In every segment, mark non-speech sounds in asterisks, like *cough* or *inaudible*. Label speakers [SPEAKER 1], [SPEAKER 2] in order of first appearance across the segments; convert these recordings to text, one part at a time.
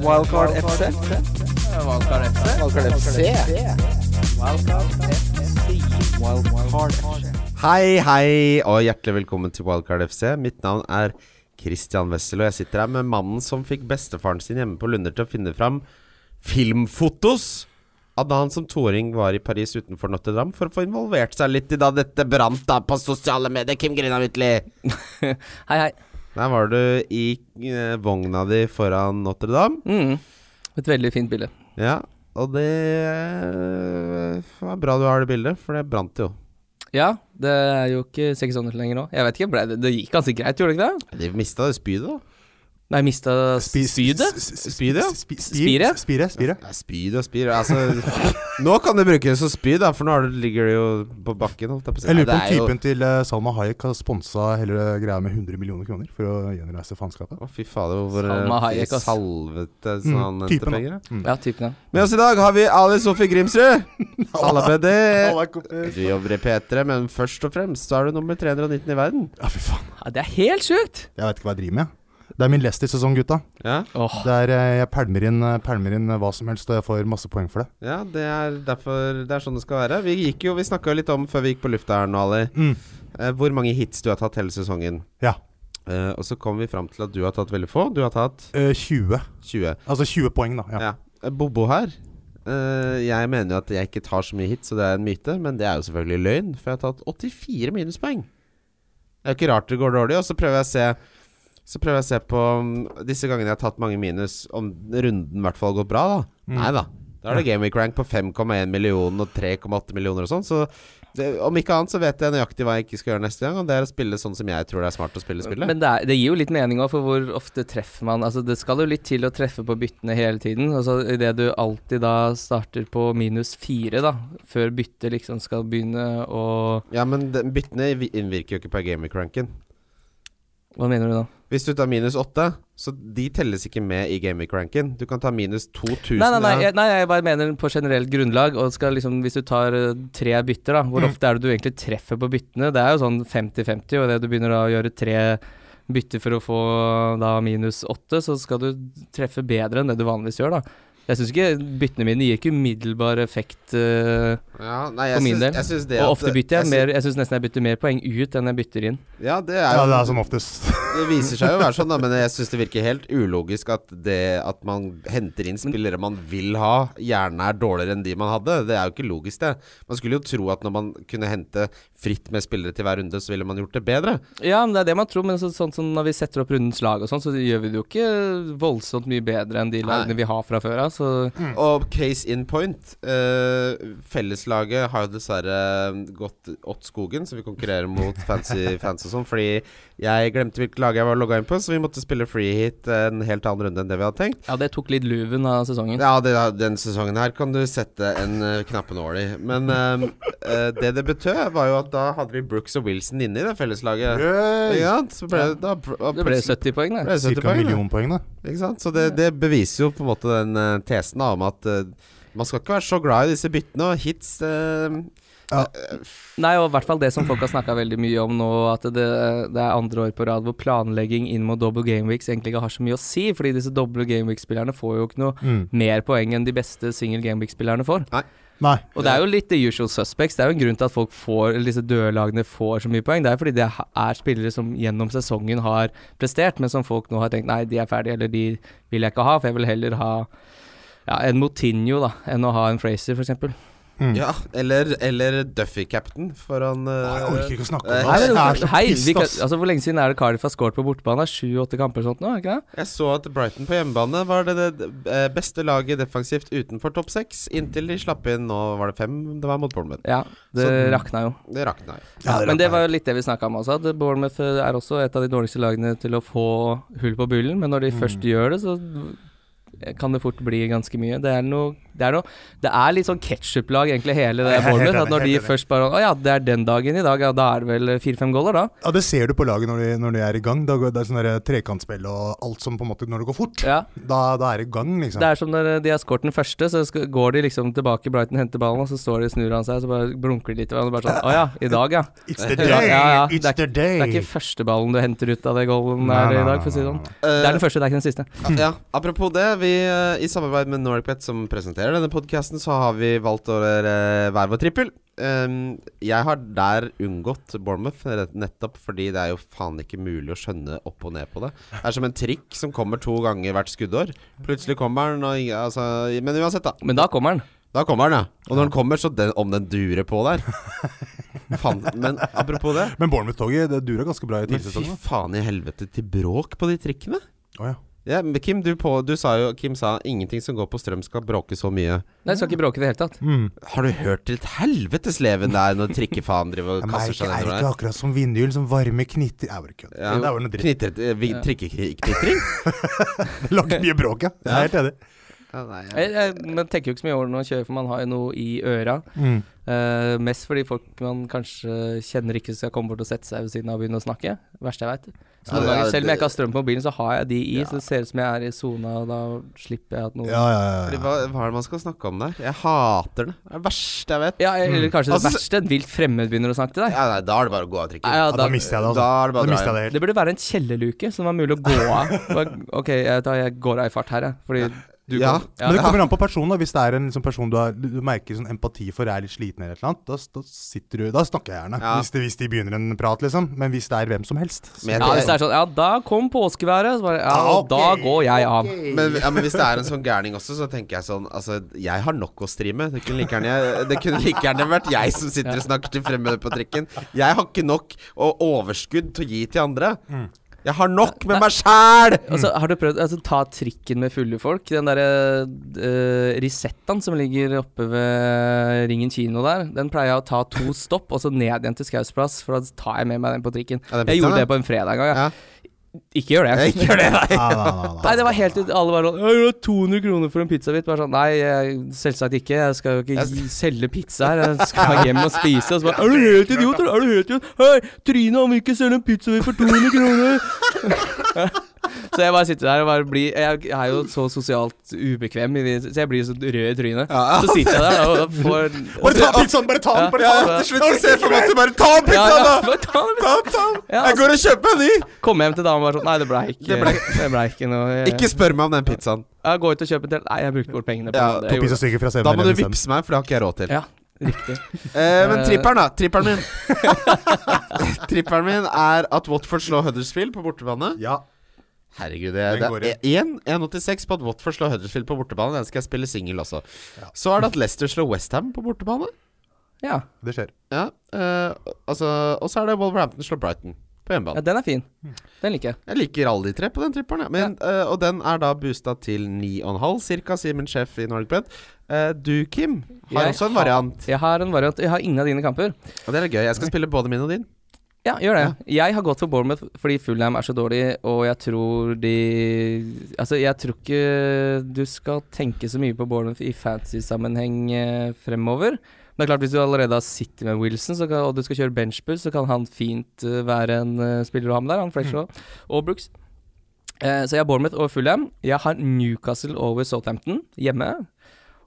[SPEAKER 1] Wildcard FC.
[SPEAKER 2] Valkar FC.
[SPEAKER 1] Wildcard FC. Wildcard FC.
[SPEAKER 3] Hei, hei, og hjertelig velkommen til Wildcard FC. Mitt navn er Christian Wessel, og jeg sitter her med mannen som fikk bestefaren sin hjemme på Lunder til å finne fram filmfotos av da han som toåring var i Paris utenfor Notre-Dame for å få involvert seg litt i da dette brant da på sosiale medier. Kim Grina Mytli.
[SPEAKER 2] *laughs* Hei, hei.
[SPEAKER 3] Der var du i eh, vogna di foran Notre-Dame.
[SPEAKER 2] Mm. Et veldig fint bilde.
[SPEAKER 3] Ja, og det eh, var bra du har det bildet, for det brant jo.
[SPEAKER 2] Ja, det er jo ikke seks måneder lenger nå. Jeg vet ikke, ble det, det gikk ganske greit, gjorde det ikke det?
[SPEAKER 3] De mista det spydet, da.
[SPEAKER 2] Nei, mista spydet?
[SPEAKER 3] Spydet, ja.
[SPEAKER 2] Spire?
[SPEAKER 4] Spire, spire.
[SPEAKER 3] Ja, spyd og spyr altså, *laughs* Nå kan du bruke det som spyd, da, for nå er det- ligger det jo på bakken. Holdt jeg på å si.
[SPEAKER 4] Jeg lurer på
[SPEAKER 3] Nei,
[SPEAKER 4] om
[SPEAKER 3] det er
[SPEAKER 4] typen til eh, Salma Hayek har sponsa hele greia med 100 millioner kroner for å gjenreise faenskapet.
[SPEAKER 3] jo- Å, fy fader, hvor eh,
[SPEAKER 2] Salma Hayek, ass.
[SPEAKER 3] salvete sånn
[SPEAKER 4] Mm,
[SPEAKER 3] mm,
[SPEAKER 4] typen, da.
[SPEAKER 3] penger. da.
[SPEAKER 2] Ja, typen, ja.
[SPEAKER 3] Med oss i dag har vi Ali Sofie Grimsrud.
[SPEAKER 4] *laughs*
[SPEAKER 3] Halla, BD.
[SPEAKER 4] Ja,
[SPEAKER 2] eh,
[SPEAKER 3] Du jobber i P3, men først og fremst så er du nummer 319 i verden.
[SPEAKER 4] fy faen.
[SPEAKER 2] ja. Det er helt sjukt!
[SPEAKER 4] Jeg vet ikke hva jeg driver med. jeg. Det er min Leicester-sesong, gutta.
[SPEAKER 3] Ja,
[SPEAKER 2] Åh,
[SPEAKER 4] Det er, eh, jeg pælmer inn, eh, pælmer inn eh, hva som helst, og jeg får masse poeng for det.
[SPEAKER 3] ja det er derfor Det er sånn det skal være. Vi gikk jo, vi snakka jo litt om før vi gikk på lufta her nå, Ali,
[SPEAKER 4] Mm.
[SPEAKER 3] eh, hvor mange hits du har tatt hele sesongen.
[SPEAKER 4] Ja.
[SPEAKER 3] Eh, og så kom vi fram til at du har tatt veldig få. Du har tatt
[SPEAKER 4] Eh, 20.
[SPEAKER 3] 20.
[SPEAKER 4] Altså 20 poeng, da. Ja.
[SPEAKER 3] Ja. Bobo her. Eh, jeg mener jo at jeg ikke tar så mye hit, så det er en myte. Men det er jo selvfølgelig løgn, for jeg har tatt 84 minuspoeng. Det er jo ikke rart det går dårlig. Og så prøver jeg å se Så prøver jeg å se på mm, disse gangene jeg har tatt mange minus, om runden i hvert fall går bra, da.
[SPEAKER 2] Mm.
[SPEAKER 3] Nei da. Da er det Game Week Rank på 5,1 millioner og 3,8 millioner og sånn. Så det, om ikke annet så vet jeg nøyaktig hva jeg ikke skal gjøre neste gang, og det er å spille sånn som jeg tror det er smart å spille spillet.
[SPEAKER 2] men det, er, det gir jo litt mening òg, for hvor ofte treffer man Altså, det skal jo litt til å treffe på byttene hele tiden. Altså, Idet du alltid da starter på minus fire, da, før byttet liksom skal begynne å
[SPEAKER 3] ja, men det- byttene innvirker jo ikke på Game Week Ranken.
[SPEAKER 2] Hva mener du da?
[SPEAKER 3] Hvis du tar minus 8, så de telles ikke med i gameweek-ranken. Du kan ta minus 2000.
[SPEAKER 2] Nei, nei, nei,
[SPEAKER 3] ja.
[SPEAKER 2] jeg, nei, jeg bare mener på generelt grunnlag. Og skal liksom, Hvis du tar eh, tre bytter, da, hvor ofte er det du egentlig treffer på byttene? Det er jo sånn 50-50, og det du begynner da å gjøre tre bytter for å få da minus åtte, så skal du treffe bedre enn det du vanligvis gjør, da. Jeg syns ikke byttene mine gir ikke umiddelbar effekt. eh,
[SPEAKER 3] ja, nei, jeg
[SPEAKER 2] For min
[SPEAKER 3] syns-
[SPEAKER 2] del.
[SPEAKER 3] Jeg syns det
[SPEAKER 2] og
[SPEAKER 3] at-
[SPEAKER 2] ofte bytter jeg,
[SPEAKER 3] syns-
[SPEAKER 2] mer Jeg syns nesten jeg bytter mer poeng ut enn jeg bytter inn.
[SPEAKER 3] Ja, det er
[SPEAKER 4] Ja,
[SPEAKER 3] jo
[SPEAKER 4] det er som oftest.
[SPEAKER 3] Det viser seg jo å være sånn, da, men jeg syns det virker helt ulogisk at det at man henter inn spillere man vil ha, gjerne er dårligere enn de man hadde. Det er jo ikke logisk, det. Man skulle jo tro at når man kunne hente fritt med spillere til hver runde, så ville man gjort det bedre.
[SPEAKER 2] Ja, men det er det man tror, men så, sånn som når vi setter opp rundens lag og sånn, så gjør vi det jo ikke voldsomt mye bedre enn de
[SPEAKER 3] Nei.
[SPEAKER 2] lagene vi har fra før av, så
[SPEAKER 3] Og case in point. eh, felleslaget har jo dessverre gått åt skogen, så vi konkurrerer mot
[SPEAKER 2] *laughs*
[SPEAKER 3] fancy fans og sånn. Fordi jeg glemte hvilket lag jeg var logga inn på, så vi måtte spille free hit en helt annen runde enn det vi hadde tenkt.
[SPEAKER 2] Ja, det tok litt luven av sesongen.
[SPEAKER 3] Ja, det, den sesongen her kan du sette en uh, knappenål i. Men eh, eh, det det betød, var jo at da hadde vi Brooks og Wilson inne i det felleslaget.
[SPEAKER 4] Cirka
[SPEAKER 3] Ikke sant? Så ble, det- da, da,
[SPEAKER 2] Det ble 70 poeng, det.
[SPEAKER 3] ble det 70
[SPEAKER 4] en
[SPEAKER 3] poeng. da.
[SPEAKER 4] million poeng, da.
[SPEAKER 3] Ikke sant? Så det, det beviser jo på en måte den eh, tesen da, om at eh, man skal ikke være så glad i disse byttene og hits. eh,
[SPEAKER 4] Ja.
[SPEAKER 3] eh,
[SPEAKER 2] Nei, og i hvert fall det som folk har snakka veldig mye om nå, at det, det er andre år på rad hvor planlegging inn mot double game weeks egentlig ikke har så mye å si, fordi disse double game week-spillerne får jo ikke noe
[SPEAKER 4] Mm.
[SPEAKER 2] mer poeng enn de beste single game week-spillerne får.
[SPEAKER 4] Nei.
[SPEAKER 2] Og det er jo litt the usual suspects. Det er jo en grunn til at folk får, eller disse døde lagene får så mye poeng. Det er fordi det er spillere som gjennom sesongen har prestert, men som folk nå har tenkt nei, de er ferdige, eller de vil jeg ikke ha, for jeg vil heller ha ja, en Motinho da, enn å ha en Fraser, f.eks.
[SPEAKER 4] Mm.
[SPEAKER 3] ja, eller, eller Duffy-captain foran
[SPEAKER 4] Nei, Jeg orker ikke å snakke om
[SPEAKER 3] eh,
[SPEAKER 4] det.
[SPEAKER 2] Nei,
[SPEAKER 4] ass.
[SPEAKER 2] men,
[SPEAKER 4] Jeg er så
[SPEAKER 2] hei, vi
[SPEAKER 4] pissed,
[SPEAKER 2] kan,
[SPEAKER 4] ass.
[SPEAKER 2] altså, hvor lenge siden er det Cardiff har scoret på bortebane? Det er Sju-åtte kamper og sånt nå, er det ikke det?
[SPEAKER 3] Jeg så at Brighton på hjemmebane var det, det eh, beste laget defensivt utenfor topp seks, inntil de slapp inn nå var det fem det var mot Bournemouth.
[SPEAKER 2] Ja, det
[SPEAKER 3] Så-
[SPEAKER 2] rakna jo.
[SPEAKER 3] Det rakna. jo.
[SPEAKER 4] Ja,
[SPEAKER 2] Men det
[SPEAKER 4] rakna
[SPEAKER 2] var jo litt det vi snakka om også, at Bournemouth eh, er også et av de dårligste lagene til å få hull på bullen, men
[SPEAKER 4] Mm.
[SPEAKER 2] når de først gjør det, så kan det fort bli ganske mye. Det er noe Det er, noe, det er litt sånn ketsjup-lag, egentlig, hele
[SPEAKER 4] *laughs*
[SPEAKER 2] det
[SPEAKER 4] Jeg er helt
[SPEAKER 2] Bournemouth.
[SPEAKER 4] enig,
[SPEAKER 2] At når de
[SPEAKER 4] helt enig.
[SPEAKER 2] først bare Å ja, det er den dagen i dag, ja, da er det vel fire-fem goller, da.
[SPEAKER 4] Ja, Det ser du på laget når de, når de er i gang. Da går, det er sånn der trekantspill og alt som på en måte Når det går fort,
[SPEAKER 2] Ja.
[SPEAKER 4] da, da er det i gang, liksom.
[SPEAKER 2] Det er som når eh, de har skåret den første, så skal, går de liksom tilbake, Brighton henter ballen, og så står de og snur han seg, så bare blunker de litt til hverandre. Bare sånn Å ja, i dag, ja.
[SPEAKER 4] It's
[SPEAKER 2] *laughs*
[SPEAKER 4] the
[SPEAKER 2] Ja,
[SPEAKER 4] day!
[SPEAKER 2] ja, ja.
[SPEAKER 4] It's the day!
[SPEAKER 2] Det er ikke første ballen du henter ut av det goalen
[SPEAKER 4] Nei,
[SPEAKER 2] der i
[SPEAKER 4] nei,
[SPEAKER 2] dag,
[SPEAKER 4] nei,
[SPEAKER 2] for å si det sånn.
[SPEAKER 4] nei, nei.
[SPEAKER 2] Det er den første, det er ikke den siste.
[SPEAKER 3] Ja, apropos det. Vi vi eh, i samarbeid med NoricBet, som presenterer denne podkasten, så har vi valgt å eh, hver vår trippel. Ehm, jeg har der unngått Bournemouth, rett- nettopp fordi det er jo faen ikke mulig å skjønne opp og ned på det. Det er som en trikk som kommer to ganger hvert skuddår. Plutselig kommer den, og ingen- altså, Men uansett, da.
[SPEAKER 2] Men da kommer den.
[SPEAKER 3] Da kommer den, ja. Og når den kommer, så den, om den durer på der Faen, Men apropos det.
[SPEAKER 4] Men Bournemouth-toget det dura ganske bra i
[SPEAKER 3] Men fy
[SPEAKER 4] tidligere sesongen.
[SPEAKER 3] faen i helvete til bråk på de trikkene.
[SPEAKER 4] Oh, ja.
[SPEAKER 3] Ja, men Kim, du, på, du sa jo Kim sa ingenting som går på strøm skal bråke så mye.
[SPEAKER 2] Nei, jeg skal ikke bråke i det hele tatt.
[SPEAKER 4] mm.
[SPEAKER 3] Har du hørt til et helvetes leven der når trikkefaen driver
[SPEAKER 4] Jeg
[SPEAKER 3] og
[SPEAKER 4] merker,
[SPEAKER 3] kaster seg
[SPEAKER 4] er det
[SPEAKER 3] nedover
[SPEAKER 4] ikke
[SPEAKER 3] der?
[SPEAKER 4] akkurat som vindhjul, som varme knitter Jeg bare kødder.
[SPEAKER 3] Ja.
[SPEAKER 4] Det er bare noe dritt.
[SPEAKER 3] Knitter, eh, vi-
[SPEAKER 2] Ja. *laughs*
[SPEAKER 3] Trikkeknitring?
[SPEAKER 4] *laughs* Lagt mye bråk, ja. Jeg er helt enig.
[SPEAKER 3] Ja, nei,
[SPEAKER 2] Jeg, jeg, men tenker jo ikke så mye over det når man kjører, for man har jo noe i øra.
[SPEAKER 4] Mm.
[SPEAKER 2] Eh, mest fordi folk man kanskje kjenner ikke skal komme bort og sette seg ved siden av og begynne å snakke. Verste jeg vet Så
[SPEAKER 3] Ja,
[SPEAKER 2] noen
[SPEAKER 3] det er-
[SPEAKER 2] ganger, selv om jeg
[SPEAKER 3] det-
[SPEAKER 2] ikke har strøm på mobilen, så har jeg de i,
[SPEAKER 3] Ja.
[SPEAKER 2] så det ser ut som jeg er i sona, og da slipper jeg at noen
[SPEAKER 4] Ja, ja, ja,
[SPEAKER 3] Fordi,
[SPEAKER 4] ja.
[SPEAKER 3] hva, hva er det man skal snakke om der? Jeg hater det. Det er det verste jeg vet.
[SPEAKER 2] Ja, eller kanskje
[SPEAKER 3] Altså,
[SPEAKER 2] det verste, en vilt fremmed begynner å snakke til deg.
[SPEAKER 3] Ja, nei, da er det bare å gå av trikken.
[SPEAKER 2] Ja,
[SPEAKER 4] ja
[SPEAKER 2] da,
[SPEAKER 4] da mister jeg det, altså.
[SPEAKER 3] Da er det
[SPEAKER 4] Da
[SPEAKER 3] bare å dra
[SPEAKER 4] mister jeg
[SPEAKER 3] hjem.
[SPEAKER 4] det helt.
[SPEAKER 2] det burde være en kjellerluke som var mulig å gå av. Bare, Ok, jeg, da, jeg går av i fart her, jeg. Fordi du
[SPEAKER 3] Ja.
[SPEAKER 2] kan
[SPEAKER 4] Men det kommer an på personen. da. Hvis det er en liksom, person du, har, du merker sånn empati for er litt sliten, eller et eller annet, da, da, sitter du, da snakker jeg gjerne.
[SPEAKER 3] Ja.
[SPEAKER 4] Hvis, de, hvis de begynner en prat, liksom. Men hvis det er hvem som helst så-
[SPEAKER 3] Men jeg
[SPEAKER 2] Ja, hvis det er sånn Ja, da kom påskeværet. Så bare, ja,
[SPEAKER 4] Ja, Ah, ok,
[SPEAKER 2] da går jeg av.
[SPEAKER 3] Men, ja, men hvis det er en sånn gærning også, så tenker jeg sånn Altså, jeg har nok å streame. Det kunne like gjerne, jeg- det kunne like gjerne vært jeg som sitter og snakker til fremmede på trikken. Jeg har ikke nok og overskudd til å gi til andre. Jeg har nok med meg sjæl!
[SPEAKER 2] Og så har du prøvd å altså, ta trikken med fulle folk? Den derre uh, Risettaen som ligger oppe ved Ringen kino der, den pleier jeg å ta to stopp, og så ned igjen til Skaus plass, for da tar jeg med meg den på trikken.
[SPEAKER 3] Ja, den
[SPEAKER 2] jeg
[SPEAKER 3] pizzaen,
[SPEAKER 2] gjorde
[SPEAKER 3] ja.
[SPEAKER 2] det på en fredag en gang,
[SPEAKER 3] Ja.
[SPEAKER 2] jeg. Ikke gjør det.
[SPEAKER 3] Jeg gjør det, nei.
[SPEAKER 4] Nei, nei, nei,
[SPEAKER 2] Nei,
[SPEAKER 4] nei.
[SPEAKER 2] det var helt ut. Alle var sånn «Ja, det var 200 kroner for en pizzabit. Bare sånn Nei, jeg, selvsagt ikke. Jeg skal jo ikke
[SPEAKER 3] Jeg-
[SPEAKER 2] gi- selge pizza her. Jeg skal hjem og spise. Og så bare Er du helt idiot, eller? Er du helt idiot? Hei, Trine, han vil ikke selge en pizzabit for 200 kroner. *laughs* Så jeg bare sitter der og bare blir Jeg er jo så sosialt ubekvem, i det, så jeg blir så rød i trynet.
[SPEAKER 3] Ja.
[SPEAKER 2] Så sitter jeg der da, og får
[SPEAKER 4] Bare ta pizzaen! Bare ta den! Bare ta den.
[SPEAKER 3] Ja, til slutt så ser jeg for meg at du bare tar
[SPEAKER 2] ja,
[SPEAKER 3] pizzaen,
[SPEAKER 2] ja,
[SPEAKER 3] da!
[SPEAKER 2] bare ta den.
[SPEAKER 3] Ta, ta.
[SPEAKER 2] Ja, altså,
[SPEAKER 3] Jeg går og kjøper en ny!
[SPEAKER 2] Kom hjem til dama og bare sånn Nei, det blei ikke
[SPEAKER 3] Det
[SPEAKER 2] Det
[SPEAKER 3] ble-
[SPEAKER 2] blei ikke noe jeg-
[SPEAKER 3] Ikke spør meg om den pizzaen.
[SPEAKER 2] Ja, gå ut og kjøpe en del. Nei, jeg brukte bort pengene på
[SPEAKER 3] Ja,
[SPEAKER 2] det. Jeg
[SPEAKER 4] To
[SPEAKER 2] gjorde det.
[SPEAKER 4] pizzastykker fra 7
[SPEAKER 3] Da må du vippse meg, for det har ikke jeg råd til.
[SPEAKER 2] Ja, riktig.
[SPEAKER 3] Eh, men tripperen, da. Tripperen min. *laughs* tripperen min er at Watford slår Huddersfield på bortebane.
[SPEAKER 4] Ja.
[SPEAKER 3] Herregud, det, det
[SPEAKER 4] Den går
[SPEAKER 3] er e- 1 1,86 på at Watford slår Huddersfield på bortebane. Den skal jeg spille singel også.
[SPEAKER 4] Ja.
[SPEAKER 3] Så er det at Leicester slår Westham på bortebane.
[SPEAKER 2] Ja.
[SPEAKER 4] Det skjer.
[SPEAKER 3] Ja, eh, altså, og så er det Wolverhampton slår Brighton på
[SPEAKER 2] Ja,
[SPEAKER 3] hjemmebane.
[SPEAKER 2] den er fin. Den liker jeg.
[SPEAKER 3] Jeg liker alle de tre på den tripperen. jeg. Men, eh, og den er da boosta til 9,5 cirka, sier min sjef i Nordic Bread. Eh, du, Kim, har
[SPEAKER 2] Jeg
[SPEAKER 3] også en
[SPEAKER 2] har-
[SPEAKER 3] variant.
[SPEAKER 2] Jeg har en variant. Jeg har ingen av dine kamper.
[SPEAKER 3] Og det er gøy. Jeg skal spille både min og din.
[SPEAKER 2] Ja, gjør det. Jeg har gått for Bournemouth fordi Fulham er så dårlig, og jeg tror de Altså, jeg tror ikke du skal tenke så mye på Bournemouth i fantasy-sammenheng eh, fremover. Men det er klart, hvis du allerede har sittet med Wilson, så kan, og du skal kjøre benchbus, så kan han fint eh, være en eh, spiller å ha med der, han Fletcher og, og Brooks. Eh, så jeg har Bournemouth og Fulham. Jeg har Newcastle over Southampton hjemme.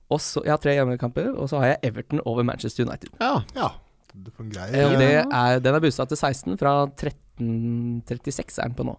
[SPEAKER 2] Og så, jeg har tre hjemmekamper, og så har jeg Everton over Manchester United.
[SPEAKER 3] Ja.
[SPEAKER 4] Ja. Du får en grei
[SPEAKER 2] Eh, Og det er, den er boosta til 16 fra 13.36 er den på nå.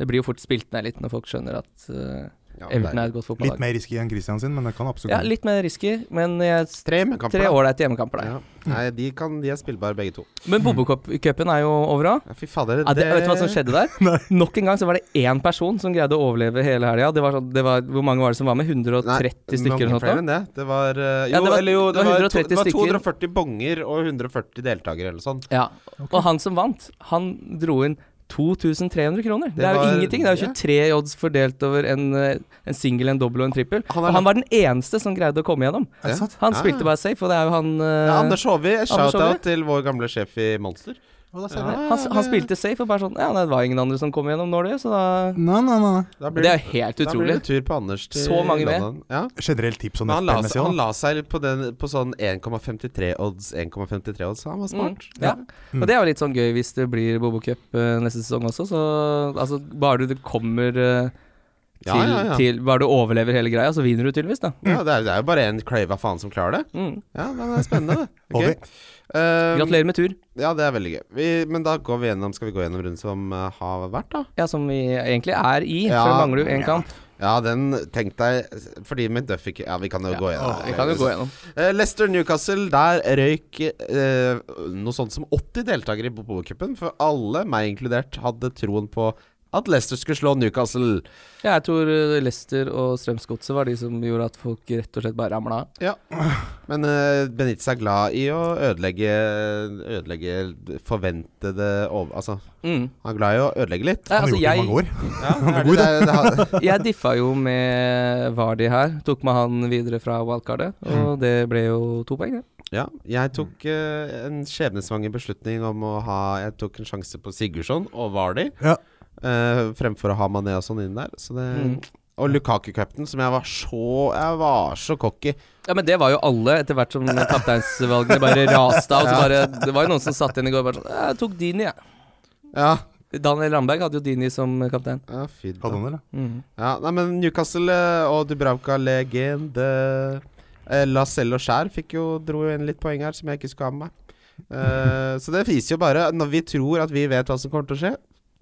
[SPEAKER 2] Det blir jo fort spilt ned litt når folk skjønner at eh, Everton er et godt
[SPEAKER 4] Litt
[SPEAKER 2] fotballag.
[SPEAKER 4] mer risky enn Christian sin, men det kan absolutt
[SPEAKER 2] Ja, litt mer risky, men jeg s-
[SPEAKER 3] Tre hjemmekamper.
[SPEAKER 2] tre
[SPEAKER 3] da.
[SPEAKER 2] ålreite hjemmekamper der.
[SPEAKER 3] Ja. Nei, de, kan, de er spillbare begge to.
[SPEAKER 2] Men Bobocupen er jo over òg.
[SPEAKER 3] Ja, Fy fader.
[SPEAKER 2] Ja, det, vet du hva som skjedde *laughs* der? Nok en gang så var det én person som greide å overleve hele helga. Det var sånn, det var, hvor mange var det som var med? 130 stykker
[SPEAKER 3] mange
[SPEAKER 2] eller noe? sånt da?
[SPEAKER 3] flere enn det. Det var eh, Jo,
[SPEAKER 2] Ja, det var-
[SPEAKER 3] eller jo, det
[SPEAKER 2] det var
[SPEAKER 3] var, to,
[SPEAKER 2] 130
[SPEAKER 3] det var
[SPEAKER 2] stykker.
[SPEAKER 3] 240 bonger og 140 deltakere eller sånn.
[SPEAKER 2] Ja. Og han som vant, han dro inn 2300 kroner. Det, er jo
[SPEAKER 3] var-
[SPEAKER 2] ingenting. Det er
[SPEAKER 3] ja.
[SPEAKER 2] jo 23 odds fordelt over en, eh, en singel, en dobbel og en trippel.
[SPEAKER 3] Han er
[SPEAKER 2] og han var den eneste som greide å komme gjennom.
[SPEAKER 4] Er det sant?
[SPEAKER 2] Han
[SPEAKER 3] Ja.
[SPEAKER 2] spilte bare safe, og det er jo han eh,
[SPEAKER 3] Ja, Anders Håvi,
[SPEAKER 2] Håvi.
[SPEAKER 3] shout-out til vår gamle sjef i Monster.
[SPEAKER 4] Å, da ser
[SPEAKER 3] Ja,
[SPEAKER 4] du.
[SPEAKER 2] han, han spilte safe og bare sånn Ja, nei, det var ingen andre som kom gjennom nå, det, så da
[SPEAKER 4] Nei, nei, nei.
[SPEAKER 3] Da
[SPEAKER 2] Det
[SPEAKER 3] blir det,
[SPEAKER 2] er jo helt
[SPEAKER 3] da blir
[SPEAKER 2] utrolig.
[SPEAKER 3] det tur på Anders til
[SPEAKER 2] Så mange med.
[SPEAKER 3] London. Ja.
[SPEAKER 4] Generelt tips om
[SPEAKER 3] Men han la,
[SPEAKER 4] FPMSI
[SPEAKER 3] seg, han
[SPEAKER 4] òg.
[SPEAKER 3] la seg på, den, på sånn 1,53 odds, 1,53 odds. Han var smart.
[SPEAKER 2] Mm, ja. Og det er jo litt sånn gøy hvis det blir Bobo Cup eh, neste sesong også, så altså bare du kommer eh, til,
[SPEAKER 3] Ja, ja, ja.
[SPEAKER 2] til Bare du overlever hele greia, så vinner du tydeligvis, da.
[SPEAKER 3] Ja, det, er, det er jo bare en crava faen som klarer det.
[SPEAKER 2] Mm.
[SPEAKER 3] Ja, men det er spennende, det.
[SPEAKER 4] Håvi.
[SPEAKER 3] Ok. Eh,
[SPEAKER 2] Gratulerer med tur.
[SPEAKER 3] Ja, det er veldig gøy. Vi, men da går vi gjennom, skal vi gå gjennom runden som eh, har vært, da?
[SPEAKER 2] Ja, som vi egentlig er i,
[SPEAKER 3] Ja.
[SPEAKER 2] for da mangler jo én kamp.
[SPEAKER 3] Ja, den Tenk deg Fordi med Duffy Ja, vi kan jo gå gjennom
[SPEAKER 2] Vi kan jo gå gjennom.
[SPEAKER 3] Eh, Leicester Newcastle, der røyk eh, noe sånt som 80 deltakere i Bobocupen. For alle, meg inkludert, hadde troen på at Leicester skulle slå Newcastle.
[SPEAKER 2] Ja, jeg tror eh, Leicester og Strømsgodset var de som gjorde at folk rett og slett bare ramla av.
[SPEAKER 3] Ja. Men eh, Benitez er glad i å ødelegge, ødelegge forventede over... Altså,
[SPEAKER 2] Mm.
[SPEAKER 3] han er glad i å ødelegge litt.
[SPEAKER 2] Nei,
[SPEAKER 4] Han
[SPEAKER 2] altså,
[SPEAKER 4] gjorde det i
[SPEAKER 2] jeg,
[SPEAKER 4] mange år.
[SPEAKER 3] Ja, det, er- det, har-
[SPEAKER 2] jeg diffa jo med Vardi her. Tok med han videre fra wildcardet, og det ble jo to poeng, det.
[SPEAKER 3] Ja,
[SPEAKER 4] Mm.
[SPEAKER 3] jeg tok eh, en skjebnesvanger beslutning om å ha Jeg tok en sjanse på Sigurdsson og Vardi
[SPEAKER 4] Ja.
[SPEAKER 3] eh, fremfor å ha Mané og sånn inn der. Så det,
[SPEAKER 2] Mm.
[SPEAKER 3] Og Lukaku-captain, som jeg var så Jeg var så cocky.
[SPEAKER 2] Ja, men det var jo alle, etter hvert som kapteinsvalgene bare raste av. Så bare, det var jo noen som satt igjen i går og bare sånn «Eh, Jeg tok Dini, jeg.
[SPEAKER 3] Ja.
[SPEAKER 2] Daniel Ramberg hadde jo Dini som kaptein.
[SPEAKER 3] Ja, fy da.
[SPEAKER 4] Hadde han det, eller?
[SPEAKER 2] Mm.
[SPEAKER 3] ja, nei, men Newcastle eh, og Dubravka legende eh, Lacelle og Skjær fikk jo, dro jo inn litt poeng her som jeg ikke skulle ha med meg. Eh, så det viser jo bare Når vi tror at vi vet hva som kommer til å skje,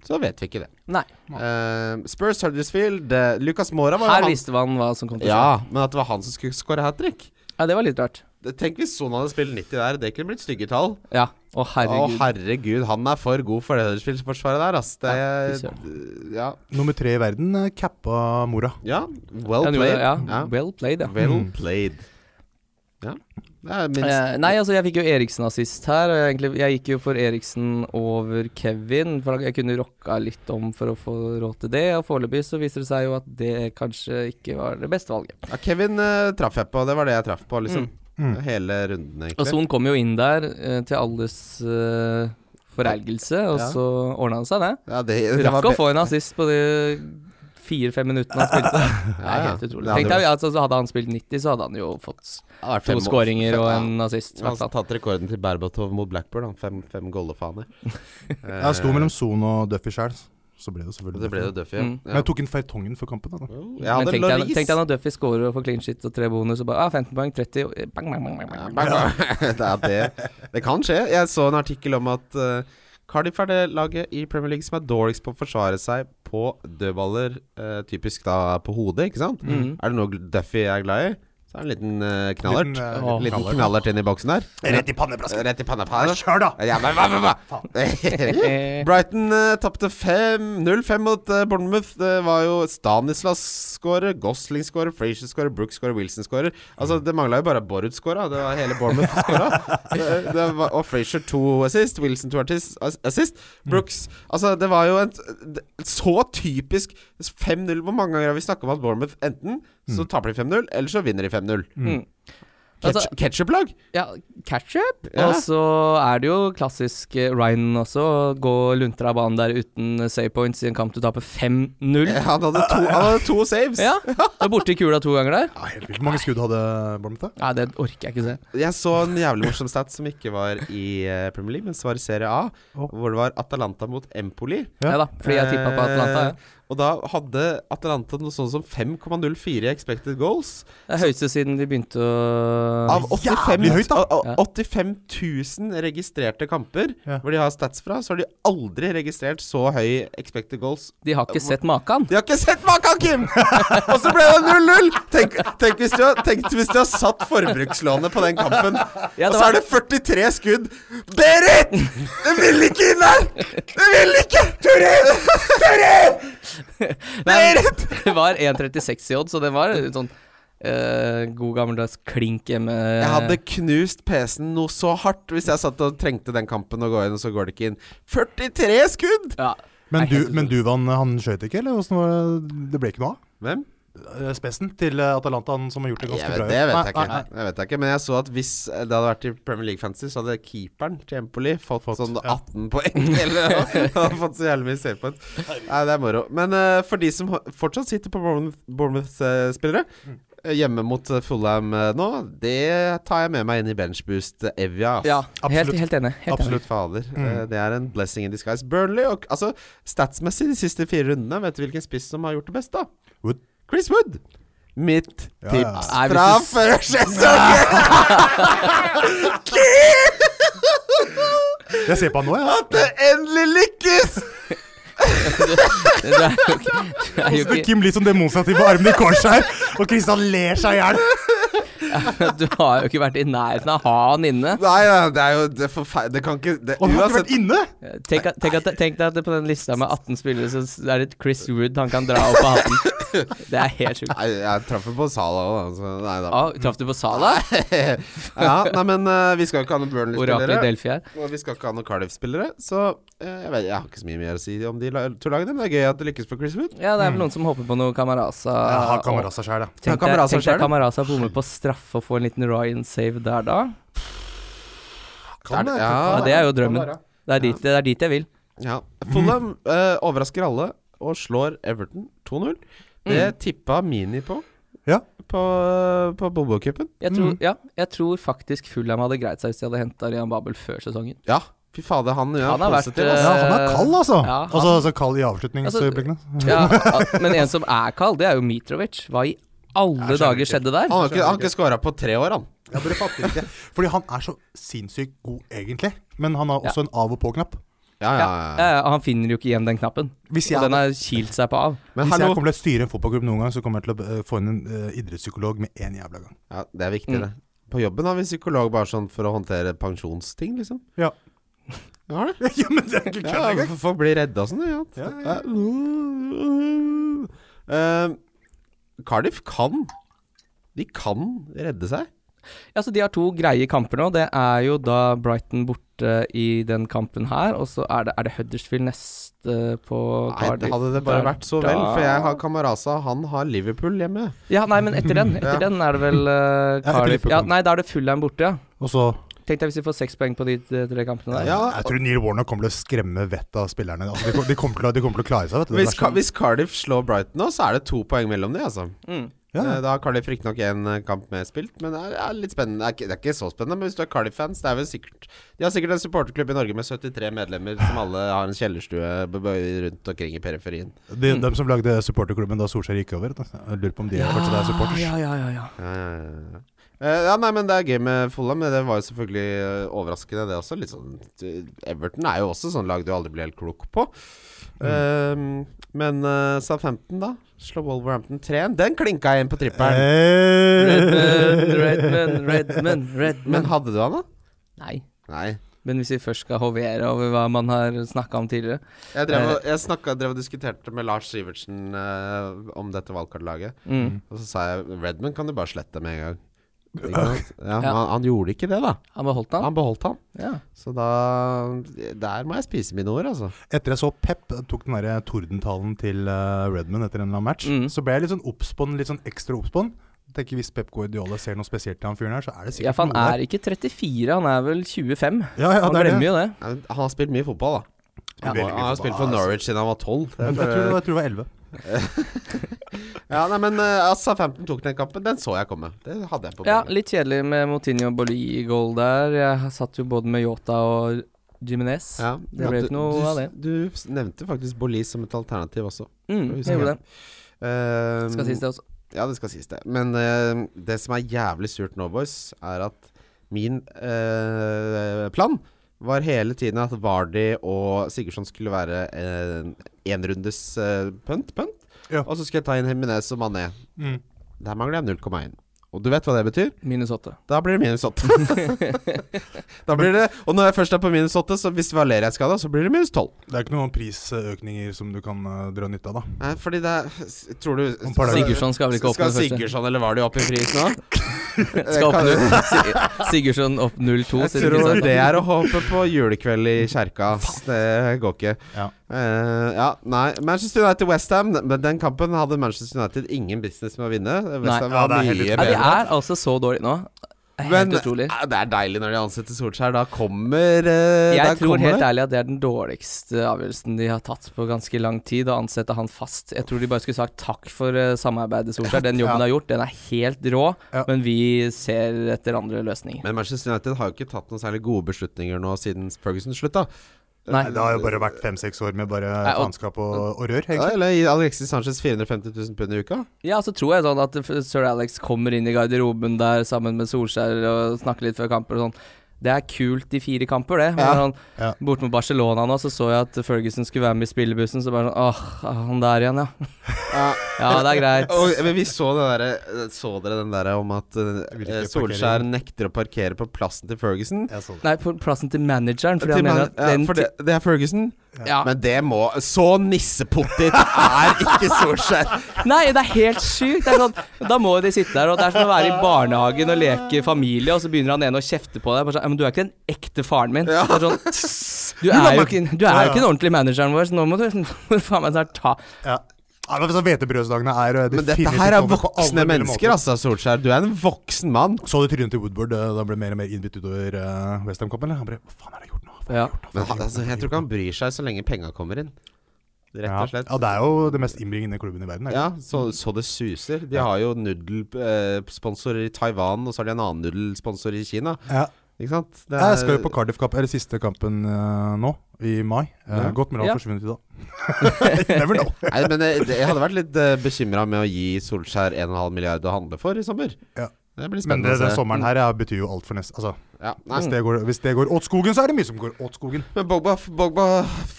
[SPEAKER 3] så vet vi ikke det.
[SPEAKER 2] Nei.
[SPEAKER 3] Eh, Spurs Huddersfield eh, Lucas Mora var jo
[SPEAKER 2] Her
[SPEAKER 3] han
[SPEAKER 2] visste man hva som kom til å skje.
[SPEAKER 3] Ja, men at det var han som skulle skåre hat trick.
[SPEAKER 2] Ja, det var litt rart.
[SPEAKER 3] Tenk hvis Son hadde spilt 90 der. Det kunne blitt stygge tall.
[SPEAKER 2] Ja. Å,
[SPEAKER 3] Herregud.
[SPEAKER 2] herregud.
[SPEAKER 3] Å, herregud. Han er for god for det Huddersfield-forsvaret der, ass. Det
[SPEAKER 2] Ja, fy
[SPEAKER 3] er Ja.
[SPEAKER 4] Nummer tre i verden eh, cappa mora.
[SPEAKER 3] ja. Well
[SPEAKER 2] Ja, han gjorde
[SPEAKER 3] played.
[SPEAKER 2] det, ja.
[SPEAKER 3] Ja.
[SPEAKER 2] Well played, ja. Mm.
[SPEAKER 3] Well played. Ja. Det er minst
[SPEAKER 2] Eh, nei, altså jeg fikk jo Eriksen assist her. og Jeg, egentlig, jeg gikk jo for Eriksen over Kevin, for jeg kunne rocka litt om for å få råd til det. Og foreløpig så viser det seg jo at det kanskje ikke var det beste valget.
[SPEAKER 3] ja, Kevin eh, traff jeg på. Det var det jeg traff på, liksom.
[SPEAKER 4] Mm. Mm.
[SPEAKER 3] Hele runden,
[SPEAKER 2] Og
[SPEAKER 3] egentlig.
[SPEAKER 2] Son kom jo inn der eh, til alles eh, forelgelse, og
[SPEAKER 3] Ja.
[SPEAKER 2] så ordna han seg, det.
[SPEAKER 3] Ja, det, det var
[SPEAKER 2] Rakk å
[SPEAKER 3] be-
[SPEAKER 2] få en assist på de fire-fem minuttene han spilte. Det
[SPEAKER 3] *laughs* Ja,
[SPEAKER 2] er
[SPEAKER 3] ja.
[SPEAKER 2] helt utrolig.
[SPEAKER 3] Det hadde
[SPEAKER 2] Tenk deg, altså, så Hadde han spilt 90, så hadde han jo fått s-
[SPEAKER 3] Ja, det var
[SPEAKER 2] to
[SPEAKER 3] fem-
[SPEAKER 2] skåringer
[SPEAKER 3] fem-
[SPEAKER 2] og
[SPEAKER 3] ja.
[SPEAKER 2] en assist. i
[SPEAKER 3] Han
[SPEAKER 2] hvert
[SPEAKER 3] har
[SPEAKER 2] fall.
[SPEAKER 3] tatt rekorden til Berbatov mot Blackburn. Han. Fem, fem goldefaner.
[SPEAKER 4] Jeg sto mellom Son og Duffy sjæl, så ble det selvfølgelig
[SPEAKER 3] Det Eh, ble jo
[SPEAKER 4] Duffy.
[SPEAKER 3] Duffy. ja.
[SPEAKER 2] Mm.
[SPEAKER 4] Men jeg tok inn Fertongen før kampen. Da.
[SPEAKER 3] Jo, Jeg
[SPEAKER 2] Men
[SPEAKER 3] hadde
[SPEAKER 2] tenk deg,
[SPEAKER 3] Loris.
[SPEAKER 2] tenk deg når Duffy scorer og får clean shit og tre bonus, og bare ah, 15 poeng, 30 og, eh, bang, bang, bang, bang,
[SPEAKER 3] Ja,
[SPEAKER 2] bang.
[SPEAKER 3] bang, bang. *laughs* det, er det. det kan skje. Jeg så en artikkel om at eh, Cardiff er det laget i Premier League som er dårligst på å forsvare seg på dødballer, eh, typisk da på hodet, ikke sant?
[SPEAKER 2] Mhm.
[SPEAKER 3] Er det noe Duffy er glad i, så er det en liten eh, knallert.
[SPEAKER 4] Liten,
[SPEAKER 3] Liten,
[SPEAKER 4] eh,
[SPEAKER 2] Åh.
[SPEAKER 4] knallert.
[SPEAKER 3] knallert inn i boksen der.
[SPEAKER 4] Rett i pannebrasken!
[SPEAKER 3] Rett i panna på her.
[SPEAKER 4] Kjør, da!
[SPEAKER 3] Ja, men hva, hva, hva? *laughs* Brighton uh, tapte 0-5 mot eh, Bournemouth. Det var jo Stanislas skårer, Gosling skårer, Frazier skårer, Brooks skårer, Wilson skårer. Altså, det mangla jo bare at Borut skåra. Det var hele Bournemouth skåra.
[SPEAKER 2] *laughs*
[SPEAKER 3] Det- det var- Og Frazier to assist, Wilson to artist, ass- assist. Brooks
[SPEAKER 2] Mm.
[SPEAKER 3] Altså, det var jo en så typisk 5-0. Hvor mange ganger har vi snakka om at Bournemouth enten så taper de 5-0, eller så vinner de 5-0?
[SPEAKER 2] Mm. Altså,
[SPEAKER 3] Ketch- Ketchup-lag?
[SPEAKER 2] ja, ketchup.
[SPEAKER 3] Ja.
[SPEAKER 2] Og så er det jo klassisk eh, Ryan også. å Gå luntra av banen der uten eh, save points i en kamp du taper 5-0.
[SPEAKER 3] Ja, han hadde to, han hadde to saves.
[SPEAKER 2] *laughs* Ja, du er borte i kula to ganger der.
[SPEAKER 4] Ja, helt vilt. Hvor mange skudd hadde Bournemouth? da?
[SPEAKER 2] Nei, det orker jeg ikke se.
[SPEAKER 3] Jeg så en jævlig morsom stat som ikke var i eh, Premier League, men som var i Serie A.
[SPEAKER 4] Å.
[SPEAKER 3] Hvor det var Atalanta mot Empoli.
[SPEAKER 4] Ja.
[SPEAKER 2] Ja da, fordi jeg tippa på Atlanta. ja.
[SPEAKER 3] Eh, og da hadde Atalanta noe sånn som 5,04 i expected goals.
[SPEAKER 2] Det er høyeste siden de begynte å
[SPEAKER 3] Av 85,
[SPEAKER 4] jævlig høyt, da.
[SPEAKER 3] av- av
[SPEAKER 2] Ja.
[SPEAKER 3] 85 000 registrerte kamper
[SPEAKER 4] Ja.
[SPEAKER 3] hvor de har stats fra, så har de aldri registrert så høy expected goals.
[SPEAKER 2] De har ikke sett maken.
[SPEAKER 3] De har ikke sett maken, Kim! *laughs* Og så ble det 0-0! Tenk, tenk, hvis du har- tenk hvis du har satt forbrukslånet på den kampen,
[SPEAKER 2] Ja, det
[SPEAKER 3] og så
[SPEAKER 2] var-
[SPEAKER 3] er det 43 skudd. Berit! Du vil ikke inn der! Du vil ikke! Turid! Turid!
[SPEAKER 2] Nei, men
[SPEAKER 3] Berit!
[SPEAKER 2] *laughs* Det var 1,36 i odd, så det var en sånn eh, god gammeldags klink hjemme.
[SPEAKER 3] Jeg hadde knust PC-en noe så hardt hvis jeg satt og trengte den kampen å gå inn, og så går det ikke inn. 43 skudd!
[SPEAKER 2] ja.
[SPEAKER 4] Men,
[SPEAKER 2] Nei,
[SPEAKER 4] du,
[SPEAKER 2] helt
[SPEAKER 4] men Duvan, han skjøt ikke, eller? Åssen var det? Det ble ikke noe av?
[SPEAKER 3] Hvem?
[SPEAKER 4] Eh, Spessen til eh, Atalanta, han som har gjort det
[SPEAKER 3] Jeg
[SPEAKER 4] ganske
[SPEAKER 3] vet,
[SPEAKER 4] bra.
[SPEAKER 3] det vet jeg
[SPEAKER 4] Nei,
[SPEAKER 3] ikke.
[SPEAKER 4] nei, nei.
[SPEAKER 3] Jeg vet jeg ikke. Men jeg så at hvis eh, det hadde vært i Premier League Fantasy, så hadde keeperen til Empoli fått,
[SPEAKER 4] Fått,
[SPEAKER 3] sånn
[SPEAKER 4] ja.
[SPEAKER 3] 18 poeng. *laughs* Eller noe. Han hadde fått så jævlig mye savepoints. Nei, det er moro. Men eh, for de som ho- fortsatt sitter på Bournemouth- Bournemouth-spillere
[SPEAKER 4] Mm.
[SPEAKER 3] eh, Hjemme mot eh, Fulham eh, nå, det tar jeg med meg inn i benchboost eh, Evja. ass.
[SPEAKER 2] Ja, helt,
[SPEAKER 4] Absolutt. Mm.
[SPEAKER 2] helt enig. Helt enig.
[SPEAKER 3] Absolutt fader. Eh, Det er en blessing in disguise. Burnley og altså, statsmessig de siste fire rundene, vet du hvilken spiss som har gjort det best, da?
[SPEAKER 4] Wood.
[SPEAKER 3] Chris Wood. Mitt
[SPEAKER 4] Ja, ja.
[SPEAKER 3] tips
[SPEAKER 2] Nei, hvis
[SPEAKER 3] fra
[SPEAKER 2] du s-
[SPEAKER 3] før sesongen! Kim!
[SPEAKER 4] Jeg ser på han nå, jeg.
[SPEAKER 3] At det endelig lykkes!
[SPEAKER 2] *laughs* Du er jo ikke, du
[SPEAKER 3] Ah,
[SPEAKER 2] er jo
[SPEAKER 4] Åssen
[SPEAKER 2] ikke
[SPEAKER 4] Kim blir som demonstrativ med armen i kors her, og Kristian ler seg i hjel.
[SPEAKER 2] Du har jo ikke vært i nærheten av å ha han inne.
[SPEAKER 3] Nei, nei, det er jo det er forferdelig Det kan ikke det,
[SPEAKER 4] Og han har ikke
[SPEAKER 3] Uansett
[SPEAKER 4] vært inne!
[SPEAKER 2] Tenk, at- tenk, at, tenk deg at det på den lista med 18 spillere, så s- er det Chris Wood han kan dra opp av hatten. Det er helt sjukt.
[SPEAKER 3] Nei, jeg traff jo på Sala òg, da. Så nei da.
[SPEAKER 2] Å, Traff du på Salah?
[SPEAKER 3] *laughs* ja, nei, men eh, vi skal ikke ha noen
[SPEAKER 2] Oraklet i
[SPEAKER 3] Burnley-spillere.
[SPEAKER 2] Delphi her.
[SPEAKER 3] Og vi skal ikke ha noen Cardiff-spillere. Så eh, jeg, vet, jeg har ikke så mye mer å si om de la- to lagene, men det er gøy at det lykkes for Chris Wood.
[SPEAKER 2] Ja, det er vel noen som håper på noe Camarasa.
[SPEAKER 4] Mm.
[SPEAKER 3] Ah.
[SPEAKER 4] Jeg har
[SPEAKER 2] og-
[SPEAKER 4] kamerasa sjæl, ja.
[SPEAKER 2] Tenk
[SPEAKER 3] Ja,
[SPEAKER 2] deg
[SPEAKER 3] Camarasa
[SPEAKER 2] tenk deg
[SPEAKER 3] selv.
[SPEAKER 2] Camarasa bomme på straffe og få en liten Ryan-save der, da.
[SPEAKER 3] Er det- ja.
[SPEAKER 2] Ja, det er jo drømmen.
[SPEAKER 3] Kan
[SPEAKER 2] Det er dit, det er dit jeg vil.
[SPEAKER 3] Ja. Fulham eh, overrasker alle og slår Everton 2-0. Det
[SPEAKER 2] Mm.
[SPEAKER 3] tippa Mini på.
[SPEAKER 4] Ja.
[SPEAKER 3] På, eh, på Bobo-cupen.
[SPEAKER 2] Jeg tror, ja, jeg tror faktisk Fulham hadde greit seg hvis de hadde henta Rian Babel før sesongen.
[SPEAKER 3] Ja, fy fader, han, ja,
[SPEAKER 2] Han har vært,
[SPEAKER 3] positiv,
[SPEAKER 2] eh,
[SPEAKER 3] ass.
[SPEAKER 4] Ja, han er kald, altså.
[SPEAKER 2] Ja, han-
[SPEAKER 4] altså, altså kald i avslutningsøyeblikkene.
[SPEAKER 2] Ja, al- men en som er kald, det er jo Mitrovic. Hva i alle dager skjedde der?
[SPEAKER 3] han har ikke, han har ikke scora på tre år, han.
[SPEAKER 4] Jeg bare fatter ikke Fordi han er så sinnssykt god, egentlig. Men han har også en av- og på-knapp.
[SPEAKER 3] Ja, ja,
[SPEAKER 2] Ja,
[SPEAKER 3] ja.
[SPEAKER 2] eh, han finner jo ikke igjen den knappen.
[SPEAKER 4] Hvis jeg,
[SPEAKER 2] Og den har kilt seg på av.
[SPEAKER 3] Men
[SPEAKER 4] hvis jeg
[SPEAKER 3] hallo
[SPEAKER 4] kommer til å styre en fotballklubb noen gang, så kommer jeg til å eh, få inn en eh, idrettspsykolog med én jævla gang. *laughs*
[SPEAKER 3] Ja, det er viktig,
[SPEAKER 2] Mm.
[SPEAKER 3] det. På jobben har vi psykolog bare sånn for å håndtere pensjonsting, liksom. *laughs*
[SPEAKER 4] Ja.
[SPEAKER 3] Vi har det.
[SPEAKER 4] ja, men det er ikke
[SPEAKER 3] Ja, for- folk blir redde og sånn. Ja.
[SPEAKER 4] Ja,
[SPEAKER 3] Eh, Cardiff kan De kan redde seg.
[SPEAKER 2] Ja, så De har to greie kamper nå. Det er jo da Brighton borte i den kampen her. Og så er det, er det Huddersfield neste på
[SPEAKER 3] Nei, det
[SPEAKER 2] Cardiff.
[SPEAKER 3] hadde det bare
[SPEAKER 2] Der.
[SPEAKER 3] vært så vel, for jeg har Kamarasa, han har Liverpool hjemme.
[SPEAKER 2] Ja, nei, men etter
[SPEAKER 3] *laughs*
[SPEAKER 2] den Etter den er det vel eh,
[SPEAKER 4] etter
[SPEAKER 2] Cardiff
[SPEAKER 4] Liverpool.
[SPEAKER 2] ja, Nei, da er det Fulham borte, ja.
[SPEAKER 4] Og så
[SPEAKER 2] Tenk deg hvis de får seks poeng på de eh, tre kampene der.
[SPEAKER 3] Ja,
[SPEAKER 4] Jeg tror Neil Warner kommer til å skremme vettet av spillerne. Altså, de, kom- de, kommer til å, de kommer til å klare seg, vet du. Det
[SPEAKER 3] hvis,
[SPEAKER 4] er
[SPEAKER 3] Ca-
[SPEAKER 4] sånn-
[SPEAKER 3] hvis Cardiff slår Brighton nå, så er det to poeng mellom de, altså.
[SPEAKER 2] Mm.
[SPEAKER 4] ja.
[SPEAKER 3] Eh, Da har Cardiff riktignok én kamp mer spilt, men det er, er litt spennende. Det er, ikke, det er ikke så spennende, men hvis du er Cardiff-fans, det er vel sikkert De har sikkert en supporterklubb i Norge med 73 medlemmer som alle har en kjellerstue b- b- rundt omkring i periferien.
[SPEAKER 4] de, de som lagde supporterklubben da Solskjær gikk over, vet du. jeg lurer på om de fortsatt er supporters.
[SPEAKER 2] Ja, ja, ja, ja.
[SPEAKER 3] Ja, ja, ja, ja. Eh, ja, nei, men det er gøy med Fulham. men Det var jo selvfølgelig eh, overraskende, det også. Litt sånn du- Everton er jo også sånn lag du aldri blir helt klok på. Eh, men uh, Southampton, da? Slår Wolverhampton 3-1. Den klinka jeg inn på trippelen.
[SPEAKER 2] Redman,
[SPEAKER 4] Hey.
[SPEAKER 2] Redman, Redman,
[SPEAKER 3] men
[SPEAKER 2] Redman.
[SPEAKER 3] hadde du han, da?
[SPEAKER 2] Nei.
[SPEAKER 3] Nei.
[SPEAKER 2] Men hvis vi først skal hovere over hva man har snakka om tidligere
[SPEAKER 3] Jeg drev, og- jeg snakka, drev og diskuterte med Lars Sivertsen eh, om dette valgkartlaget.
[SPEAKER 2] mm.
[SPEAKER 3] Og så sa jeg Redman kan du bare slette med en gang. Ikke *laughs* sant? Ja, men han, han gjorde ikke det, da.
[SPEAKER 2] Han beholdt han?
[SPEAKER 3] Han beholdt han.
[SPEAKER 2] Ja.
[SPEAKER 3] Så da Der må jeg spise mine ord, altså.
[SPEAKER 4] Etter jeg så Pep tok den derre tordentalen til eh, Redmond etter en eller annen match,
[SPEAKER 2] Mm.
[SPEAKER 4] så ble jeg litt sånn oppspånd, litt sånn ekstra oppspånd. Tenker Hvis Pep Guardiola ser noe spesielt til han fyren her, så er
[SPEAKER 2] ja,
[SPEAKER 4] det sikkert
[SPEAKER 2] for han
[SPEAKER 4] noe
[SPEAKER 2] er ikke 34, han er vel 25.
[SPEAKER 4] der. Ja, ja,
[SPEAKER 2] Han
[SPEAKER 4] det er det.
[SPEAKER 2] glemmer jo det.
[SPEAKER 3] Ja, men Han har spilt mye fotball,
[SPEAKER 4] Ja.
[SPEAKER 3] da. Han, har- han har
[SPEAKER 4] Veldig mye
[SPEAKER 3] spilt for
[SPEAKER 4] fotball, altså.
[SPEAKER 3] Norwich siden han var tolv.
[SPEAKER 4] Jeg tror, det var- jeg tror det var 11.
[SPEAKER 3] Ja, nei, men uh, altså, 15 tok den kampen. Den så jeg komme. Det hadde jeg på
[SPEAKER 2] Ja,
[SPEAKER 3] bordet.
[SPEAKER 2] litt kjedelig med Moutinho og Bolly i goal der. Jeg satt jo både med Yota og Jiminez.
[SPEAKER 3] Ja,
[SPEAKER 2] Det ble
[SPEAKER 3] du-
[SPEAKER 2] ikke noe
[SPEAKER 3] du,
[SPEAKER 2] av det.
[SPEAKER 3] Du s- nevnte faktisk Bolis som et alternativ også.
[SPEAKER 2] Mm,
[SPEAKER 3] Jeg
[SPEAKER 2] jeg gjorde det.
[SPEAKER 3] Eh,
[SPEAKER 2] Skal sies det også.
[SPEAKER 3] Ja, det skal sies det. Men eh, det som er jævlig surt nå, boys, er at min eh, plan var hele tiden at Vardi og Sigurdsson skulle være en enrundes eh, punt, punt.
[SPEAKER 4] Ja.
[SPEAKER 3] Og så skal jeg ta inn Heminez og Mané.
[SPEAKER 4] Mm.
[SPEAKER 3] Der mangler jeg 0,1. Og du vet hva det betyr?
[SPEAKER 2] Minus
[SPEAKER 4] *laughs*
[SPEAKER 2] åtte.
[SPEAKER 3] Da blir det minus 8. *laughs* da blir det, og når jeg først er på minus 8, så hvis Valeria er skada, så blir det minus 12.
[SPEAKER 4] Det er ikke noen prisøkninger som du kan eh, dra nytte av, da.
[SPEAKER 3] Nei, fordi det er Tror du
[SPEAKER 4] Om par dager.
[SPEAKER 2] Sigurdsson skal vel ikke åpne
[SPEAKER 3] Skal
[SPEAKER 2] det første?
[SPEAKER 3] Sigurdsson eller Vardi opp i pris nå?
[SPEAKER 2] Skal åpne Si- Sigurdsson opp 0-2.
[SPEAKER 3] Jeg
[SPEAKER 2] sier det ikke
[SPEAKER 3] tror
[SPEAKER 2] sant?
[SPEAKER 3] det er å håpe på julekveld i kjerka. Det går ikke.
[SPEAKER 4] Ja.
[SPEAKER 3] Eh, ja, nei. Manchester United-Westham, men den kampen hadde Manchester United ingen business med å vinne.
[SPEAKER 2] Nei.
[SPEAKER 4] Ja,
[SPEAKER 3] Westham var
[SPEAKER 4] det er
[SPEAKER 3] mye
[SPEAKER 4] helt
[SPEAKER 2] Ja, de
[SPEAKER 3] bedre.
[SPEAKER 2] er altså så dårlige nå. Helt
[SPEAKER 3] Men
[SPEAKER 2] utrolig.
[SPEAKER 3] eh, det er deilig når de ansetter Solskjær. Da kommer eh, da
[SPEAKER 2] Jeg tror
[SPEAKER 3] kommer
[SPEAKER 2] helt
[SPEAKER 3] det.
[SPEAKER 2] ærlig at det er den dårligste avgjørelsen de har tatt på ganske lang tid, å ansette han fast. Jeg tror de bare skulle sagt takk for eh, samarbeidet, Solskjær.
[SPEAKER 3] *laughs*
[SPEAKER 2] Den jobben
[SPEAKER 4] Ja.
[SPEAKER 2] du har gjort, den er helt rå,
[SPEAKER 4] Ja.
[SPEAKER 2] men vi ser etter andre løsninger.
[SPEAKER 3] Men Manchester United har jo ikke tatt noen særlig gode beslutninger nå siden Ferguson slutta.
[SPEAKER 2] Nei.
[SPEAKER 3] eh,
[SPEAKER 4] Det har jo bare vært fem-seks år med bare
[SPEAKER 2] Nei, og-
[SPEAKER 4] faenskap og, og rør,
[SPEAKER 3] Ja,
[SPEAKER 4] egentlig.
[SPEAKER 3] eller gi Alexis Sanchez 450 000 pund i uka.
[SPEAKER 2] Ja, så tror jeg sånn at eh, sir Alex kommer inn i garderoben der sammen med Solskjær og snakker litt før kamper og sånn. det er kult i fire kamper, det. Men
[SPEAKER 4] Ja.
[SPEAKER 2] han,
[SPEAKER 4] Ja.
[SPEAKER 2] Borte mot Barcelona nå, så så jeg at Ferguson skulle være med i spillebussen, så bare sånn Åh, han der igjen, ja.
[SPEAKER 3] Ja.
[SPEAKER 2] *laughs* Ja, det er greit.
[SPEAKER 3] *laughs* Og, men vi så, det der, eh, så dere den derre om at eh,
[SPEAKER 4] Hvilke
[SPEAKER 3] Solskjær nekter å parkere på plassen til Ferguson?
[SPEAKER 4] Jeg så det.
[SPEAKER 2] Nei, på plassen til manageren, fordi
[SPEAKER 3] Til
[SPEAKER 2] han
[SPEAKER 3] man-
[SPEAKER 2] mener at
[SPEAKER 3] ja,
[SPEAKER 2] den
[SPEAKER 3] for det, det er Fergusen.
[SPEAKER 2] ti- ja.
[SPEAKER 3] Men det må Så nissepotet er ikke Solskjær! *laughs*
[SPEAKER 2] Nei, det er helt sykt. Det er sånn, da må jo de sitte der, og det er som å være i barnehagen og leke familie, og så begynner han ene å kjefte på deg. Bare sånn, «Ja, men du er ikke den ekte faren min. Det er sånn, du er jo ikke, du er jo ikke den ordentlige manageren vår, så nå må du *laughs* må du faen meg snart ta
[SPEAKER 4] Ja. Ja, men sånn hvetebrødsdagene er eh,
[SPEAKER 3] Men dette
[SPEAKER 4] definitivt
[SPEAKER 3] her er
[SPEAKER 4] over på alle
[SPEAKER 3] voksne
[SPEAKER 4] mulige
[SPEAKER 3] mennesker,
[SPEAKER 4] måter.
[SPEAKER 3] altså, Solskjær. Du er en voksen mann.
[SPEAKER 4] Så du trynet til Woodward eh, da han ble mer og mer innbitt utover uh, Westham-kampen? eller? Han bare Hva faen har jeg gjort nå? Hva faen
[SPEAKER 2] Ja.
[SPEAKER 4] har jeg gjort nå? Hva faen
[SPEAKER 3] Men han,
[SPEAKER 4] har
[SPEAKER 3] altså,
[SPEAKER 4] gjort nå?
[SPEAKER 3] jeg tror ikke han bryr seg så lenge penga kommer inn. Rett og slett.
[SPEAKER 4] Ja. ja, det er jo det mest innbringende klubben i verden. er det?
[SPEAKER 3] Ja, så, så det suser. De har jo nudelsponsor i Taiwan, og så har de en annen nudelsponsor i Kina.
[SPEAKER 4] Ja.
[SPEAKER 3] Ikke sant? Det
[SPEAKER 4] Jeg skal jo på Cardiff-kamp, eller siste kampen eh, nå, i mai. Eh,
[SPEAKER 3] Ja.
[SPEAKER 4] Godt mulig han
[SPEAKER 2] Ja.
[SPEAKER 4] har forsvunnet i dag.
[SPEAKER 3] *laughs*
[SPEAKER 4] Never know.
[SPEAKER 3] Nei, men jeg, det- jeg hadde vært litt uh, bekymra med å gi Solskjær 1,5 milliard å handle for i sommer.
[SPEAKER 4] Ja.
[SPEAKER 3] Det blir
[SPEAKER 4] Men
[SPEAKER 3] spennende
[SPEAKER 4] det,
[SPEAKER 3] å
[SPEAKER 4] den
[SPEAKER 3] se.
[SPEAKER 4] sommeren her ja, betyr jo alt for neste Altså,
[SPEAKER 3] Ja, nei.
[SPEAKER 4] hvis, det går, hvis det går åt skogen, så er det mye som går åt skogen.
[SPEAKER 3] Men Bogba, Bogba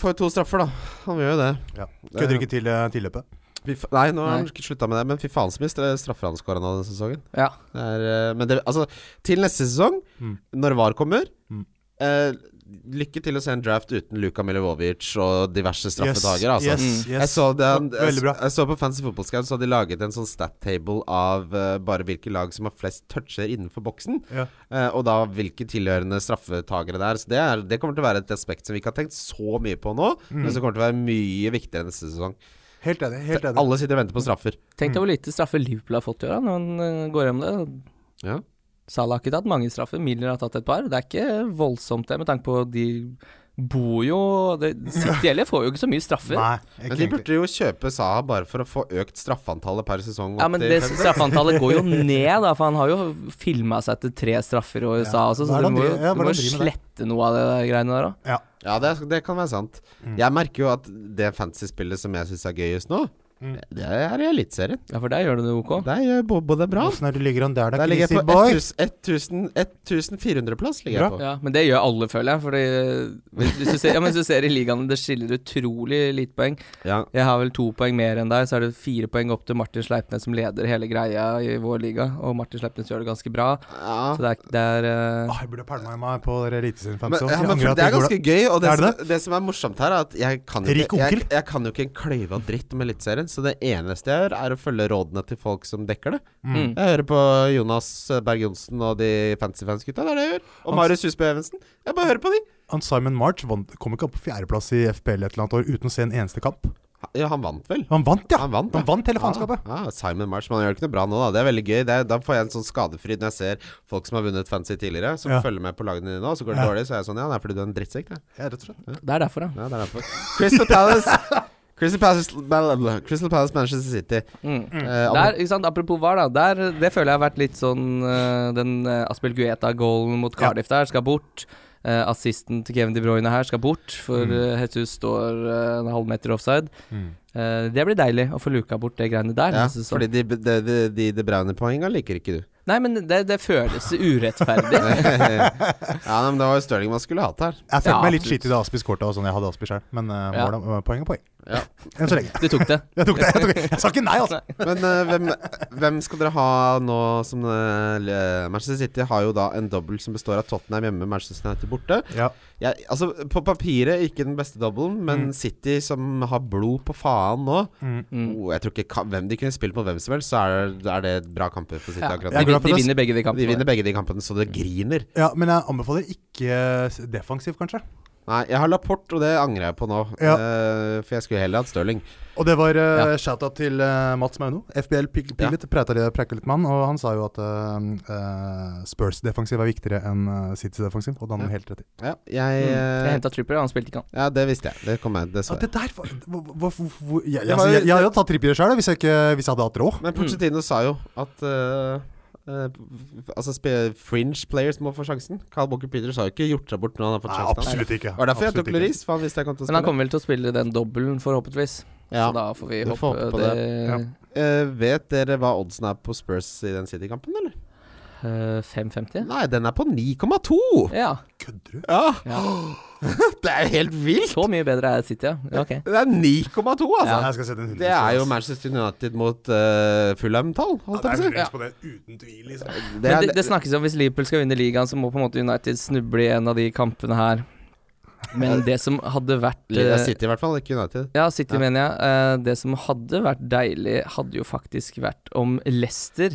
[SPEAKER 3] får to straffer, da. Han gjør jo det.
[SPEAKER 4] Ja. Kødder ikke til eh, tilløpet.
[SPEAKER 3] Fy fa- Nei, nå har han
[SPEAKER 2] Nei.
[SPEAKER 3] slutta med det, men fy faen så mye stra- straffer han skåra denne sesongen.
[SPEAKER 2] Ja.
[SPEAKER 3] Det er, eh, men det, altså, til neste sesong,
[SPEAKER 4] Mm.
[SPEAKER 3] når VAR kommer
[SPEAKER 4] Mm.
[SPEAKER 3] eh, Lykke til å se en draft uten Luka Milivovic og diverse straffetagere, altså.
[SPEAKER 4] Yes, yes,
[SPEAKER 2] Mm.
[SPEAKER 4] yes.
[SPEAKER 3] Jeg så, det,
[SPEAKER 4] Ja, veldig
[SPEAKER 3] jeg,
[SPEAKER 4] bra.
[SPEAKER 3] jeg så på Fancy Football Scout, så hadde de laget en sånn stat-table av eh, bare hvilke lag som har flest toucher innenfor boksen,
[SPEAKER 4] Ja.
[SPEAKER 3] eh, og da hvilke tilhørende straffetagere det er. Så det, er, det kommer til å være et aspekt som vi ikke har tenkt så mye på nå,
[SPEAKER 4] Mm.
[SPEAKER 3] men som kommer til å være mye viktigere neste sesong.
[SPEAKER 4] Helt enig. helt enig
[SPEAKER 3] Alle sitter og venter på straffer.
[SPEAKER 2] Tenk deg hvor lite straffer Liverpool har fått i år, da, når han eh, går hjem det.
[SPEAKER 3] Ja.
[SPEAKER 2] Salah har ikke tatt mange straffer, Milner har tatt et par. Det er ikke voldsomt, det, med tanke på de bor jo det, City heller får jo ikke så mye straffer.
[SPEAKER 4] Nei,
[SPEAKER 3] Men
[SPEAKER 4] ikke
[SPEAKER 3] de
[SPEAKER 4] egentlig.
[SPEAKER 3] burde jo kjøpe Saha bare for å få økt straffantallet per sesong.
[SPEAKER 2] Ja,
[SPEAKER 3] opp
[SPEAKER 2] men
[SPEAKER 3] til
[SPEAKER 2] det
[SPEAKER 3] fem.
[SPEAKER 2] straffantallet går
[SPEAKER 4] *laughs*
[SPEAKER 2] jo ned, da, for han har jo filma seg til tre straffer i USA også, så du
[SPEAKER 4] Hva er det han
[SPEAKER 2] må jo
[SPEAKER 4] driver- ja, hva er
[SPEAKER 2] du må
[SPEAKER 4] det han driver med
[SPEAKER 2] slette noe av det der greiene der òg.
[SPEAKER 4] Ja.
[SPEAKER 3] ja det, det kan være sant.
[SPEAKER 4] Mm.
[SPEAKER 3] Jeg merker jo at det fantasy-spillet som jeg syns er gøyest nå,
[SPEAKER 4] Mm.
[SPEAKER 3] det er i Eliteserien.
[SPEAKER 2] Ja, for der gjør du det ok.
[SPEAKER 3] Der gjør Bobo det bra.
[SPEAKER 4] Åssen er det du ligger an der, da,
[SPEAKER 3] Der ligger
[SPEAKER 4] Chrissy
[SPEAKER 3] jeg på
[SPEAKER 4] Boy?
[SPEAKER 3] 1000 1400-plass. ligger jeg på
[SPEAKER 2] Ja, men det gjør alle, føler jeg. Fordi hvis- hvis du ser, ja, men hvis du ser i ligaen, det skiller utrolig lite poeng.
[SPEAKER 3] Ja.
[SPEAKER 2] Jeg har vel to poeng mer enn deg, så er det fire poeng opp til Martin Sleipnes, som leder hele greia i vår liga. Og Martin Sleipnes gjør det ganske bra, så
[SPEAKER 3] Ja.
[SPEAKER 2] det er, det er eh,
[SPEAKER 4] Ah, jeg burde pælma meg på Eliteserien-fans.
[SPEAKER 3] Men, ja, men for det er ganske gøy, og det,
[SPEAKER 4] Er det
[SPEAKER 3] som, det som er morsomt her, er at jeg kan, jo
[SPEAKER 4] Rik
[SPEAKER 3] ikke, jeg,
[SPEAKER 4] onkel?
[SPEAKER 3] jeg kan jo ikke en kløyve av dritt om Eliteserien, så det eneste jeg gjør, er å følge rådene til folk som dekker det.
[SPEAKER 4] Ah,
[SPEAKER 2] Mm.
[SPEAKER 3] Jeg hører på Jonas Berg Johnsen og de fancy fans-gutta, det er det jeg gjør. Og
[SPEAKER 4] Han-
[SPEAKER 3] Marius Husby Evensen. Jeg bare hører på de.
[SPEAKER 4] Han Simon March vant, kom ikke opp på fjerdeplass i FPL et eller annet år uten å se en eneste kamp.
[SPEAKER 3] Ja, han vant vel?
[SPEAKER 4] Han vant, ja!
[SPEAKER 3] Han vant, ja.
[SPEAKER 4] Han vant hele faenskapet.
[SPEAKER 3] Ja, ja, Simon March, men han gjør det ikke noe bra nå, da. Det er veldig gøy. Det er, da får jeg en sånn skadefryd når jeg ser folk som har vunnet fancy tidligere, som
[SPEAKER 4] Ja.
[SPEAKER 3] følger med på lagene dine nå, og så går det
[SPEAKER 4] Ja.
[SPEAKER 3] dårlig, så er jeg sånn Ja, det er fordi du er en drittsekk, det.
[SPEAKER 4] Ja, rett og slett.
[SPEAKER 2] Det er derfor, ja.
[SPEAKER 3] Ja, det er derfor. Crystal Palace Crystal Palace, bla, bla, bla. Crystal Palace Manchester City.
[SPEAKER 2] Mm.
[SPEAKER 3] Eh, om-
[SPEAKER 2] Der, ikke sant, Apropos VAR, da. Der, det føler jeg har vært litt sånn eh, Den uh, Aspel Gueta-goalen mot Cardiff der skal bort. Eh, assisten til Kevin De Bruyne her skal bort, for
[SPEAKER 3] Mm.
[SPEAKER 2] eh, Jesus står eh, en halvmeter offside. Eh, det blir deilig å få luka bort det greiene der.
[SPEAKER 3] Ja,
[SPEAKER 2] neste sesong.
[SPEAKER 3] fordi de, de, de, de, de braune poenga liker ikke du. *laughs*
[SPEAKER 2] Nei, men det, det føles urettferdig.
[SPEAKER 3] Ja, nei, men Det var jo Stirling man skulle hatt her.
[SPEAKER 4] Jeg følte
[SPEAKER 2] Ja,
[SPEAKER 4] meg litt
[SPEAKER 2] absolutt.
[SPEAKER 4] skitt i det Aspis kortet og sånn. Jeg hadde Aspis sjøl, men eh,
[SPEAKER 2] Ja.
[SPEAKER 4] målet, eh, poeng er poeng.
[SPEAKER 3] Ja.
[SPEAKER 4] Enn så lenge.
[SPEAKER 2] Du tok det.
[SPEAKER 4] Jeg tok det. Jeg, tok det. jeg sa ikke nei, altså.
[SPEAKER 3] Men eh, hvem, hvem skal dere ha nå som eh, le- Manchester City har jo da en dobbel som består av Tottenham hjemme, Manchester United borte.
[SPEAKER 4] Ja.
[SPEAKER 3] Jeg, altså, På papiret ikke den beste dobbelen, men City som har blod på faen nå
[SPEAKER 4] Mm.
[SPEAKER 2] Mm.
[SPEAKER 3] oh, Jeg tror ikke ka- hvem de kunne spilt mot hvem som helst, så er, er det bra kamper for City
[SPEAKER 2] Ja,
[SPEAKER 4] Jeg
[SPEAKER 3] akkurat
[SPEAKER 2] de,
[SPEAKER 4] er
[SPEAKER 3] nå.
[SPEAKER 4] glad for
[SPEAKER 2] de
[SPEAKER 4] det.
[SPEAKER 2] vinner begge de
[SPEAKER 3] De
[SPEAKER 2] kampene.
[SPEAKER 3] vinner begge de kampene, så det griner.
[SPEAKER 4] ja, men jeg anbefaler ikke eh, defensivt, kanskje.
[SPEAKER 3] Nei, jeg har Laporte, og det angrer jeg på nå.
[SPEAKER 4] Ja.
[SPEAKER 3] Eh, for jeg skulle heller hatt Stirling.
[SPEAKER 4] Og det var uh,
[SPEAKER 2] Ja.
[SPEAKER 4] shout-out til eh, Mats Mauno. FBL pik-
[SPEAKER 3] Ja.
[SPEAKER 4] Pilot prata litt preika litt med han, og han sa jo at eh, eh, Spurs defensiv er viktigere enn uh, City defensiv, og det hadde han helt rett i.
[SPEAKER 3] Ja, jeg,
[SPEAKER 2] Mm. Jeg
[SPEAKER 3] eh,
[SPEAKER 2] henta Tripper, han spilte ikke han.
[SPEAKER 3] ja, det visste jeg. Det kom jeg, det
[SPEAKER 4] Ja,
[SPEAKER 3] så jeg.
[SPEAKER 4] det
[SPEAKER 3] *clears throat*
[SPEAKER 4] der var, hvor- hvor- hvor- hvor- jeg,
[SPEAKER 3] Det
[SPEAKER 4] jeg,
[SPEAKER 3] var jo-
[SPEAKER 4] jeg, jeg hadde tatt trippere sjøl hvis, jeg ikke- hvis jeg hadde hatt råd.
[SPEAKER 2] Mm.
[SPEAKER 3] Men Pochettino sa jo at eh, eh, Altså spe- fringe players må få sjansen. Carl Bocker Peters har jo ikke gjort seg bort når han har fått
[SPEAKER 4] Nei,
[SPEAKER 3] sjansen.
[SPEAKER 4] absolutt ikke.
[SPEAKER 3] Det var derfor jeg
[SPEAKER 4] Absolutt
[SPEAKER 3] tok Lloris, for han visste jeg kom til å
[SPEAKER 2] Men han
[SPEAKER 3] spille.
[SPEAKER 2] kommer vel til å spille den dobbelen, forhåpentligvis.
[SPEAKER 3] Ja.
[SPEAKER 2] Så da får vi
[SPEAKER 3] Du får
[SPEAKER 2] håpe
[SPEAKER 3] håpe på
[SPEAKER 2] det.
[SPEAKER 4] Ja.
[SPEAKER 3] Eh, vet dere hva oddsen er på Spurs i den City-kampen, eller?
[SPEAKER 2] eh, 5,50?
[SPEAKER 3] Nei, den er på 9,2!
[SPEAKER 2] Ja.
[SPEAKER 4] Kødder du?
[SPEAKER 3] Ja.
[SPEAKER 2] ja.
[SPEAKER 3] *laughs* Det er jo helt vilt!
[SPEAKER 2] Så mye bedre er City, ja. ja. Ok.
[SPEAKER 3] Det er 9,2, altså!
[SPEAKER 4] Jeg skal sette en
[SPEAKER 3] Det er jo Manchester United mot uh, Fulham-tall, holdt jeg på å si.
[SPEAKER 2] Ja.
[SPEAKER 4] på det, uten tvil. liksom.
[SPEAKER 3] Det
[SPEAKER 2] Men
[SPEAKER 3] er-
[SPEAKER 2] det, det snakkes om hvis Liverpool skal vinne ligaen, så må på en måte United snuble i en av de kampene her. Men det som hadde vært
[SPEAKER 3] Liga
[SPEAKER 2] eh,
[SPEAKER 3] City i hvert fall, ikke United.
[SPEAKER 2] Ja, City
[SPEAKER 3] Ja.
[SPEAKER 2] mener jeg. Eh, Det som hadde vært deilig, hadde jo faktisk vært om Leicester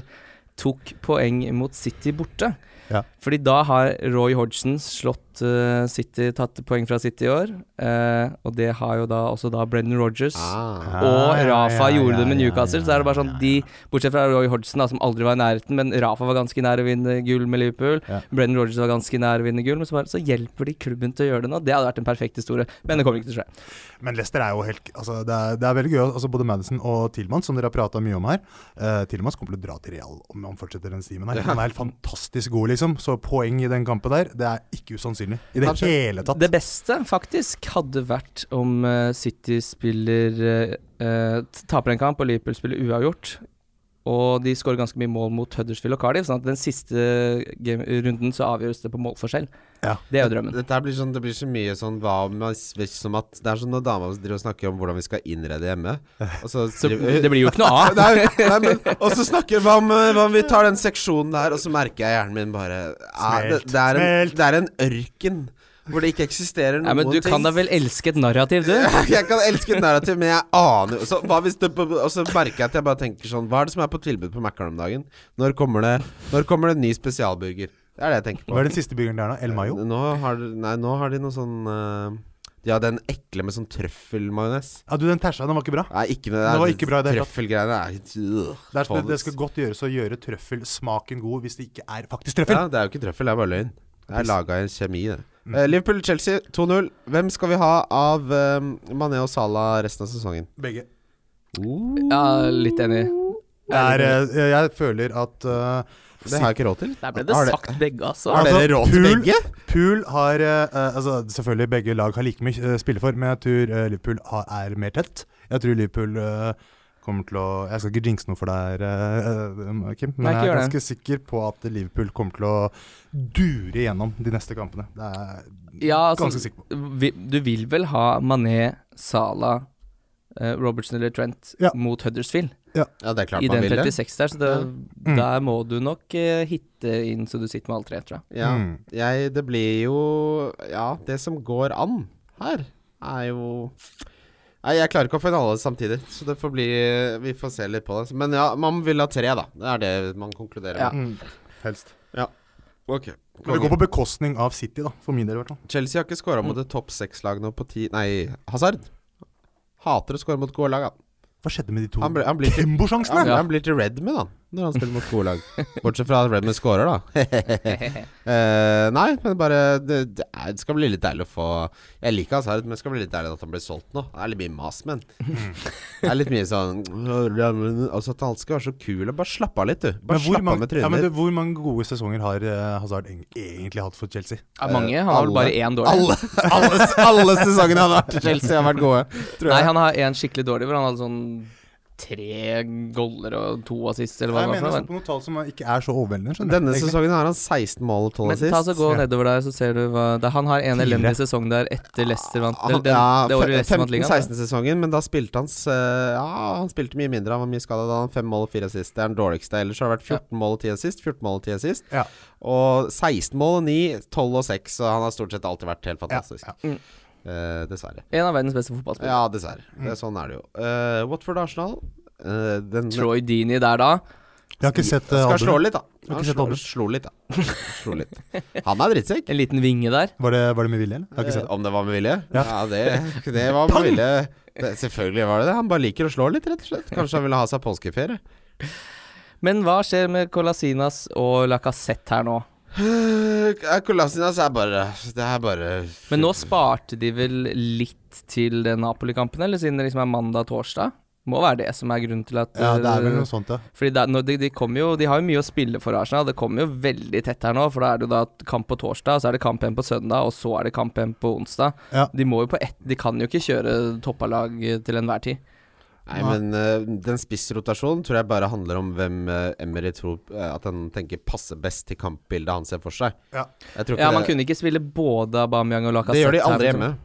[SPEAKER 2] tok poeng mot City borte.
[SPEAKER 4] Ja.
[SPEAKER 2] Fordi da har Roy Hodgson slått eh, City, tatt poeng fra City i år. eh, og det har jo da også da Brendan Rogers.
[SPEAKER 3] Ah.
[SPEAKER 2] Og
[SPEAKER 4] Ja, ja,
[SPEAKER 2] Rafa
[SPEAKER 4] ja,
[SPEAKER 2] gjorde
[SPEAKER 4] ja,
[SPEAKER 2] det med
[SPEAKER 4] ja,
[SPEAKER 2] Newcastle.
[SPEAKER 4] ja,
[SPEAKER 2] Så er det bare sånn
[SPEAKER 4] ja,
[SPEAKER 2] de, Bortsett fra Roy Hodgson, da, som aldri var i nærheten, men Rafa var ganske nær å vinne gull med Liverpool.
[SPEAKER 4] Ja.
[SPEAKER 2] Brendan Rogers var ganske nær å vinne gull, men så, bare, så hjelper de klubben til å gjøre det nå. Det hadde vært en perfekt historie, men det kommer ikke til å skje.
[SPEAKER 4] Men Leicester er jo helt altså, det, er, det er veldig gøy. Altså, både Madison og Tilmans, som dere har prata mye om her. Uh, Tilmans kommer til å dra til Real om han fortsetter den stimen her. Han er helt fantastisk god, liksom. Så poeng i den kampen der, det er ikke usannsynlig. I det
[SPEAKER 3] Absolutt.
[SPEAKER 4] hele tatt.
[SPEAKER 2] Det beste, faktisk, hadde vært om eh, City spiller eh, eh, t- taper en kamp og Liverpool spiller uavgjort. Og de skårer ganske mye mål mot Huddersfield og Cardiff, sånn at den siste game runden så avgjøres det på målforskjell.
[SPEAKER 4] Ja.
[SPEAKER 2] Det er jo drømmen.
[SPEAKER 3] Dette her blir sånn, det blir så mye sånn hva om hvis- som at Det er sånn når dama driver og snakker om hvordan vi skal innrede hjemme, og så,
[SPEAKER 2] Så
[SPEAKER 3] driver-
[SPEAKER 2] det blir jo ikke
[SPEAKER 4] *laughs*
[SPEAKER 2] noe av.
[SPEAKER 3] Nei, nei, men, og så snakker hva om, eh, hva om vi tar den seksjonen der, og så merker jeg hjernen min bare ah, det, det, er en,
[SPEAKER 4] Smelt.
[SPEAKER 3] det er en ørken hvor det ikke eksisterer noen
[SPEAKER 2] Nei, men du
[SPEAKER 3] ting.
[SPEAKER 2] kan da
[SPEAKER 3] *laughs*
[SPEAKER 2] vel elske et narrativ, du?
[SPEAKER 3] jeg kan elske et narrativ, men jeg aner jo så, hva hvis det, Og så merker jeg at jeg bare tenker sånn Hva er det som er på tilbud på Mækkern om dagen? Når kommer, det, når kommer det en ny spesialburger? Det er det jeg tenker
[SPEAKER 4] Hva
[SPEAKER 3] på.
[SPEAKER 4] er den siste byggeren der nå? El Mayo?
[SPEAKER 3] Nå har, de- nei, nå har de noe sånn eh, De har den ekle med sånn trøffelmajones.
[SPEAKER 4] Ja, du, den tersa, den var ikke bra.
[SPEAKER 3] Nei, ikke med
[SPEAKER 4] Det var ikke bra i det hele tatt.
[SPEAKER 3] Trøffelgreiene er øh,
[SPEAKER 4] Det, er, det, det
[SPEAKER 3] fånes.
[SPEAKER 4] skal godt gjøres å gjøre trøffelsmaken god hvis det ikke er faktisk trøffel.
[SPEAKER 3] Ja, det er jo ikke trøffel, det er bare løgn. Det er laga i en kjemi, det.
[SPEAKER 4] Mm.
[SPEAKER 3] Eh, Liverpool-Chelsea 2-0. Hvem skal vi ha av eh, Mané og Salah resten av sesongen?
[SPEAKER 4] Begge.
[SPEAKER 2] Ja, litt enig.
[SPEAKER 4] Det er, eh, jeg føler at eh,
[SPEAKER 3] Det har jeg ikke råd til.
[SPEAKER 2] Der ble det
[SPEAKER 3] Har det-
[SPEAKER 2] sagt begge, altså.
[SPEAKER 3] Har
[SPEAKER 4] Altså,
[SPEAKER 3] dere råd til
[SPEAKER 4] Pool-
[SPEAKER 3] begge?
[SPEAKER 4] Pool har eh, eh, altså Selvfølgelig begge lag har like mye eh, spille for, men jeg tror eh, Liverpool har, er mer tett. Jeg tror Liverpool eh, kommer til å Jeg skal ikke jinxe noe for deg, eh, eh, Kim, men
[SPEAKER 2] Nei, ikke
[SPEAKER 4] jeg er
[SPEAKER 2] gjør
[SPEAKER 4] ganske sikker på at Liverpool kommer til å dure igjennom de neste kampene. Det er jeg
[SPEAKER 2] Ja, altså,
[SPEAKER 4] ganske sikker på.
[SPEAKER 2] vi- Du vil vel ha Mané, Salah, eh, Robertson eller Trent
[SPEAKER 4] Ja.
[SPEAKER 2] mot Huddersfield
[SPEAKER 3] Ja, det er klart
[SPEAKER 2] i
[SPEAKER 3] man
[SPEAKER 2] den
[SPEAKER 3] vil det.
[SPEAKER 2] 36 der, så det,
[SPEAKER 4] Mm.
[SPEAKER 2] der må du nok eh, hitte inn så du sitter med alle tre, tror jeg.
[SPEAKER 3] Ja,
[SPEAKER 4] Mm.
[SPEAKER 3] jeg, det blir jo Ja, det som går an her, er jo Nei, jeg klarer ikke å finne alle samtidig, så det får bli Vi får se litt på det. Men ja, man vil ha tre, da. Det er det man konkluderer
[SPEAKER 2] Ja.
[SPEAKER 3] med.
[SPEAKER 4] Mm, helst.
[SPEAKER 3] Ok.
[SPEAKER 4] Men det går Mm. på bekostning av City, da, for min del i hvert fall.
[SPEAKER 3] Chelsea har ikke skåra mot et topp seks-lag nå på ti Nei, Hazard. Hater å skåre mot gode lag, han.
[SPEAKER 4] Hva skjedde med de to
[SPEAKER 3] Han ble- han blir ikke- Ja,
[SPEAKER 4] Kembo-sjansene?
[SPEAKER 3] men Han blir til Redmond, han, når han spiller mot gode lag. Bortsett fra at Redmond scorer,
[SPEAKER 2] *laughs*
[SPEAKER 3] da. Eh, nei, men bare det, det, er, det skal bli litt deilig å få Jeg liker Hazard, men det skal bli litt deilig at han blir solgt nå. Det er litt mye mas, men.
[SPEAKER 2] Mm.
[SPEAKER 3] Det er litt mye sånn Altså At han skal være så kul og bare slappe av litt, du. Bare
[SPEAKER 4] Men hvor,
[SPEAKER 3] slappe av
[SPEAKER 4] mange,
[SPEAKER 3] med
[SPEAKER 4] ja, men
[SPEAKER 3] trynet
[SPEAKER 4] du, hvor mange gode sesonger har eh, Hazard eng- egentlig hatt for Chelsea?
[SPEAKER 2] Ja, mange. Han har vel
[SPEAKER 3] alle.
[SPEAKER 2] bare én dårlig.
[SPEAKER 3] alle, alle, alle sesongene han har vært i Chelsea, har vært gode.
[SPEAKER 2] *laughs*
[SPEAKER 3] Tror
[SPEAKER 2] Nei,
[SPEAKER 3] jeg.
[SPEAKER 2] han har én skikkelig dårlig, hvor han hadde sånn tre goller og to assist, eller hva
[SPEAKER 4] Jeg
[SPEAKER 2] det
[SPEAKER 4] mener
[SPEAKER 2] var. for
[SPEAKER 4] jeg står
[SPEAKER 2] noe.
[SPEAKER 4] på noen tall som ikke er så overveldende. skjønner
[SPEAKER 3] Denne
[SPEAKER 4] jeg, egentlig.
[SPEAKER 3] sesongen har han 16 mål og 12
[SPEAKER 2] Men ta
[SPEAKER 3] assist.
[SPEAKER 2] så Gå nedover der, så ser du hva det, Han har en
[SPEAKER 4] Fire.
[SPEAKER 2] elendig sesong der etter Leicester vant
[SPEAKER 3] Han-
[SPEAKER 2] eller den,
[SPEAKER 3] ja,
[SPEAKER 2] Det året
[SPEAKER 3] fe-
[SPEAKER 2] Leicester vant ligaen.
[SPEAKER 3] 15-16-sesongen, men da spilte han s- eh, Ja, han spilte mye mindre. Han var mye skada da. Han Fem mål og fire assist. Det er den dårligste. Ellers har det vært 14 mål og 10 assist. 14 mål og 10 assist.
[SPEAKER 4] Ja.
[SPEAKER 3] Og 16 mål og 9, 12 og 6. Så han har stort sett alltid vært helt fantastisk.
[SPEAKER 4] Ja,
[SPEAKER 2] ja. Mm. Mm.
[SPEAKER 3] Eh,
[SPEAKER 2] da.
[SPEAKER 3] dessverre.
[SPEAKER 2] En av verdens beste fotballspillere.
[SPEAKER 3] Ja, dessverre. Det, sånn er det jo. Eh, Watford Arsenal eh, den,
[SPEAKER 2] Troy Deeney der da.
[SPEAKER 4] Jeg har ikke sett eh,
[SPEAKER 3] Skal
[SPEAKER 4] albumet.
[SPEAKER 3] slå litt, da.
[SPEAKER 4] har
[SPEAKER 3] Han
[SPEAKER 4] ikke sett
[SPEAKER 3] slo,
[SPEAKER 4] albumet.
[SPEAKER 3] slo litt, da. Slo litt. Han er drittsekk.
[SPEAKER 2] En liten vinge der.
[SPEAKER 4] Var det, var det med vilje, eller? Jeg har ikke
[SPEAKER 3] Eh,
[SPEAKER 4] sett det.
[SPEAKER 3] Om det var med vilje?
[SPEAKER 4] Ja.
[SPEAKER 3] Ja, det, det var med vilje. Det, selvfølgelig var det det. Han bare liker å slå litt, rett og slett. Kanskje han ville ha seg påskeferie. *sighs*
[SPEAKER 2] Men hva skjer med Colasinas og Lacassette her nå?
[SPEAKER 3] Kolasinas er bare Det er bare
[SPEAKER 2] Men nå sparte de vel litt til den Napoli-kampen, eller siden det liksom er mandag-torsdag? Må være det som er grunnen til at
[SPEAKER 4] Ja, det er vel
[SPEAKER 2] eh,
[SPEAKER 4] noe sånt, ja.
[SPEAKER 2] Fordi det er- når de, de, kommer jo, de har jo mye å spille for Arsenal. Det kommer jo veldig tett her nå. For da er det jo da et kamp på torsdag, så er det kamp igjen på søndag, og så er det kamp igjen på onsdag.
[SPEAKER 4] Ja.
[SPEAKER 2] De må jo på ett De kan jo ikke kjøre toppa lag eh, til enhver tid.
[SPEAKER 3] Nei,
[SPEAKER 4] Nei.
[SPEAKER 3] men eh, den spissrotasjonen tror jeg bare handler om hvem uh, Emery tror eh, at han tenker passer best til kampbildet han ser for seg.
[SPEAKER 4] Ja.
[SPEAKER 3] Jeg tror ikke
[SPEAKER 2] Ja, man
[SPEAKER 3] det,
[SPEAKER 2] kunne ikke spille både Aubameyang og Lacazette.
[SPEAKER 3] det gjør de
[SPEAKER 2] her,
[SPEAKER 3] aldri
[SPEAKER 2] liksom.
[SPEAKER 3] hjemme.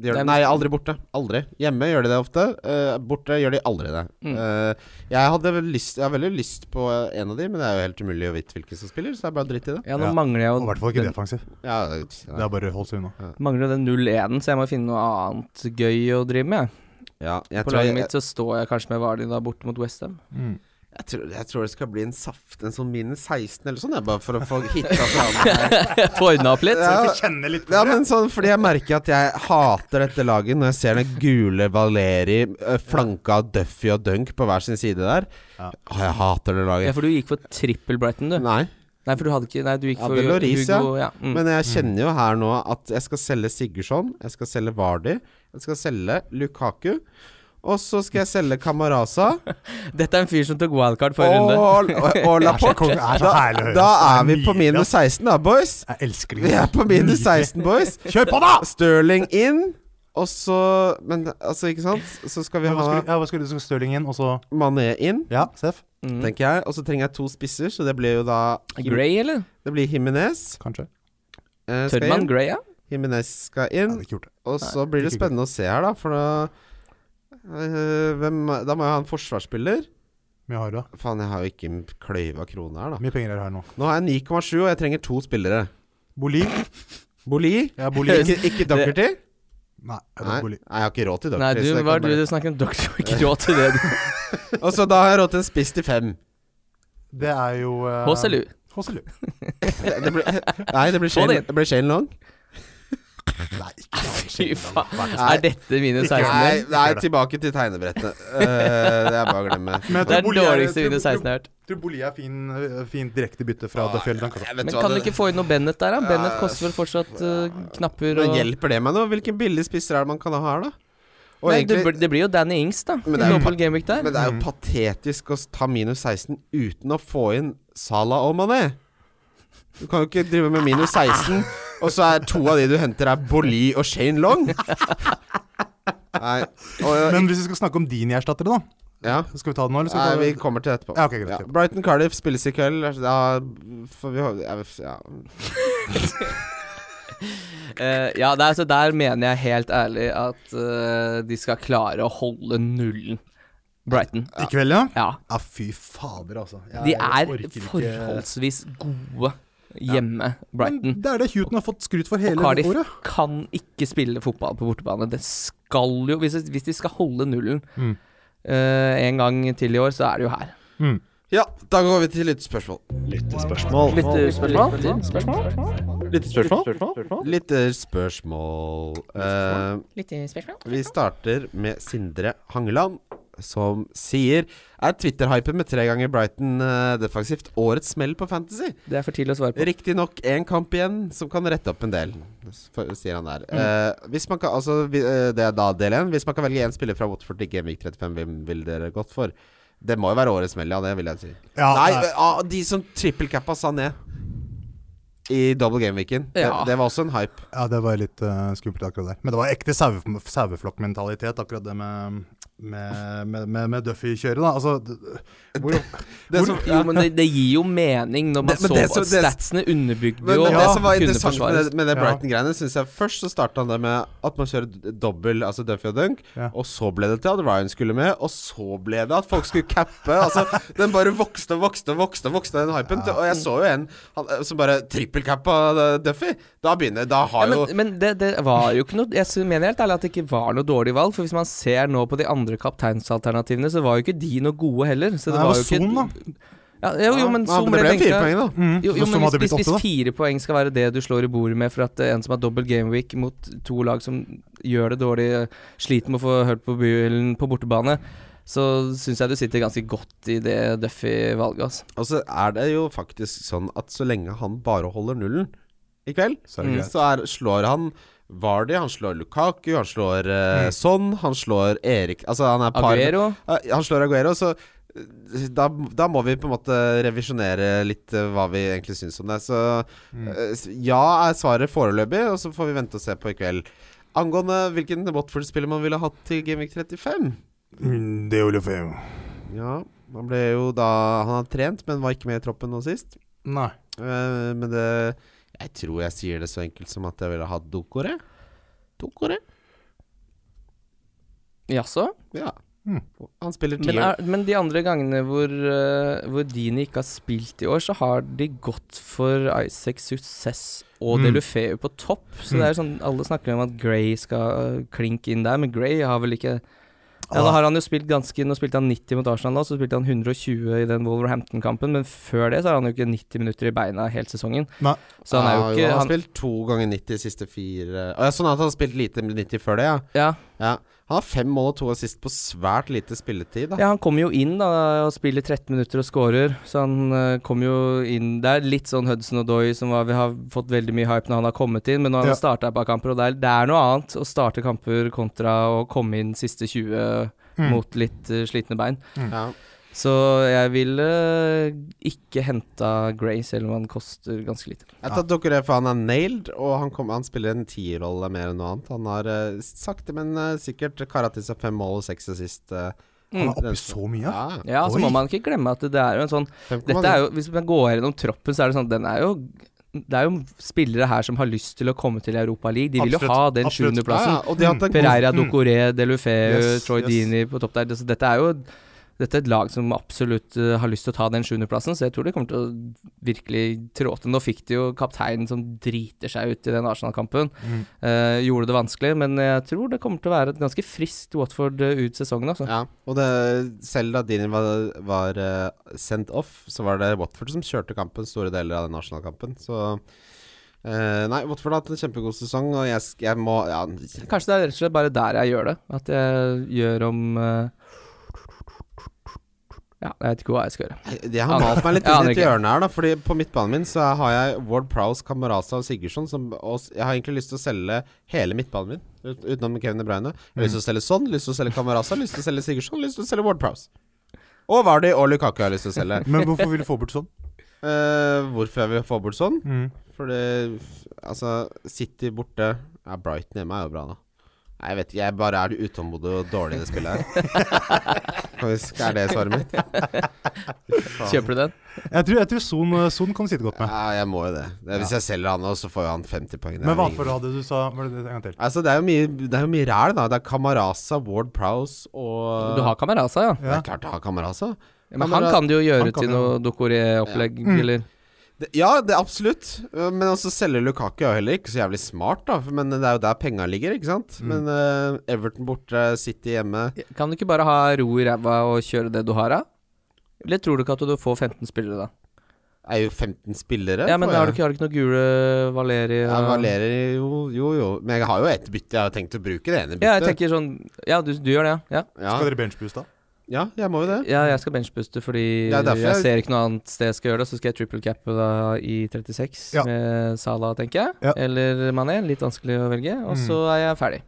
[SPEAKER 3] De gjør,
[SPEAKER 2] Nei, men-
[SPEAKER 3] nei, aldri borte. Aldri. Hjemme gjør de det ofte. eh, borte gjør de aldri det.
[SPEAKER 2] Mm.
[SPEAKER 3] Eh, jeg hadde vel lyst Jeg har veldig lyst på eh, en av de, men det er jo helt umulig å vite hvilken som spiller, så det er bare dritt i det.
[SPEAKER 2] Ja, nå
[SPEAKER 4] Ja.
[SPEAKER 2] mangler jeg
[SPEAKER 4] Og i hvert fall
[SPEAKER 2] jo
[SPEAKER 4] ikke
[SPEAKER 2] den,
[SPEAKER 4] defensiv.
[SPEAKER 3] Ja, det-
[SPEAKER 4] Det er bare å holde seg unna.
[SPEAKER 2] mangler jo den 0-1-en, så jeg må finne noe annet gøy å drive med. jeg.
[SPEAKER 3] ja, jeg,
[SPEAKER 2] På
[SPEAKER 3] tror
[SPEAKER 2] laget
[SPEAKER 3] jeg,
[SPEAKER 2] mitt så står jeg kanskje med Vardy da borte mot Westham. *laughs*
[SPEAKER 4] Mm.
[SPEAKER 3] *laughs* jeg, tror, jeg tror det skal bli en saft, en sånn minus 16 eller sånn, jeg, bare for å få hitta
[SPEAKER 2] *laughs*
[SPEAKER 3] fram.
[SPEAKER 2] Få ordna opp litt.
[SPEAKER 3] Ja,
[SPEAKER 4] Kjenne litt
[SPEAKER 3] Ja, men sånn, fordi jeg merker at jeg hater dette laget når jeg ser den gule Valeri eh, flanka av Duffy og Dunk på hver sin side der.
[SPEAKER 4] Ja.
[SPEAKER 3] Å, jeg hater det
[SPEAKER 2] Ja,
[SPEAKER 3] laget.
[SPEAKER 2] for du gikk for trippel Brighton, du.
[SPEAKER 3] Nei,
[SPEAKER 2] Nei, for du hadde ikke Nei, du gikk
[SPEAKER 3] Ja,
[SPEAKER 2] for
[SPEAKER 3] det er Lloris, ja.
[SPEAKER 2] Hugo ja. Mm.
[SPEAKER 3] men jeg kjenner jo her nå at jeg skal selge Sigurdsson, jeg skal selge Vardi, jeg skal selge Lukaku, og så skal jeg selge Kamaraza
[SPEAKER 2] Dette er en fyr som tok wildcard
[SPEAKER 3] og,
[SPEAKER 2] forrige runde.
[SPEAKER 3] og, og
[SPEAKER 4] *laughs* Det
[SPEAKER 3] Laporte.
[SPEAKER 4] er så
[SPEAKER 3] Da,
[SPEAKER 4] herlig å høre.
[SPEAKER 3] da er vi
[SPEAKER 4] Det
[SPEAKER 3] på
[SPEAKER 4] nydelig,
[SPEAKER 3] minus
[SPEAKER 4] ass.
[SPEAKER 3] 16 da, boys.
[SPEAKER 4] Jeg elsker
[SPEAKER 3] Vi
[SPEAKER 4] det.
[SPEAKER 3] er på minus 16, boys.
[SPEAKER 4] Kjør på, da!
[SPEAKER 3] Stirling inn, og så Men altså, ikke sant? Så skal vi
[SPEAKER 4] Ja, hva
[SPEAKER 3] ha
[SPEAKER 4] skulle, ja, hva skulle du så Stirling inn, og så
[SPEAKER 3] Mané inn.
[SPEAKER 4] Ja, Seff?
[SPEAKER 2] Mm.
[SPEAKER 3] tenker jeg. Og så trenger jeg to spisser, så det blir jo da
[SPEAKER 2] Gray, eller?
[SPEAKER 3] Det blir Jimenez.
[SPEAKER 4] Kanskje.
[SPEAKER 3] Eh, skal
[SPEAKER 2] Tørrmann
[SPEAKER 3] inn.
[SPEAKER 2] Gray, ja.
[SPEAKER 3] Jimenez skal
[SPEAKER 4] Jeg
[SPEAKER 3] inn.
[SPEAKER 4] hadde ikke gjort det.
[SPEAKER 3] Og så blir det
[SPEAKER 4] ikke
[SPEAKER 3] spennende å se her, da, for da eh, hvem, Da må jeg ha en forsvarsspiller.
[SPEAKER 4] Mye har du, da.
[SPEAKER 3] Faen, jeg har jo ikke en kløyva krone her, da.
[SPEAKER 4] Mye penger er det her nå.
[SPEAKER 3] Nå har jeg 9,7, og jeg trenger to spillere.
[SPEAKER 4] Boli?
[SPEAKER 3] Boli.
[SPEAKER 4] Ja, Boli.
[SPEAKER 3] Ikke, ikke Docherty.
[SPEAKER 4] Nei, jeg
[SPEAKER 3] Nei,
[SPEAKER 4] tok Boli.
[SPEAKER 3] nei, jeg har ikke råd til
[SPEAKER 2] Nei,
[SPEAKER 3] Docherty.
[SPEAKER 2] du
[SPEAKER 3] så det
[SPEAKER 2] var du
[SPEAKER 3] kan bare-
[SPEAKER 2] du snakket om doktor, du har
[SPEAKER 3] *laughs*
[SPEAKER 2] ikke råd til det. du.
[SPEAKER 3] Og så da har jeg råd til en spiss til fem.
[SPEAKER 4] Det er jo eh,
[SPEAKER 2] HSLU.
[SPEAKER 4] HSLU.
[SPEAKER 3] Det blir, *laughs* nei, det blir
[SPEAKER 2] Få det
[SPEAKER 3] Shane,
[SPEAKER 2] inn.
[SPEAKER 3] det blir Shane Long.
[SPEAKER 4] Nei, ikke
[SPEAKER 2] *laughs* Fy faen.
[SPEAKER 3] Nei.
[SPEAKER 2] Er dette minus 16?
[SPEAKER 3] Nei,
[SPEAKER 2] din?
[SPEAKER 3] nei, tilbake til tegnebrettet. Eh, det er bare å glemme.
[SPEAKER 2] Det
[SPEAKER 4] Men jeg tror
[SPEAKER 2] er det
[SPEAKER 4] Boli
[SPEAKER 2] dårligste
[SPEAKER 4] tror-
[SPEAKER 2] minus 16 jeg har hørt.
[SPEAKER 4] Tror Boli er fin, eh, fint direktebytte fra
[SPEAKER 3] Ah,
[SPEAKER 4] Duffy eller Duncan.
[SPEAKER 3] Jeg vet
[SPEAKER 2] Men
[SPEAKER 3] hva
[SPEAKER 2] kan du
[SPEAKER 3] det-
[SPEAKER 2] ikke få inn noe Bennett der, da? Bennett
[SPEAKER 3] Ja.
[SPEAKER 2] koster vel fortsatt eh, knapper
[SPEAKER 3] Men
[SPEAKER 2] og
[SPEAKER 3] hjelper det meg noe? Hvilken billig spisser er det man kan ha her, da? Og
[SPEAKER 2] Nei, det,
[SPEAKER 3] egentlig,
[SPEAKER 2] blir- det blir jo Danny Ings, da.
[SPEAKER 3] Men det er jo
[SPEAKER 2] Dobbel gameweek der.
[SPEAKER 3] men det
[SPEAKER 4] Mm.
[SPEAKER 3] er jo patetisk å ta minus 16 uten å få inn Salah og Mané. Du kan jo ikke drive med minus 16, og så er to av de du henter, er Boli og Shane Long. Nei, og,
[SPEAKER 4] Men hvis vi skal snakke om din erstattere, da.
[SPEAKER 3] ja.
[SPEAKER 4] Skal vi ta det nå, eller
[SPEAKER 3] Nei,
[SPEAKER 4] skal
[SPEAKER 3] vi
[SPEAKER 4] vi ta
[SPEAKER 3] kommer til det etterpå.
[SPEAKER 4] Ja, ok, greit,
[SPEAKER 3] Ja,
[SPEAKER 4] greit.
[SPEAKER 3] Brighton Cardiff spilles i kveld. altså, Da får vi hå- jeg, ja.
[SPEAKER 2] Eh, ja, der, så der mener jeg helt ærlig at eh, de skal klare å holde nullen, Brighton.
[SPEAKER 4] I kveld, ja?
[SPEAKER 2] Ja.
[SPEAKER 4] Ja, fy fader, altså. Jeg
[SPEAKER 2] De er
[SPEAKER 4] orker ikke-
[SPEAKER 2] forholdsvis gode hjemme,
[SPEAKER 4] Men
[SPEAKER 2] Brighton.
[SPEAKER 4] Det er det Huton har fått skryt for hele
[SPEAKER 2] Og Cardiff
[SPEAKER 4] året.
[SPEAKER 2] kan ikke spille fotball på bortebane. Det skal jo Hvis, hvis de skal holde nullen
[SPEAKER 4] Mm.
[SPEAKER 2] eh, en gang til i år, så er det jo her.
[SPEAKER 3] ja, da går vi til lyttespørsmål.
[SPEAKER 1] Lyttespørsmål.
[SPEAKER 2] eh,
[SPEAKER 3] eh, Lytterspørsmål. Eh, Vi starter med Sindre Hangeland, som sier Er Twitter-hypen med tre ganger Brighton eh, defensivt årets smell på Fantasy?
[SPEAKER 2] Det er for tidlig å svare på.
[SPEAKER 3] Riktignok én kamp igjen som kan rette opp en del, for, sier han der.
[SPEAKER 4] Mm.
[SPEAKER 3] Eh, hvis man kan, altså, vi, eh, det er da del én. Hvis man kan velge én spiller fra Watford til Gamevik 35, hvem vil dere gått for? Det må jo være årets smell, ja. Det vil jeg si.
[SPEAKER 4] Ja,
[SPEAKER 3] nei,
[SPEAKER 4] nei.
[SPEAKER 3] ah, de som trippelcappa Sané i double game-weeken.
[SPEAKER 2] Ja.
[SPEAKER 3] Det, det var også en hype.
[SPEAKER 4] Ja, det var litt eh, skummelt akkurat der. Men det var ekte sauef- saueflokkmentalitet, akkurat det med, med, med, med, med Duffy-kjøret, da. Altså d- d- hvor,
[SPEAKER 3] Det
[SPEAKER 4] hvor,
[SPEAKER 3] som-
[SPEAKER 2] Jo, men det, det gir jo mening når man
[SPEAKER 3] Det- men
[SPEAKER 2] så
[SPEAKER 3] det
[SPEAKER 2] på
[SPEAKER 3] som-
[SPEAKER 2] at
[SPEAKER 3] det-
[SPEAKER 2] statsene underbygde
[SPEAKER 3] Men,
[SPEAKER 2] jo
[SPEAKER 3] men
[SPEAKER 2] at
[SPEAKER 3] det som var
[SPEAKER 2] kunne
[SPEAKER 3] interessant med
[SPEAKER 2] forsvares.
[SPEAKER 3] det, med det
[SPEAKER 4] Ja.
[SPEAKER 3] Brighton-greiene, synes jeg først så starta han det med at man kjører d- dobbel, altså Duffy og Dunk,
[SPEAKER 4] Ja.
[SPEAKER 3] og så ble det til at Ryan skulle med, og så ble det at folk skulle cappe. altså, den bare vokste og vokste og vokste, og vokste den hypen. til- Og jeg så jo en han, eh, som bare trippelcappa eh, Duffy. Da begynner Da
[SPEAKER 2] Ja,
[SPEAKER 3] har jo
[SPEAKER 2] men men det, det var jo ikke noe Jeg sy- mener helt ærlig at det ikke var noe dårlig valg. For hvis man ser nå på de andre kapteinsalternativene, så var jo ikke de noe gode heller. Så det
[SPEAKER 4] Nei,
[SPEAKER 2] var
[SPEAKER 4] det
[SPEAKER 2] jo ikke
[SPEAKER 4] var Son,
[SPEAKER 2] Ja, jo, jo, men
[SPEAKER 3] Ja,
[SPEAKER 2] Son
[SPEAKER 3] men det
[SPEAKER 2] ble
[SPEAKER 3] ble jo
[SPEAKER 2] tenkt
[SPEAKER 3] fire poeng, da.
[SPEAKER 4] Mm,
[SPEAKER 2] Jo,
[SPEAKER 4] så-
[SPEAKER 2] jo,
[SPEAKER 4] som
[SPEAKER 2] men
[SPEAKER 4] hadde
[SPEAKER 2] hvis,
[SPEAKER 4] blitt
[SPEAKER 2] hvis, hvis
[SPEAKER 4] åtte, da.
[SPEAKER 2] fire poeng skal være det du slår i bordet med for at eh, en som har dobbel gameweek mot to lag som gjør det dårlig, eh, sliter med å få hørt på byen på bortebane, så syns jeg du sitter ganske godt i det Duffy-valget. Altså.
[SPEAKER 3] Og så er det jo faktisk sånn at så lenge han bare holder nullen i kveld,
[SPEAKER 4] Så er det greit.
[SPEAKER 3] så er, slår han Vardy, han slår Lukaku, han slår eh, Son, han slår Erik Altså, han er par
[SPEAKER 2] Aguero
[SPEAKER 3] Ja, Han slår Aguero, så eh, da, da må vi på en måte revisjonere litt eh, hva vi egentlig syns om det. Så eh, s- ja er svaret foreløpig, og så får vi vente og se på i kveld. Angående hvilken Watford-spiller man ville hatt til Gameweek 35
[SPEAKER 4] Mm, Det er Olofeo.
[SPEAKER 3] Ja, han ble jo da Han har trent, men var ikke med i troppen nå sist.
[SPEAKER 4] Nei.
[SPEAKER 3] Eh, men det Jeg tror jeg sier det så enkelt som at jeg ville hatt Dokore. Dokore?
[SPEAKER 2] Jaså?
[SPEAKER 3] Ja.
[SPEAKER 4] Mm.
[SPEAKER 3] Han spiller
[SPEAKER 2] Men,
[SPEAKER 3] tiår.
[SPEAKER 2] er, men de andre gangene hvor, eh, hvor Dini ikke har spilt i år, så har de gått for Isaac Success og
[SPEAKER 4] Mm.
[SPEAKER 2] Delufeu på topp. Så det er sånn, alle snakker om at Gray skal klinke inn der, men Gray har vel ikke ja, da har han jo spilt ganske Nå spilte han 90 mot Arsenal nå, så spilte han 120 i den Wolverhampton-kampen, men før det så har han jo ikke 90 minutter i beina hele sesongen.
[SPEAKER 4] Nei.
[SPEAKER 2] Så han er jo ikke
[SPEAKER 3] Ja, Ah, han har
[SPEAKER 2] han,
[SPEAKER 3] spilt to ganger 90 de siste fire Å ja, Sånn at han har spilt lite 90 før det, ja.
[SPEAKER 2] ja,
[SPEAKER 3] ja. Han har fem mål og to assist på svært lite spilletid. Da.
[SPEAKER 2] ja, han kommer jo inn da og spiller 13 minutter og scorer, så han eh, kom jo inn Det er litt sånn Hudson og Doy som var, vi har fått veldig mye hype når han har kommet inn, men nå har
[SPEAKER 4] Ja.
[SPEAKER 2] han startet et par kamper, og det er, det er noe annet å starte kamper kontra å komme inn siste 20
[SPEAKER 4] Mm.
[SPEAKER 2] mot litt eh, slitne bein.
[SPEAKER 3] Ja.
[SPEAKER 2] Så jeg ville eh, ikke henta Gray, selv om han koster ganske lite.
[SPEAKER 3] Jeg tar Dokore, for han er nailed, og han, kom, han spiller en tierrolle mer enn noe annet. Han har eh, sakte, men eh, sikkert karret til seg fem mål og seks assist. eh,
[SPEAKER 4] Han er
[SPEAKER 3] den-
[SPEAKER 4] oppi så mye.
[SPEAKER 3] Ja.
[SPEAKER 2] Ja, så
[SPEAKER 4] Oi.
[SPEAKER 2] må man ikke glemme at det er jo en sånn Dette er jo, Hvis man går gjennom troppen, så er det sånn den er jo, Det er jo spillere her som har lyst til å komme til Europa League. De vil
[SPEAKER 4] Absolutt,
[SPEAKER 2] jo ha den
[SPEAKER 4] absolutt.
[SPEAKER 3] Ja,
[SPEAKER 2] sjuendeplassen.
[SPEAKER 3] ja, og de har hatt en god
[SPEAKER 2] Pereira,
[SPEAKER 4] Mm.
[SPEAKER 2] Docoré, Delufeu,
[SPEAKER 4] Yes,
[SPEAKER 2] Troy
[SPEAKER 4] yes.
[SPEAKER 2] Dini på topp der. Så dette er jo dette er et lag som absolutt eh, har lyst til å ta den sjuendeplassen, så jeg tror de kommer til å virkelig tråte. Nå fikk de jo kapteinen som driter seg ut i den Arsenal-kampen.
[SPEAKER 4] Mm.
[SPEAKER 2] Eh, gjorde det vanskelig, men jeg tror det kommer til å være et ganske friskt Watford eh, ut sesongen. Altså.
[SPEAKER 3] Ja, og det, selv da Dini var, var eh, sendt off, så var det Watford som kjørte kampen store deler av den nasjonalkampen. Så eh, Nei, Watford har hatt en kjempegod sesong, og jeg, sk- jeg må ja,
[SPEAKER 2] Kanskje det er rett og slett bare der jeg gjør det. At jeg gjør om eh, Ja, jeg vet ikke hva jeg skal gjøre.
[SPEAKER 3] Jeg jeg har malt meg litt
[SPEAKER 2] Jeg aner
[SPEAKER 3] inn i et
[SPEAKER 2] ikke.
[SPEAKER 3] hjørne her, da. Fordi på midtbanen min så har jeg Ward Prowse, Kamaraza og Sigurdsson. Som, og s- jeg har egentlig lyst til å selge hele midtbanen min, ut, utenom Kevin De Bruyne. Jeg har lyst til å selge Son, lyst til å selge Kamaraza, lyst til å selge Sigurdsson, lyst til å selge Ward Prowse. Og Vardy og Lukaku har jeg lyst til å selge.
[SPEAKER 4] Mm. Men hvorfor vil du få
[SPEAKER 3] *laughs*
[SPEAKER 4] bort sånn?
[SPEAKER 3] Eh, hvorfor jeg vil få bort sånn?
[SPEAKER 4] Mm.
[SPEAKER 3] Fordi altså City borte ja, Brighton hjemme er jo bra, da. Nei, jeg vet ikke. Jeg bare er utålmodig og dårlig i det spillet her.
[SPEAKER 4] *laughs*
[SPEAKER 3] Kan vi sk- Er det svaret mitt?
[SPEAKER 2] Kjøper du den?
[SPEAKER 4] Jeg tror, jeg tror Son, eh, Son kan sitte godt med.
[SPEAKER 3] Ja, jeg må jo det. det er hvis jeg selger han nå, så får jo han 50 poeng. Det
[SPEAKER 4] Men
[SPEAKER 3] er
[SPEAKER 4] hva
[SPEAKER 3] ingen-
[SPEAKER 4] for hadde du sa Var det det en gang til?
[SPEAKER 3] Altså, det er jo mye, det er jo mye ræl, da. Det er Kamaraza, Ward Prowse og
[SPEAKER 2] Du har Kameraza, ja.
[SPEAKER 3] Det er klart jeg har Kamaraza.
[SPEAKER 2] ja men
[SPEAKER 3] Kamara-
[SPEAKER 2] han kan det jo
[SPEAKER 4] han
[SPEAKER 2] gjøre
[SPEAKER 4] kan
[SPEAKER 2] til
[SPEAKER 4] jo-
[SPEAKER 2] noe Dokoré-opplegg, eller
[SPEAKER 3] Det- Ja, det er absolutt. Uh, Men også selge Lukaku er jo heller ikke så jævlig smart, da. For- Men det er jo der penga ligger, ikke sant.
[SPEAKER 2] Mm.
[SPEAKER 3] Men eh, Everton borte, City hjemme.
[SPEAKER 2] Kan du ikke bare ha ro i ræva og kjøre det du har, da? Eller tror du ikke at du får 15 spillere, da?
[SPEAKER 3] Er jo 15 spillere.
[SPEAKER 2] Ja, men
[SPEAKER 3] får jeg.
[SPEAKER 2] har du ikke, har du ikke noe gule Valeri
[SPEAKER 3] Ja, Valerer jo, jo, jo. Men jeg har jo ett bytte. Jeg har tenkt å bruke det ene byttet.
[SPEAKER 2] Ja, jeg tenker sånn Ja, du, du gjør det, ja. ja.
[SPEAKER 3] ja.
[SPEAKER 4] Skal dere benchboost da? *laughs*
[SPEAKER 3] ja, jeg må jo det.
[SPEAKER 2] Ja, jeg skal benchbooste fordi
[SPEAKER 3] Ja, derfor
[SPEAKER 2] jeg
[SPEAKER 3] jeg-
[SPEAKER 2] ser ikke noe annet sted jeg skal gjøre det. Så skal jeg triple cappe da i 36
[SPEAKER 4] Ja.
[SPEAKER 2] med Sala, tenker jeg.
[SPEAKER 4] Ja.
[SPEAKER 2] Eller Mané. Litt vanskelig å velge. Og så er jeg ferdig.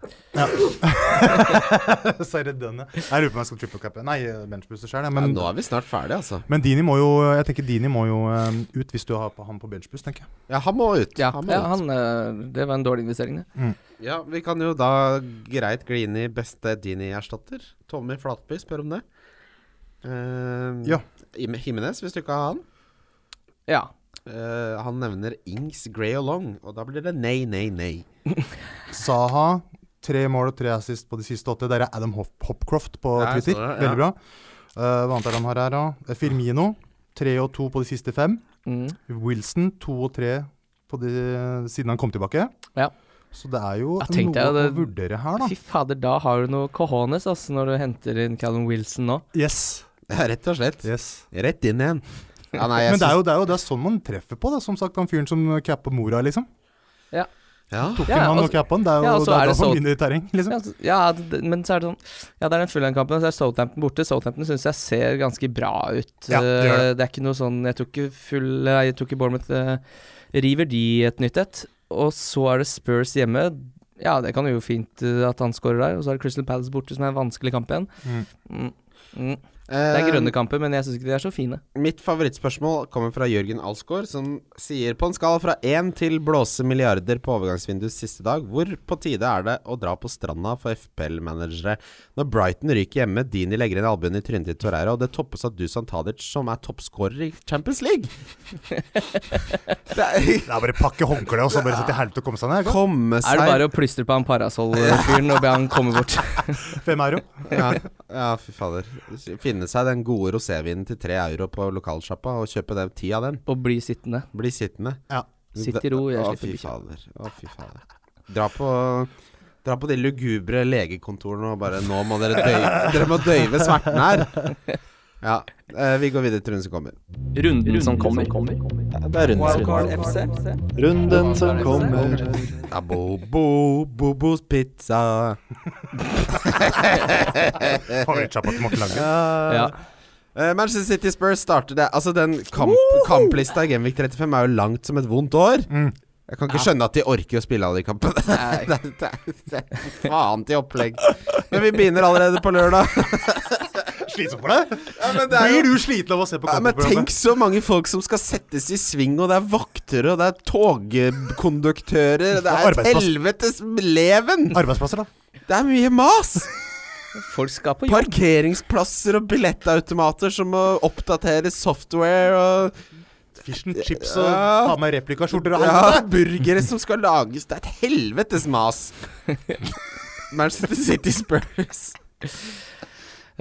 [SPEAKER 4] Så er det denne. Jeg lurer på om jeg skal triple cappe. Nei, eh, benchbooster sjøl, jeg. Men,
[SPEAKER 3] ja, nå er vi snart ferdig, altså.
[SPEAKER 4] men Dini må jo Jeg tenker Dini må jo eh, ut hvis du har på han på benchboost, tenker jeg.
[SPEAKER 3] Ja, han må ut.
[SPEAKER 2] Ja,
[SPEAKER 3] han må
[SPEAKER 2] ja
[SPEAKER 3] ut.
[SPEAKER 2] han, eh, det var en dårlig investering, det.
[SPEAKER 3] Ja, vi kan jo da greit gli inn i beste Dini-erstatter. Tommy Flatby spør om det. Eh,
[SPEAKER 4] Ja.
[SPEAKER 3] Im- Jimenez, hvis du ikke har han.
[SPEAKER 2] Ja.
[SPEAKER 3] Eh, han nevner Ings, Gray og Long, og da blir det nei, nei, nei.
[SPEAKER 4] Saha, tre mål og tre assist på de siste åtte. Der er Adam Hop Hopcroft på
[SPEAKER 3] Ja, jeg så
[SPEAKER 4] Twitter.
[SPEAKER 3] det, ja.
[SPEAKER 4] Veldig bra. Eh, hva annet er det han har her, da? Eh, Firmino, tre og to på de siste fem.
[SPEAKER 2] Mm.
[SPEAKER 4] Wilson, to og tre på de, siden han kom tilbake.
[SPEAKER 2] Ja.
[SPEAKER 4] Så det er jo
[SPEAKER 2] Jeg
[SPEAKER 4] noe
[SPEAKER 2] tenkte jeg
[SPEAKER 4] å
[SPEAKER 2] det-
[SPEAKER 4] vurdere her, da.
[SPEAKER 2] Fy fader, da har du noe cojones altså, når du henter inn Callum Wilson nå.
[SPEAKER 4] Yes.
[SPEAKER 3] Ja, rett og slett.
[SPEAKER 4] yes.
[SPEAKER 3] Rett inn igjen. Ja, nei,
[SPEAKER 4] *laughs*
[SPEAKER 3] jeg
[SPEAKER 4] Men det er, jo, det er jo det er sånn man treffer på, da. Som sagt, han fyren som capper mora, liksom.
[SPEAKER 3] syns- ja.
[SPEAKER 4] Tok
[SPEAKER 2] Ja,
[SPEAKER 4] han og
[SPEAKER 2] altså-
[SPEAKER 4] cappa han. Det er jo
[SPEAKER 2] ja, og så er
[SPEAKER 4] det er
[SPEAKER 2] det
[SPEAKER 4] da han
[SPEAKER 2] så-
[SPEAKER 4] vinner i terreng, liksom.
[SPEAKER 2] Ja, så- ja, d- men så er det sånn Ja, det er den Fulham-kampen, så er Southampton borte. Southampton syns jeg ser ganske bra ut.
[SPEAKER 4] Ja, det gjør
[SPEAKER 2] Eh, det er ikke noe sånn Jeg tror ikke full nei, Jeg tror ikke Bournemouth eh, river de et nytt et. Og så er det Spurs hjemme. Ja, det kan jo fint eh, at han scorer der. Og så er det Crystal Palace borte, som er en vanskelig kamp igjen.
[SPEAKER 4] Mm.
[SPEAKER 2] Mm. Mm.
[SPEAKER 3] Jeg
[SPEAKER 2] Det er grønne kamper, men jeg syns ikke de er så fine.
[SPEAKER 3] Eh, Mitt favorittspørsmål kommer fra Jørgen Alsgaard, som sier på en skala fra én til blåse milliarder på overgangsvinduets siste dag, hvor på tide er det å dra på stranda for FPL-managere? Når Brighton ryker hjemme, Dini legger inn albuen i trynet til Torreira, og det toppes av Dusan Tadic, som er toppskårer i Champions League. det er,
[SPEAKER 4] Det er bare pakke håndkle og så bare sitte i helvete og komme seg ned. ikke sant?
[SPEAKER 3] komme
[SPEAKER 2] Er
[SPEAKER 3] seg
[SPEAKER 2] det bare å plystre på han parasoll-fyren og be han komme bort? *laughs*
[SPEAKER 4] Fem euro.
[SPEAKER 3] ja, *laughs* ja, fy fader. Finne seg den gode rosévinen til tre euro på lokalsjappa, og kjøpe den, ti av den.
[SPEAKER 2] Og bli sittende.
[SPEAKER 3] Bli sittende.
[SPEAKER 4] Ja.
[SPEAKER 2] Sitt i ro, jeg
[SPEAKER 3] Å,
[SPEAKER 2] slipper
[SPEAKER 3] fy
[SPEAKER 2] bikkja.
[SPEAKER 3] fader. Å, fy fader. Dra på Dra på de lugubre legekontorene og bare Nå må dere døyve *laughs* Dere må døyve smerten her. Ja. eh, Vi går videre til runden som kommer.
[SPEAKER 5] Runden som kommer.
[SPEAKER 6] Det er
[SPEAKER 1] Wildcard
[SPEAKER 6] runden,
[SPEAKER 1] FC.
[SPEAKER 6] runden som kommer.
[SPEAKER 3] Da bo, bo, Bobos pizza.
[SPEAKER 4] Favorittsjappa til Morten Lange.
[SPEAKER 2] *laughs* Ja.
[SPEAKER 3] Eh, Manchester City Spurs starter det Altså, den kamp, kamplista i Genvik 35 er jo langt som et vondt år. Jeg kan ikke skjønne at de orker å spille alle de kampene. *laughs* Det er- det er- det er Faen til opplegg. Men vi begynner allerede på lørdag.
[SPEAKER 4] Slitsomt for deg?
[SPEAKER 3] *laughs* Ja, men det er jo-
[SPEAKER 4] Blir du sliten av å se på
[SPEAKER 3] Ja, men tenk
[SPEAKER 4] kampprogrammet?
[SPEAKER 3] så mange folk som skal settes i sving, og det er vakter, og det er togkonduktører og Det er et
[SPEAKER 4] Arbeidsplass.
[SPEAKER 3] helvetes leven!
[SPEAKER 4] Arbeidsplasser, da.
[SPEAKER 3] Det er mye mas! *laughs*
[SPEAKER 2] Folk skal på jobb.
[SPEAKER 3] Parkeringsplasser og billettautomater som må oppdatere software og
[SPEAKER 4] Fish and chips og
[SPEAKER 3] Ja.
[SPEAKER 4] faen meg replikaskjorter og
[SPEAKER 3] ja,
[SPEAKER 4] helvete.
[SPEAKER 3] burgere som skal lages. Det er et helvetes mas! *laughs* Manchester City Spurs.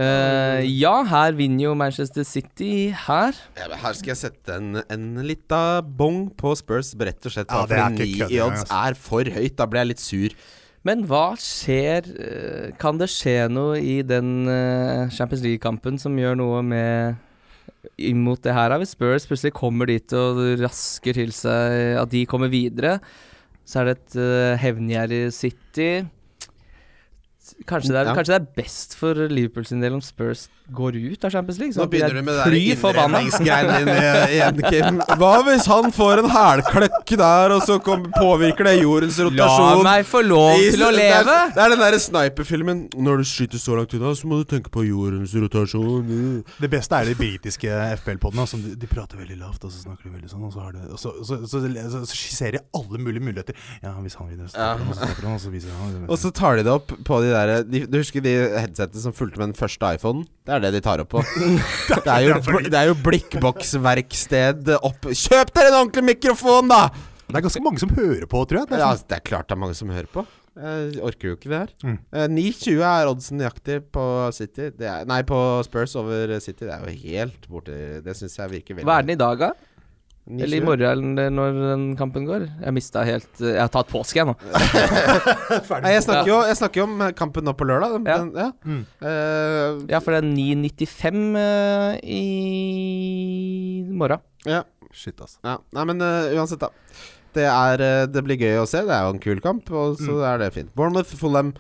[SPEAKER 2] Eh, ja, her vinner jo Manchester City her.
[SPEAKER 3] Ja, men her skal jeg sette en, en lita bong på Spurs, rett og slett
[SPEAKER 4] Ja,
[SPEAKER 3] bare
[SPEAKER 4] det er
[SPEAKER 3] fordi
[SPEAKER 4] ikke
[SPEAKER 3] ni
[SPEAKER 4] kødd
[SPEAKER 3] i
[SPEAKER 4] engang,
[SPEAKER 3] odds er for høyt. Da blir jeg litt sur.
[SPEAKER 2] Men hva skjer eh, Kan det skje noe i den eh, Champions League-kampen som gjør noe med imot det her? da? Hvis Spurs plutselig kommer dit og rasker til seg at de kommer videre, så er det et eh, hevngjerrig City. Kanskje det, er,
[SPEAKER 3] Ja.
[SPEAKER 2] kanskje det er best for Liverpool sin del om Spurs går ut av Champions League?
[SPEAKER 3] Nå
[SPEAKER 2] sånn at de
[SPEAKER 3] begynner
[SPEAKER 2] er
[SPEAKER 3] du med det
[SPEAKER 2] fly forbanna.
[SPEAKER 3] innredningsgreiene dine eh, igjen, Kim. Hva hvis han får en hælkløkk der, og så kom, påvirker det jordens
[SPEAKER 2] *laughs* La
[SPEAKER 3] rotasjon?
[SPEAKER 2] meg få lov
[SPEAKER 3] I-
[SPEAKER 2] til å
[SPEAKER 3] det er-
[SPEAKER 2] leve!
[SPEAKER 3] Det er den derre sniperfilmen. Når du skyter så langt unna, så må du tenke på jordens rotasjon.
[SPEAKER 4] Det beste er de britiske FPL-podene. som De, de prater veldig lavt, og så snakker de veldig sånn. Og så, har de, og så, så, så, så, så skisserer de alle mulige muligheter. Ja, hvis han vil det, så
[SPEAKER 3] Ja.
[SPEAKER 4] stopper han, og så stopper han, og så viser han
[SPEAKER 3] Og så tar de det opp på de derre de, Du husker de headsetene som fulgte med den første iPhonen? Det er det de tar opp på. Det er jo, bl- det er jo blikkboksverksted opp Kjøp dere en ordentlig mikrofon, da!
[SPEAKER 4] Det er ganske mange som hører på, tror jeg. Det er
[SPEAKER 3] Ja,
[SPEAKER 4] sånn-
[SPEAKER 3] altså, det er klart det er mange som hører på. Jeg orker jo ikke det her.
[SPEAKER 4] Mm.
[SPEAKER 3] Eh, 9,20 er oddsen nøyaktig på City. Det er, nei, på Spurs over City. Det er jo helt borti Det syns jeg virker veldig
[SPEAKER 2] Hva er den i dag, da?
[SPEAKER 3] 9,20.
[SPEAKER 2] Eller i morgen eller når den kampen går? Jeg mista helt eh, Jeg har tatt påske, jeg nå.
[SPEAKER 3] Nei, jeg snakker, jo, jeg snakker jo om kampen nå på lørdag.
[SPEAKER 2] Ja.
[SPEAKER 3] Men, ja.
[SPEAKER 4] Mm.
[SPEAKER 3] Eh,
[SPEAKER 2] Ja, for det er 9.95 eh, i morgen.
[SPEAKER 3] ja.
[SPEAKER 4] Shit, ass.
[SPEAKER 3] ja. Nei, men eh, uansett, da. Det, er, eh, det blir gøy å se. Det er jo en kul kamp, og så er det fint. Bournemouth-Fulham.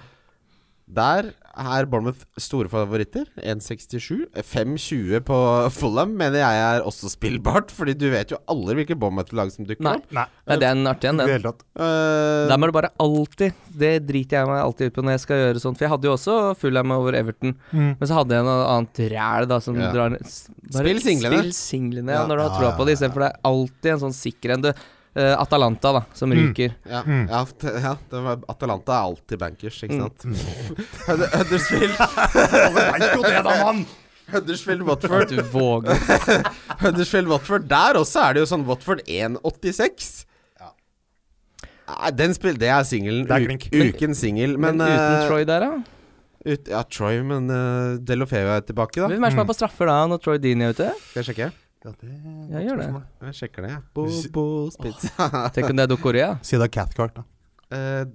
[SPEAKER 3] Der er Bournemouth store favoritter. 1,67. 5,20 på Fulham mener jeg er også spillbart, Fordi du vet jo aldri hvilke Bournemouth-lag som dukker
[SPEAKER 2] Nei.
[SPEAKER 3] opp.
[SPEAKER 4] Nei,
[SPEAKER 2] Nei, det er en artig en,
[SPEAKER 4] i det
[SPEAKER 2] den.
[SPEAKER 4] hele tatt.
[SPEAKER 3] Eh,
[SPEAKER 2] Der må du bare alltid Det driter jeg meg alltid ut på når jeg skal gjøre sånt. For jeg hadde jo også Fulham over Everton.
[SPEAKER 4] *laughs* Mm.
[SPEAKER 2] Men så hadde jeg noe annet ræl da som
[SPEAKER 3] Ja.
[SPEAKER 2] drar ned s- bare
[SPEAKER 3] Spill singlene.
[SPEAKER 2] Spill singlene ja,
[SPEAKER 3] Ja.
[SPEAKER 2] når du har
[SPEAKER 4] Ja,
[SPEAKER 2] troa
[SPEAKER 4] ja,
[SPEAKER 2] på det, istedenfor det er alltid en sånn sikker en. Du, eh, Atalanta, da, som
[SPEAKER 4] Mm.
[SPEAKER 2] ryker.
[SPEAKER 3] ja,
[SPEAKER 4] Mm.
[SPEAKER 3] ja, t- ja det var, Atalanta er alltid bankers, ikke sant? *laughs* Hud- Huddersfield, *laughs* Huddersfield Watford.
[SPEAKER 2] At du våger.
[SPEAKER 3] Huddersfield Watford. Der også er det jo sånn Watford 1,86.
[SPEAKER 4] Ja.
[SPEAKER 3] Nei, den spill, det er singelen.
[SPEAKER 4] Det er
[SPEAKER 3] Uk-
[SPEAKER 4] klink.
[SPEAKER 3] Ukens singel.
[SPEAKER 2] Men,
[SPEAKER 3] Men,
[SPEAKER 2] uten
[SPEAKER 3] eh,
[SPEAKER 2] Troy der, da?
[SPEAKER 3] ut- ja, Troy, men uh, Delofeo er tilbake, da.
[SPEAKER 2] Hvem er det som er på straffer da når Troy Dean er ute?
[SPEAKER 3] Skal jeg sjekke?
[SPEAKER 4] Ja, det
[SPEAKER 2] Ja, gjør det.
[SPEAKER 3] Jeg sjekker det, jeg.
[SPEAKER 4] Hvis-
[SPEAKER 3] Bobo Spitz.
[SPEAKER 2] Tenk om det er Dokorea.
[SPEAKER 4] Si det er Cathcart, da.
[SPEAKER 3] Eh,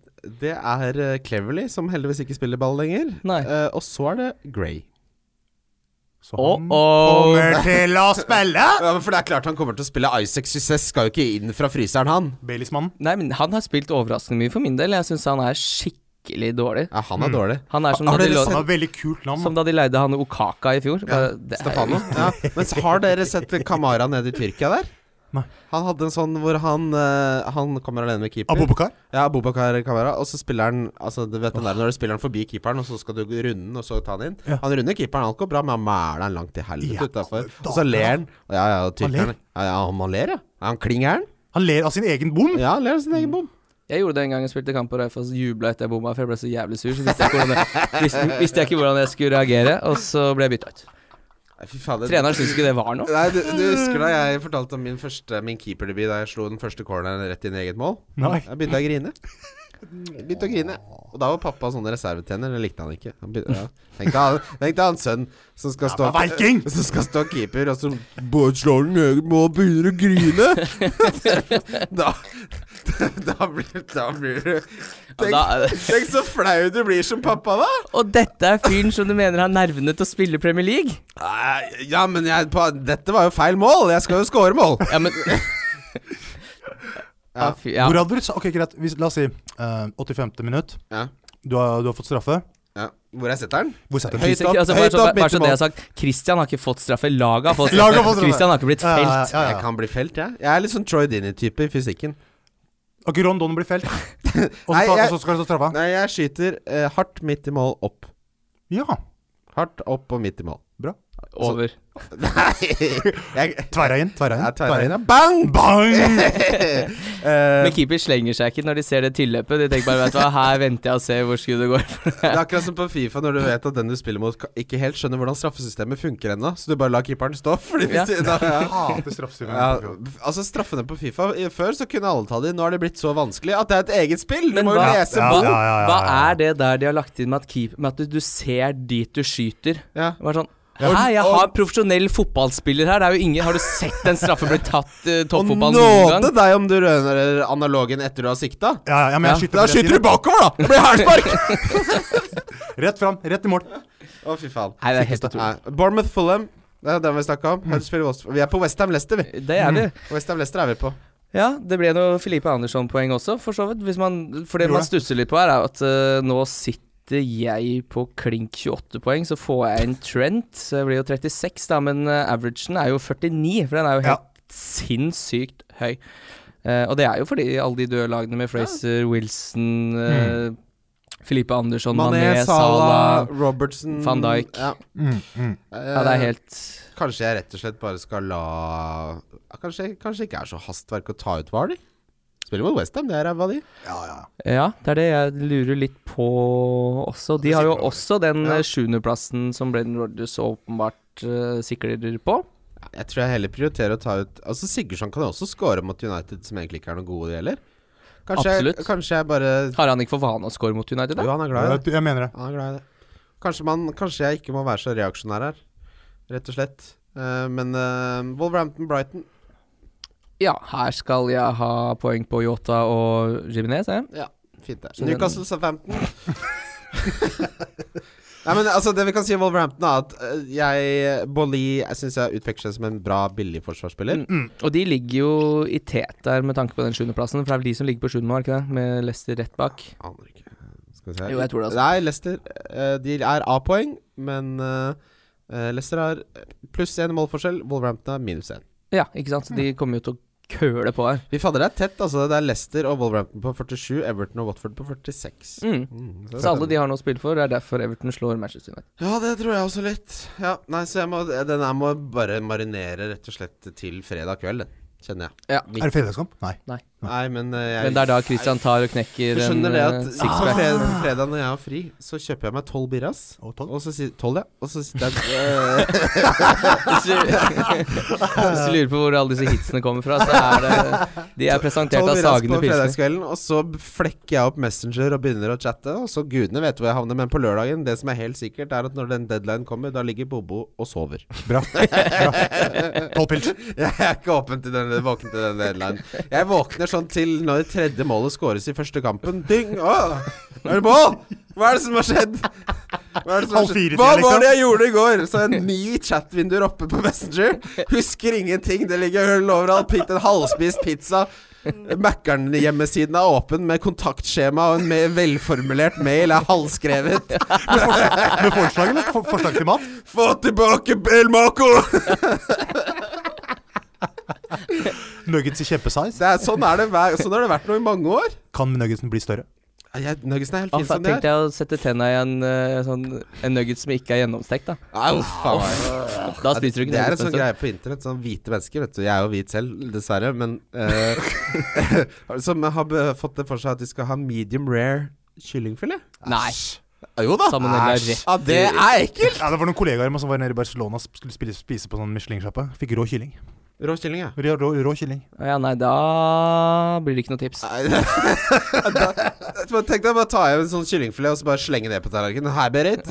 [SPEAKER 3] det er eh, Cleverly, som heldigvis ikke spiller ball lenger.
[SPEAKER 2] Nei.
[SPEAKER 3] Eh, og så er det Gray.
[SPEAKER 4] Så
[SPEAKER 2] Oh,
[SPEAKER 4] han
[SPEAKER 2] oh.
[SPEAKER 4] kommer til å spille!
[SPEAKER 2] Ah.
[SPEAKER 3] Ja, men for det er klart han kommer til å spille Isaac Success. Skal jo ikke inn fra fryseren, han.
[SPEAKER 4] Baileysmannen.
[SPEAKER 2] Nei, men han har spilt overraskende mye for min del. Jeg syns han er skikkelig dårlig.
[SPEAKER 3] Ja, han er dårlig.
[SPEAKER 2] Han er som,
[SPEAKER 3] Har
[SPEAKER 2] da de,
[SPEAKER 3] dere
[SPEAKER 2] lå-
[SPEAKER 4] Han har veldig kult
[SPEAKER 2] som
[SPEAKER 4] navn.
[SPEAKER 2] da de leide han
[SPEAKER 3] *laughs*
[SPEAKER 2] Okaka i fjor. Bare, det er jo-
[SPEAKER 3] Stefano. Ja. Men har dere sett Kamara nede i Tyrkia der?
[SPEAKER 4] Nei.
[SPEAKER 3] Han hadde en sånn hvor han, eh, han kommer alene med keeper.
[SPEAKER 4] Abubakar?
[SPEAKER 3] Ja, Abubakar Kamara. Og så spiller han Altså, du vet den der når du spiller han forbi keeperen, og så skal du runde den, og så ta den inn.
[SPEAKER 4] Ja.
[SPEAKER 3] Han runder keeperen, alt går bra, men han mæler den langt til helvete
[SPEAKER 4] Ja,
[SPEAKER 3] utafor.
[SPEAKER 4] da-
[SPEAKER 3] Og så ler han. Ja, ja, og
[SPEAKER 4] Han ler?
[SPEAKER 3] tyrkeren ja, ja, han- han ler, ja. Er han kling gæren?
[SPEAKER 4] Han ler av sin egen bom!
[SPEAKER 3] Ja, han ler av sin egen bom.
[SPEAKER 2] Jeg gjorde det en gang jeg spilte kamp på Raufoss, jubla etter jeg bomma, for jeg ble så jævlig sur. Så visste jeg ikke hvordan jeg, visste, visste jeg, ikke hvordan jeg skulle reagere, og så ble jeg bytta ut.
[SPEAKER 3] Nei, Fy fader.
[SPEAKER 2] Treneren syntes ikke det var noe.
[SPEAKER 3] Nei, du, du husker da jeg fortalte om min første Min keeperdebut da jeg slo den første corneren rett inn i eget mål?
[SPEAKER 4] Nei.
[SPEAKER 3] Jeg begynte å grine. Jeg begynte å grine Og da var pappa sånn reservetjener. Det likte han ikke. Han begynte, ja. Tenk deg han, tenk deg han sønn som skal stå
[SPEAKER 4] men Viking!
[SPEAKER 3] *laughs* Som skal stå keeper, og så bare slår den i eget mål og begynner å grine!
[SPEAKER 4] *laughs*
[SPEAKER 3] da, da blir Da blir du tenk,
[SPEAKER 2] da-
[SPEAKER 3] tenk så flau du blir som pappa, da!
[SPEAKER 2] Og dette er fyren som du mener har nervene til å spille Premier League?
[SPEAKER 3] Nei, Ja, men jeg, pa, dette var jo feil mål! Jeg skal jo score mål!
[SPEAKER 2] Ja, men ja, fy, ja.
[SPEAKER 4] Hvor hadde du sa- Ok, greit. Hvis, la oss si eh, 85. minutt.
[SPEAKER 3] Ja.
[SPEAKER 4] Du har, du har fått straffe.
[SPEAKER 3] Ja. Hvor jeg setter den?
[SPEAKER 4] Hvor setter du den?
[SPEAKER 3] Høyt opp,
[SPEAKER 2] altså, bare
[SPEAKER 3] høyt
[SPEAKER 2] så,
[SPEAKER 3] opp
[SPEAKER 2] bare så det jeg har
[SPEAKER 3] midtmål.
[SPEAKER 2] sagt, Christian har ikke fått straffe. Laget har fått
[SPEAKER 4] Laget har
[SPEAKER 2] straffe.
[SPEAKER 4] fått straffe.
[SPEAKER 2] Christian har ikke blitt
[SPEAKER 4] Ja, Eh, ja,
[SPEAKER 2] felt.
[SPEAKER 4] ja, ja.
[SPEAKER 3] Jeg kan bli felt, jeg. Jeg er litt sånn Troy Dinner-type i fysikken.
[SPEAKER 4] Ok, Ron Don blir felt. Og så,
[SPEAKER 3] Nei,
[SPEAKER 4] ta,
[SPEAKER 3] jeg-
[SPEAKER 4] og så skal du stå straffa.
[SPEAKER 3] Nei, jeg skyter eh, hardt midt i mål opp.
[SPEAKER 4] Ja.
[SPEAKER 3] Hardt opp og midt i mål. *laughs*
[SPEAKER 2] Over.
[SPEAKER 3] Nei! Jeg,
[SPEAKER 4] Tverreien. Tverreien.
[SPEAKER 3] jeg tar
[SPEAKER 4] tverreien.
[SPEAKER 3] den. Bang!
[SPEAKER 4] Bang!
[SPEAKER 3] *laughs* Eh,
[SPEAKER 2] Men keeper slenger seg ikke når de ser det tilløpet. De tenker bare vet du hva, her venter jeg og ser hvor skuddet går.
[SPEAKER 3] det er akkurat som på Fifa, når du vet at den du spiller mot, ka- ikke helt skjønner hvordan straffesystemet funker ennå, så du bare lar keeperen stå. Fordi hvis
[SPEAKER 4] *laughs*
[SPEAKER 3] da,
[SPEAKER 4] Jeg hater
[SPEAKER 3] ja,
[SPEAKER 4] straffestillinga.
[SPEAKER 3] altså Straffene på Fifa i- Før så kunne alle ta de, nå har de blitt så vanskelig at det er et eget spill! Du
[SPEAKER 2] Men
[SPEAKER 3] må jo
[SPEAKER 2] hva-
[SPEAKER 3] lese
[SPEAKER 4] Ja,
[SPEAKER 2] Hva,
[SPEAKER 3] bok!
[SPEAKER 4] ja, ja, ja,
[SPEAKER 2] hva
[SPEAKER 4] ja.
[SPEAKER 2] er det der de har lagt inn med at, keep, med at du, du ser dit du skyter?
[SPEAKER 3] Ja.
[SPEAKER 2] Det var sånn Hæ, jeg har en profesjonell fotballspiller her. Det er jo ingen Har du sett en straffe bli tatt uh,
[SPEAKER 3] Og
[SPEAKER 2] toppfotballen noen
[SPEAKER 3] nåde
[SPEAKER 2] gang?
[SPEAKER 3] deg om du røner analogen etter du har sikta.
[SPEAKER 4] Ja, ja, men jeg
[SPEAKER 2] Ja.
[SPEAKER 4] skyter rett inn.
[SPEAKER 3] bakover, da! Det blir hælspark!
[SPEAKER 4] *laughs* Rett fram, rett i mål.
[SPEAKER 3] Å, fy faen.
[SPEAKER 2] Nei, det er helt utrolig.
[SPEAKER 3] Nei, Bournemouth Fulham. Det er den vi snakka om. Huddersfield, Wolves- Vi er på Westham Leicester, vi.
[SPEAKER 2] Det er vi.
[SPEAKER 3] Westham Leicester er vi på.
[SPEAKER 2] Ja, det ble noe Filipe Andersson-poeng også, for så vidt. Hvis man, for det
[SPEAKER 4] Gjorde
[SPEAKER 2] man
[SPEAKER 4] det.
[SPEAKER 2] stusser litt på her, er at eh, nå sitter jeg på klink 28 poeng, så får jeg en Trent. Så jeg blir jo 36, da, men eh, averagen er jo 49, for den er jo
[SPEAKER 4] Ja.
[SPEAKER 2] helt sinnssykt høy. Eh, og det er jo fordi alle de døde lagene med Fraser, Wilson, eh, Filipe Andersson, Mané, Salah
[SPEAKER 3] Robertson
[SPEAKER 2] Van Dijk.
[SPEAKER 3] Ja.
[SPEAKER 4] Mm, mm.
[SPEAKER 2] Ja, det er helt
[SPEAKER 3] Eh, Kanskje jeg rett og slett bare skal la ja, Kanskje, kanskje ikke er så hastverk å ta ut Vardy. Spiller mot Westham, det er ræva de.
[SPEAKER 4] Ja, ja.
[SPEAKER 2] Ja, det er det jeg lurer litt på også. De har jo også den
[SPEAKER 3] Ja.
[SPEAKER 2] eh, sjuendeplassen som Brendan Rodgers åpenbart eh, sikrer på.
[SPEAKER 3] Ja, Jeg tror jeg heller prioriterer å ta ut Altså Sigurdsson kan jo også score mot United, som egentlig ikke er noe gode, de heller. Kanskje, jeg-
[SPEAKER 2] Absolutt.
[SPEAKER 3] kanskje jeg bare
[SPEAKER 2] Har han ikke for vane å score mot United?
[SPEAKER 3] Jo,
[SPEAKER 2] Da?
[SPEAKER 3] han er glad i det.
[SPEAKER 4] Jeg, jeg mener det.
[SPEAKER 3] Han er glad i det. Kanskje, man, kanskje jeg ikke må være så reaksjonær her, rett og slett. Eh, men eh, Wolverhampton-Brighton
[SPEAKER 2] Ja, her skal jeg ha poeng på Yota og Jiminez. Eh?
[SPEAKER 3] Ja, fint det.
[SPEAKER 2] Så den-
[SPEAKER 3] Newcastle Southampton. *laughs* Nei, men altså Det vi kan si om Wolverhampton, er at eh, jeg Bolly jeg syns jeg utpeker seg som en bra, billig forsvarsspiller.
[SPEAKER 2] Og de ligger jo i tet der med tanke på den sjuendeplassen, for det er vel de som ligger på sjuende nå, er det ikke det? Med Leicester rett bak.
[SPEAKER 3] Aner ikke. Skal vi se
[SPEAKER 2] Jo, jeg tror det, altså.
[SPEAKER 3] Nei, Leicester eh, De er A-poeng, men eh, eh, Leicester har pluss én målforskjell. Wolverhampton har minus én.
[SPEAKER 2] Ja, ikke sant. Så de
[SPEAKER 3] Mm.
[SPEAKER 2] kommer jo til å køle på her.
[SPEAKER 3] Vi fader det er tett, altså. Det er Leicester og Wolverhampton på 47, Everton og Watford på 46.
[SPEAKER 2] Mm.
[SPEAKER 3] Mm,
[SPEAKER 2] Så alle de har noe å spille for. Det er derfor Everton slår Manchester United.
[SPEAKER 3] Ja, det tror jeg også litt. Ja, nei, så jeg må, den her må bare marinere rett og slett til fredag kveld, den, kjenner jeg.
[SPEAKER 2] Ja.
[SPEAKER 4] Er det fredagskamp? Nei.
[SPEAKER 3] Nei, men eh, jeg
[SPEAKER 2] Men det er da Christian tar og knekker
[SPEAKER 3] Du
[SPEAKER 2] en
[SPEAKER 3] skjønner det
[SPEAKER 2] eh,
[SPEAKER 3] *laughs* at på
[SPEAKER 2] sixpack.
[SPEAKER 3] fredag,
[SPEAKER 2] *laughs*
[SPEAKER 3] på fredag når jeg har fri, så kjøper jeg meg tolv birras.
[SPEAKER 4] Og tolv?
[SPEAKER 3] Og så sier Tolv, ja. Og så sitter
[SPEAKER 2] *laughs*
[SPEAKER 3] jeg eh,
[SPEAKER 2] Hvis du *laughs* hvis du lurer på hvor alle disse hitsene kommer fra, så er det De er presentert av
[SPEAKER 3] tolv birras på
[SPEAKER 2] Sagene Pilsner.
[SPEAKER 3] fredagskvelden, og så flekker jeg opp Messenger og begynner å chatte, og så gudene vet hvor jeg havner, men på lørdagen, det som er helt sikkert, er at når den deadline kommer, da ligger Bobo og sover.
[SPEAKER 4] Bra. *laughs* Bra. Tolv pils.
[SPEAKER 3] Jeg er ikke åpen til den, våken til den deadline. Jeg våkner sånn til når tredje målet skåres i første kampen. Ding! Åh, er det mål? Hva er det som har skjedd? Hva, er det som har
[SPEAKER 4] Halv
[SPEAKER 3] skjedd?
[SPEAKER 4] fire-tida,
[SPEAKER 3] Hva var
[SPEAKER 4] liksom.
[SPEAKER 3] det jeg gjorde i går? Så er det ni chatvinduer oppe på Messenger. Husker ingenting. Det ligger hull overalt. Pitt en halvspist pizza. Mækkern-hjemmesiden er åpen med kontaktskjema, og en mer velformulert mail er halvskrevet.
[SPEAKER 4] Med forslag, eller? For, forslag til mat?
[SPEAKER 3] Få tilbake Belmaco!
[SPEAKER 4] Nuggets i kjempesize.
[SPEAKER 3] Det er, sånn, er det hver, sånn har det vært nå i mange år.
[SPEAKER 4] Kan nuggetsen bli større?
[SPEAKER 3] Jeg, Nuggetsene er helt
[SPEAKER 2] Ah,
[SPEAKER 3] fine
[SPEAKER 2] fa-
[SPEAKER 3] som de
[SPEAKER 2] tenkte
[SPEAKER 3] er.
[SPEAKER 2] jeg å sette tenna i en, eh, sånn, en nugget som ikke er gjennomstekt, da.
[SPEAKER 3] Au, faen meg.
[SPEAKER 2] Da spiser du ikke
[SPEAKER 3] Ah, det er en
[SPEAKER 2] nuggets,
[SPEAKER 3] sånn
[SPEAKER 2] men så-
[SPEAKER 3] greie på internett. Sånn hvite mennesker, vet du. Jeg er jo hvit selv, dessverre, men eh, *laughs* Som har be- fått det for seg at de skal ha medium rare kyllingfilet.
[SPEAKER 2] Nei.
[SPEAKER 3] Ja, Jo da.
[SPEAKER 2] Salmonella
[SPEAKER 3] Æsj.
[SPEAKER 2] rett
[SPEAKER 3] Ja, det er ekkelt!
[SPEAKER 4] Ja, det var noen kollegaer av meg som var nede i Barcelona som skulle spise, spise på sånn Michelin-sjappe. Fikk rå kylling.
[SPEAKER 3] Rå kylling, ja.
[SPEAKER 4] Rå, rå, rå kylling.
[SPEAKER 2] Å Ja, nei, da blir det ikke noe tips.
[SPEAKER 3] *laughs* Bare Tenk deg bare ta hjem en sånn kyllingfilet og så bare slenge det på tallerkenen. Her, Berit.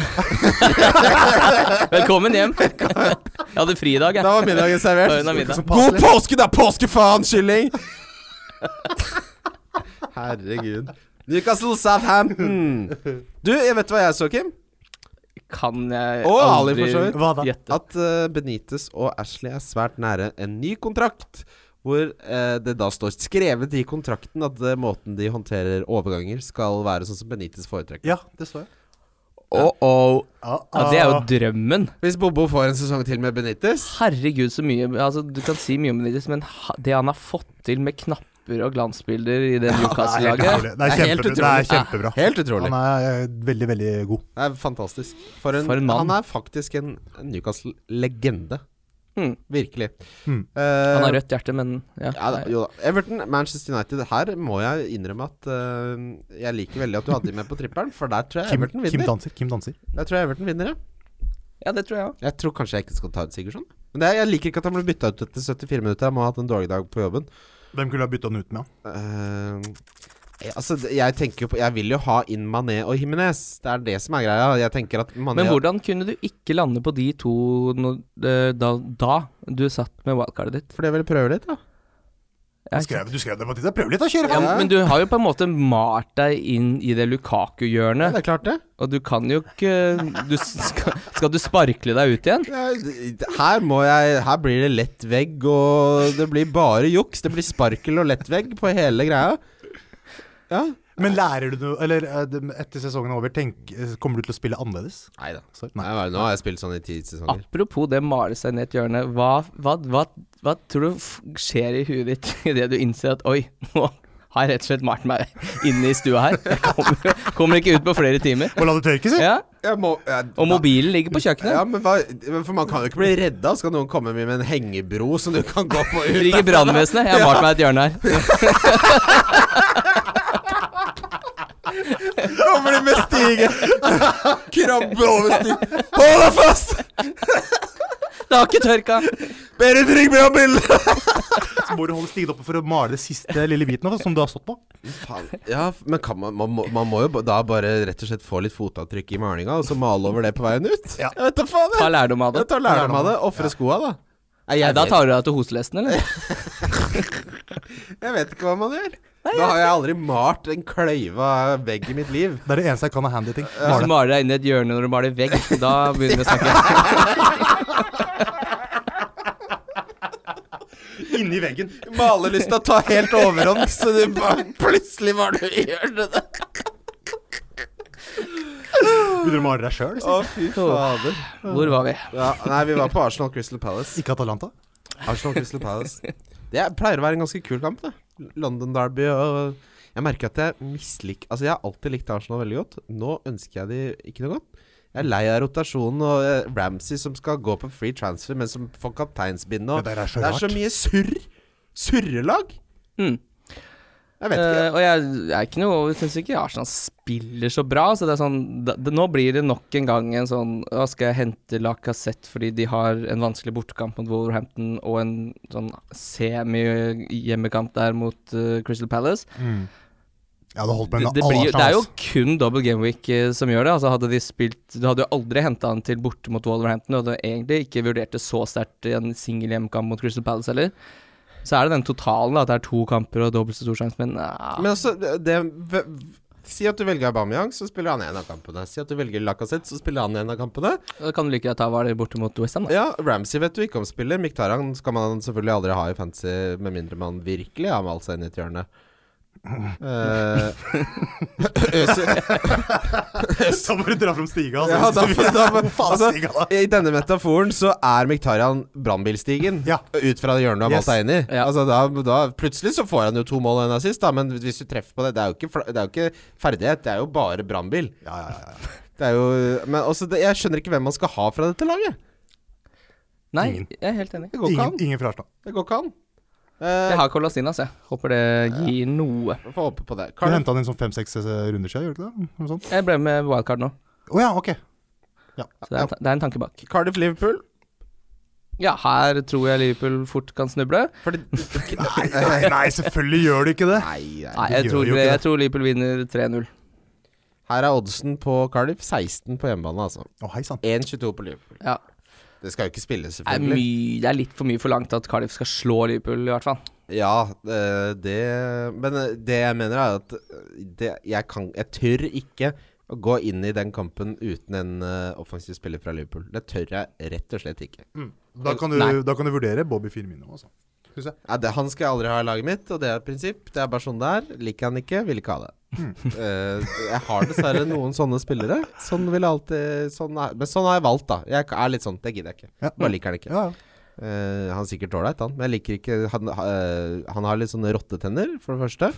[SPEAKER 2] Velkommen hjem. Jeg hadde fri i dag, jeg.
[SPEAKER 3] Da var
[SPEAKER 2] Da var
[SPEAKER 3] middagen
[SPEAKER 2] det
[SPEAKER 3] servert.
[SPEAKER 2] middag.
[SPEAKER 3] God påske, da, påskefaen, kylling! Herregud. Newcastle Southampton. Du, jeg vet hva jeg så, Kim?
[SPEAKER 2] Kan jeg
[SPEAKER 3] Og Ali,
[SPEAKER 2] aldri
[SPEAKER 3] for så vidt.
[SPEAKER 4] Hva da?
[SPEAKER 2] gjette.
[SPEAKER 3] At eh, Benitez og Ashley er svært nære en ny kontrakt. Hvor eh, det da står skrevet i kontrakten at eh, måten de håndterer overganger, skal være sånn som Benitez foretrekker.
[SPEAKER 4] Ja, det så jeg.
[SPEAKER 3] Oh-oh.
[SPEAKER 2] Ja, det er
[SPEAKER 3] Ah.
[SPEAKER 2] jo
[SPEAKER 4] ah.
[SPEAKER 2] drømmen.
[SPEAKER 3] Hvis Bobo får en sesong til med Benitez
[SPEAKER 2] Herregud, så mye Altså, du kan si mye om Benitez, men ha- det han har fått til med knapper og glansbilder i det
[SPEAKER 4] helt
[SPEAKER 2] Newcastle-laget
[SPEAKER 4] utrolig. Det er,
[SPEAKER 3] helt
[SPEAKER 4] kjempe, det er
[SPEAKER 3] utrolig.
[SPEAKER 4] kjempebra.
[SPEAKER 3] Helt utrolig.
[SPEAKER 4] Han er eh, veldig, veldig god.
[SPEAKER 3] Det er fantastisk. For en,
[SPEAKER 2] For en mann.
[SPEAKER 3] Han er faktisk en Newcastle-legende.
[SPEAKER 2] Mm.
[SPEAKER 3] Virkelig. Eh,
[SPEAKER 4] Mm.
[SPEAKER 2] Han har rødt hjerte, men ja.
[SPEAKER 3] Ja, da,
[SPEAKER 2] nei.
[SPEAKER 3] jo da. Everton, Manchester United. Her må jeg innrømme at eh, jeg liker veldig at du hadde de med på trippelen, for der tror jeg
[SPEAKER 4] Kim,
[SPEAKER 3] Everton
[SPEAKER 4] Kim
[SPEAKER 3] vinner.
[SPEAKER 4] danser. Kim danser.
[SPEAKER 3] Jeg tror jeg Everton vinner, ja.
[SPEAKER 2] ja, det tror jeg òg.
[SPEAKER 3] Jeg tror kanskje jeg ikke skal ta ut Sigurdsson. Men det, er- jeg liker ikke at han ble bytta ut etter 74 minutter. Han må ha hatt en dårlig dag på jobben.
[SPEAKER 4] Hvem kunne ha bytta den ut med? han?
[SPEAKER 3] Eh, altså, det- jeg tenker jo på Jeg vil jo ha inn Mané og Himinez. Det er det som er greia. Jeg tenker at Mané
[SPEAKER 2] Men hvordan kunne du ikke lande på de to når, eh, da, da du satt med wildcardet ditt?
[SPEAKER 3] Fordi jeg ville prøve litt, da.
[SPEAKER 2] Ja,
[SPEAKER 4] Du skrev, du skrev det på tide. Prøv litt, da. Kjøre
[SPEAKER 2] Ja,
[SPEAKER 4] fram.
[SPEAKER 3] Ja.
[SPEAKER 2] men du har jo på en måte malt deg inn i det
[SPEAKER 3] Ja,
[SPEAKER 2] Lukaku-hjørnet,
[SPEAKER 3] det er klart, det.
[SPEAKER 2] og du kan jo ikke du, skal, skal du sparkle deg ut igjen?
[SPEAKER 3] Ja, d- Her, må jeg, her blir det lett vegg, og det blir bare juks. Det blir sparkel og lett vegg på hele greia. Ja.
[SPEAKER 4] Men lærer du noe Eller eh, det- etter sesongen er over, tenk, eh, kommer du til å spille annerledes?
[SPEAKER 3] Nei da.
[SPEAKER 4] Sorry.
[SPEAKER 3] Nei,
[SPEAKER 4] Nei.
[SPEAKER 3] bare- nå har jeg spilt sånn i ti sesonger.
[SPEAKER 2] Apropos det male seg ned i et hjørne, hva, hva, hva, hva tror du f- skjer i huet ditt *laughs* idet du innser at oi, nå har jeg rett og slett malt meg inne i stua her. Jeg kommer, kommer ikke ut på flere
[SPEAKER 3] *laughs*
[SPEAKER 2] timer.
[SPEAKER 4] Og la det tørke, si!
[SPEAKER 2] Ja,
[SPEAKER 3] Jeg må, jeg,
[SPEAKER 2] Og mobilen ligger på
[SPEAKER 3] ja,
[SPEAKER 2] kjøkkenet.
[SPEAKER 3] men hva, men for man kan jo ikke bli redda. Skal noen komme med en hengebro som du kan gå *laughs* på ut
[SPEAKER 2] Ringer brannvesenet. Jeg har malt meg et hjørne her.
[SPEAKER 3] *laughs* Kommer de med stige? *laughs* Krabbe over stigen. Hold deg fast!
[SPEAKER 2] *laughs* Det har ikke tørka.
[SPEAKER 3] Berit, ring meg om bildet!
[SPEAKER 4] Så må du holde stigen oppe for å male siste lille biten av det, som du har stått på.
[SPEAKER 3] Faen. Ja, men kan man, man, må, man må jo ba- da bare rett og slett få litt fotavtrykk i malinga, og så male over det på veien ut.
[SPEAKER 4] Ja.
[SPEAKER 3] Jeg vet da faen, jeg.
[SPEAKER 2] Ta lærdom av det.
[SPEAKER 3] Jeg tar lærdom av det. Ofre skoa, da. Nei,
[SPEAKER 2] Nei,
[SPEAKER 3] jeg,
[SPEAKER 2] da
[SPEAKER 3] vet,
[SPEAKER 2] tar du deg til hoselesten, eller?
[SPEAKER 3] jeg vet ikke hva man gjør. Da har jeg aldri malt en kløyva vegg i mitt liv.
[SPEAKER 4] Det er det eneste jeg kan av handy ting.
[SPEAKER 2] Hvis du
[SPEAKER 4] Male.
[SPEAKER 2] maler deg inn i et hjørne når du maler vegg, da begynner vi å snakke.
[SPEAKER 3] *laughs*
[SPEAKER 4] Inni veggen.
[SPEAKER 3] Malelysta tar helt overhånd, så du bare plutselig var du i hjørnet der.
[SPEAKER 4] Begynner å male deg sjøl?
[SPEAKER 3] Å, fy fader.
[SPEAKER 2] Hvor var vi?
[SPEAKER 3] Ja, nei, vi var på Arsenal Crystal Palace.
[SPEAKER 4] Ikke Atalanta?
[SPEAKER 3] Arsenal Crystal Palace. Det er- pleier å være en ganske kul kamp, det. London Derby og Jeg merker at jeg misliker Altså, jeg har alltid likt Arsenal veldig godt. Nå ønsker jeg de ikke noe godt. Jeg er lei av rotasjonen og eh, Ramsey som skal gå på free transfer, men som får kapteinsbindet og
[SPEAKER 4] Det der er så
[SPEAKER 3] Det er så
[SPEAKER 4] rart.
[SPEAKER 3] mye surr. Surrelag.
[SPEAKER 2] Mm.
[SPEAKER 3] Jeg vet
[SPEAKER 2] Eh,
[SPEAKER 3] ikke.
[SPEAKER 2] og jeg, jeg er ikke noe Jeg syns ikke Arsenal spiller så bra. Så det er sånn da, det, Nå blir det nok en gang en sånn Å, skal jeg hente Lacassette fordi de har en vanskelig bortekamp mot Wolverhampton og en sånn semi-hjemmekamp der mot eh, Crystal Palace?
[SPEAKER 4] Jeg hadde holdt på
[SPEAKER 2] Det,
[SPEAKER 4] med
[SPEAKER 2] det,
[SPEAKER 4] all
[SPEAKER 2] blir, det er jo
[SPEAKER 4] *laughs* Arsenal.
[SPEAKER 2] kun double gameweek eh, som gjør det. Altså hadde de spilt Du hadde jo aldri henta han til borte mot Wolverhampton, og hadde egentlig ikke vurdert det så sterkt i en singel hjemmekamp mot Crystal Palace heller. Så er det den totalen, da, at det er to kamper og dobbelt så stor sjanse, men ah.
[SPEAKER 3] Men altså, det, det Si at du velger Aubameyang, så spiller han en av kampene. Si at du velger Lacassette, så spiller han en av kampene.
[SPEAKER 2] Da kan du like gjerne ta Hvaler borte mot
[SPEAKER 4] *laughs*
[SPEAKER 2] Westham, da.
[SPEAKER 3] Ja, Ramsey vet du ikke om spiller. Mkhitaryan skal man selvfølgelig aldri ha i fantasy, med mindre man virkelig har malt seg inn i et hjørne. Eh, *laughs* Øsil
[SPEAKER 4] Da må du dra fram stiga. *laughs* Altså.
[SPEAKER 3] Ja, da, da,
[SPEAKER 4] faen
[SPEAKER 3] altså,
[SPEAKER 4] stiga da.
[SPEAKER 3] I denne metaforen så er Miktarian brannbilstigen
[SPEAKER 4] Ja.
[SPEAKER 3] ut fra det hjørnet du har
[SPEAKER 4] Yes.
[SPEAKER 3] malt deg inn i.
[SPEAKER 2] Ja.
[SPEAKER 3] Altså, da, da, plutselig så får han jo to mål og en assist, da, men hvis du treffer på det Det er jo ikke, fla- det er jo ikke ferdighet, det er jo bare brannbil.
[SPEAKER 4] Ja, ja, ja, ja.
[SPEAKER 3] Det er jo Men også, det, jeg skjønner ikke hvem man skal ha fra dette laget.
[SPEAKER 2] Nei,
[SPEAKER 4] Ingen.
[SPEAKER 2] jeg er helt enig.
[SPEAKER 3] Det går ikke
[SPEAKER 4] Ingen,
[SPEAKER 3] an.
[SPEAKER 4] ingen fra Arsenal.
[SPEAKER 3] Det går ikke an. Eh,
[SPEAKER 2] Jeg har Kolasinas, jeg. Håper det gir noe.
[SPEAKER 3] Får håpe på det.
[SPEAKER 4] Du
[SPEAKER 3] Cardiff-
[SPEAKER 4] henta han inn sånn fem-seks runder siden, gjorde du ikke det? Noe sånt.
[SPEAKER 2] Jeg ble med wildcard nå,
[SPEAKER 4] Å ja, ok.
[SPEAKER 2] så det er, en ta- det er en tanke bak.
[SPEAKER 3] Cardiff-Liverpool.
[SPEAKER 2] Ja, her tror jeg Liverpool fort kan snuble.
[SPEAKER 3] Fordi
[SPEAKER 4] Nei, nei, nei, selvfølgelig gjør du ikke det.
[SPEAKER 3] Nei, nei.
[SPEAKER 2] Nei,
[SPEAKER 4] de
[SPEAKER 2] jeg
[SPEAKER 4] gjør
[SPEAKER 2] tror,
[SPEAKER 4] jo ikke
[SPEAKER 2] jeg
[SPEAKER 4] det.
[SPEAKER 2] tror Liverpool vinner 3-0.
[SPEAKER 3] Her er oddsen på Cardiff 16 på hjemmebane, altså.
[SPEAKER 4] Å, hei sann.
[SPEAKER 3] 1,22 på Liverpool.
[SPEAKER 2] Ja.
[SPEAKER 3] Det skal jo ikke spilles,
[SPEAKER 2] Det er,
[SPEAKER 3] selvfølgelig.
[SPEAKER 2] mye, det er litt for mye forlangt at Cardiff skal slå Liverpool, i hvert fall.
[SPEAKER 3] Ja, eh, det Men eh, det jeg mener, er at eh, det, jeg, kan, jeg tør ikke å gå inn i den kampen uten en eh, offensiv spiller fra Liverpool. Det tør jeg rett og slett ikke.
[SPEAKER 4] Da kan du,
[SPEAKER 2] Nei.
[SPEAKER 4] da kan du vurdere Bobby Firmino, altså. Synes jeg.
[SPEAKER 3] Nei, det, han skal jeg aldri ha i laget mitt, og det er et prinsipp. Det er bare sånn det er. Liker han ikke, vil ikke ha det.
[SPEAKER 2] Hmm.
[SPEAKER 3] Eh, jeg har dessverre noen sånne spillere. Sånn vil jeg alltid sånn er, Men sånn har jeg valgt, da. Jeg er litt sånn, det gidder jeg ikke.
[SPEAKER 4] Ja.
[SPEAKER 3] Bare liker han ikke.
[SPEAKER 4] Ja, ja.
[SPEAKER 3] Eh, han er sikkert ålreit, han. Men jeg liker ikke Han, eh, han har litt sånne rottetenner, for det første.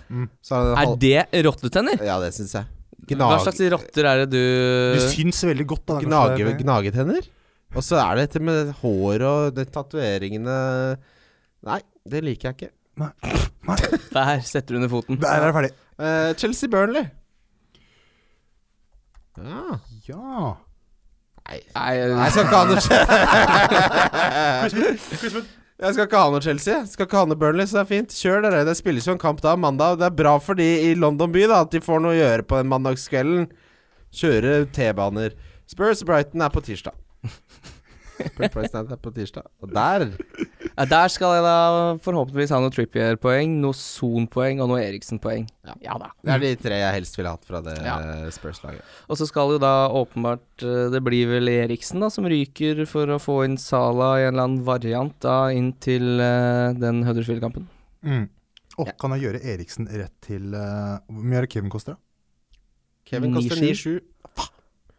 [SPEAKER 3] Så har han en
[SPEAKER 2] Er
[SPEAKER 3] hal-
[SPEAKER 2] det rottetenner?
[SPEAKER 3] Ja, det syns jeg.
[SPEAKER 2] Hmm. Hva
[SPEAKER 3] Gnag,
[SPEAKER 2] slags rotter er det
[SPEAKER 4] Du
[SPEAKER 2] du
[SPEAKER 4] syns veldig godt, da.
[SPEAKER 3] gnage,
[SPEAKER 4] kanskje.
[SPEAKER 3] gnagetenner. Og så er det dette med hår og de tatoveringene Nei, det liker jeg ikke.
[SPEAKER 4] Nei. Nei.
[SPEAKER 2] Der setter du under foten.
[SPEAKER 4] Der er det ferdig.
[SPEAKER 3] Eh, Chelsea Burnley. Ja.
[SPEAKER 4] Ja.
[SPEAKER 3] Nei.
[SPEAKER 2] Nei,
[SPEAKER 3] jeg skal ikke ha noe Chelsea. Jeg skal ikke ha noe Chelsea. Jeg Skal ikke ha noe Burnley, så det er fint. Kjør dere. Det spilles jo en kamp da mandag. og Det er bra for de i London by da at de får noe å gjøre på den mandagskvelden. Kjøre T-baner. Spurs Brighton er på tirsdag. Spurs Brighton er på tirsdag. Og der
[SPEAKER 2] ja, der skal jeg da forhåpentligvis ha noe Trippier-poeng, noe Son-poeng og noe Eriksen-poeng.
[SPEAKER 3] Ja.
[SPEAKER 2] ja da.
[SPEAKER 3] Det er de tre jeg helst ville hatt fra det
[SPEAKER 2] Ja.
[SPEAKER 3] eh, Spurs-laget.
[SPEAKER 2] Og så skal jo da åpenbart eh, Det blir vel Eriksen da som ryker for å få inn Sala i en eller annen variant da inn til eh, den Huddersfield-kampen.
[SPEAKER 4] Mm. Å, kan jeg gjøre Eriksen rett til eh, Hvor mye er det Kevin koster, da?
[SPEAKER 3] Kevin koster
[SPEAKER 2] 9-7.
[SPEAKER 3] 9-7.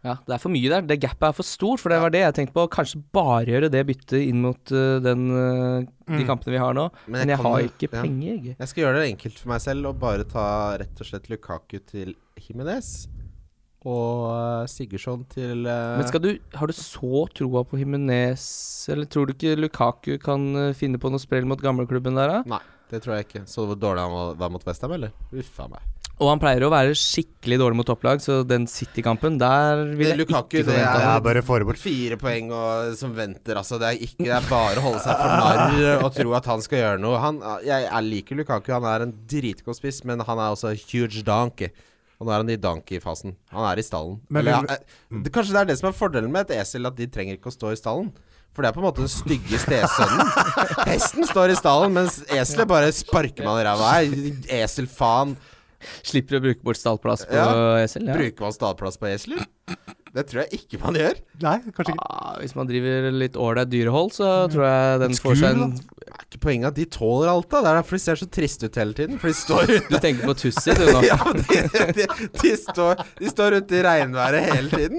[SPEAKER 2] Ja, det er for mye der. Det gapet er for stort, for det var det jeg tenkte på. Kanskje bare gjøre det byttet inn mot eh, den, eh, de
[SPEAKER 4] Mm.
[SPEAKER 2] kampene vi har nå. Men jeg,
[SPEAKER 3] kan
[SPEAKER 2] har
[SPEAKER 3] jo-
[SPEAKER 2] ikke
[SPEAKER 3] ja.
[SPEAKER 2] penger, jeg.
[SPEAKER 3] Jeg skal gjøre det enkelt for meg selv og bare ta rett og slett Lukaku til Jimenez. Og eh, Sigurdsson til eh,
[SPEAKER 2] Men skal du, har du så troa på Himinez, eller tror du ikke Lukaku kan eh, finne på noe sprell mot gamleklubben der, da?
[SPEAKER 3] Nei, det tror jeg ikke. Så hvor dårlig han var- var mot Westham, eller? Uffa meg.
[SPEAKER 2] Og han pleier å være skikkelig dårlig mot topplag, så den City-kampen, der vil
[SPEAKER 3] Det,
[SPEAKER 2] jeg
[SPEAKER 3] Lukaku,
[SPEAKER 2] ikke
[SPEAKER 3] det
[SPEAKER 2] forvente
[SPEAKER 3] er-
[SPEAKER 4] Det
[SPEAKER 2] noe.
[SPEAKER 4] er bare forbehold.
[SPEAKER 3] Fire poeng og, som venter, altså. Det er, ikke, det er bare å holde seg for narr og tro at han skal gjøre noe. Han, jeg, jeg liker Lukaku, han er en dritgod spiss, men han er også a huge donkey. Og nå er han i donkey-fasen. Han er i stallen.
[SPEAKER 4] Men
[SPEAKER 3] Eller,
[SPEAKER 4] vil-
[SPEAKER 3] ja, eh, det, kanskje det er det som er fordelen med et esel, at de trenger ikke å stå i stallen. For det er på en måte den stygge stesønnen. Hesten står i stallen, mens eselet bare sparker man i ræva. Hei, Eselfaen.
[SPEAKER 2] Slipper å bruke bort stallplass på
[SPEAKER 3] Ja.
[SPEAKER 2] Esel. Ja.
[SPEAKER 3] Bruker man stallplass på esler? Det tror jeg ikke man gjør.
[SPEAKER 4] Nei, kanskje ikke.
[SPEAKER 2] Ah, hvis man driver litt ålreit dyrehold, så
[SPEAKER 3] Mm.
[SPEAKER 2] tror jeg den får seg en
[SPEAKER 3] Det er ikke poenget at de tåler alt, da. Det er derfor de ser så triste ut hele tiden. For de står
[SPEAKER 2] Du
[SPEAKER 3] ute
[SPEAKER 2] tenker på Tussi, du nå.
[SPEAKER 3] *laughs* ja, de, de, de, står, de står ute i regnværet hele tiden.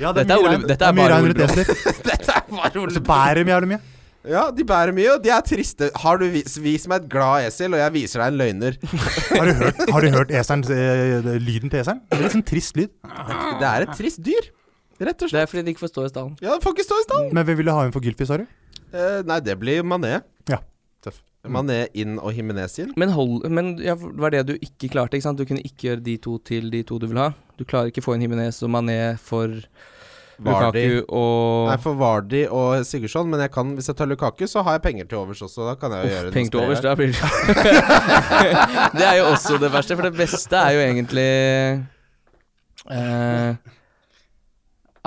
[SPEAKER 4] Ja,
[SPEAKER 2] Dette er
[SPEAKER 4] mye
[SPEAKER 2] Ole-
[SPEAKER 4] regn-
[SPEAKER 2] dette er
[SPEAKER 4] mye
[SPEAKER 2] bare
[SPEAKER 4] regn
[SPEAKER 2] Ole
[SPEAKER 4] rundt Esler.
[SPEAKER 3] Dette er bare
[SPEAKER 4] Så bærer de jævlig mye.
[SPEAKER 3] Ja, de bærer mye, og de er triste. Har du vis, vis meg et glad esel, og jeg viser deg en løgner.
[SPEAKER 4] Har du hørt, har du hørt eseren, eh, lyden til eseren? Det er litt sånn trist lyd.
[SPEAKER 3] Det er et trist dyr, rett og slett.
[SPEAKER 2] Det er fordi de ikke får stå i stallen.
[SPEAKER 3] Ja, får ikke stå i stand.
[SPEAKER 4] Men hvem ville ha inn for Gylfi, sa du?
[SPEAKER 3] Eh, nei, det blir mané.
[SPEAKER 4] Ja. Tøff.
[SPEAKER 3] Mané inn og Himinez inn.
[SPEAKER 2] Men, hold, men ja, det var det du ikke klarte, ikke sant? Du kunne ikke gjøre de to til de to du vil ha. Du klarer ikke få inn Himinez og Mané for
[SPEAKER 3] Vardy.
[SPEAKER 2] Lukaku og
[SPEAKER 3] Nei, for Vardi og Sigurdsson, men jeg kan, hvis jeg tar Lukaku, så har jeg penger til overs også. Da kan jeg jo gjøre
[SPEAKER 2] Uff,
[SPEAKER 3] noe
[SPEAKER 2] Tenk til
[SPEAKER 3] spennende.
[SPEAKER 2] overs, da blir det Det er jo *laughs* også det verste, for det beste er jo egentlig eh,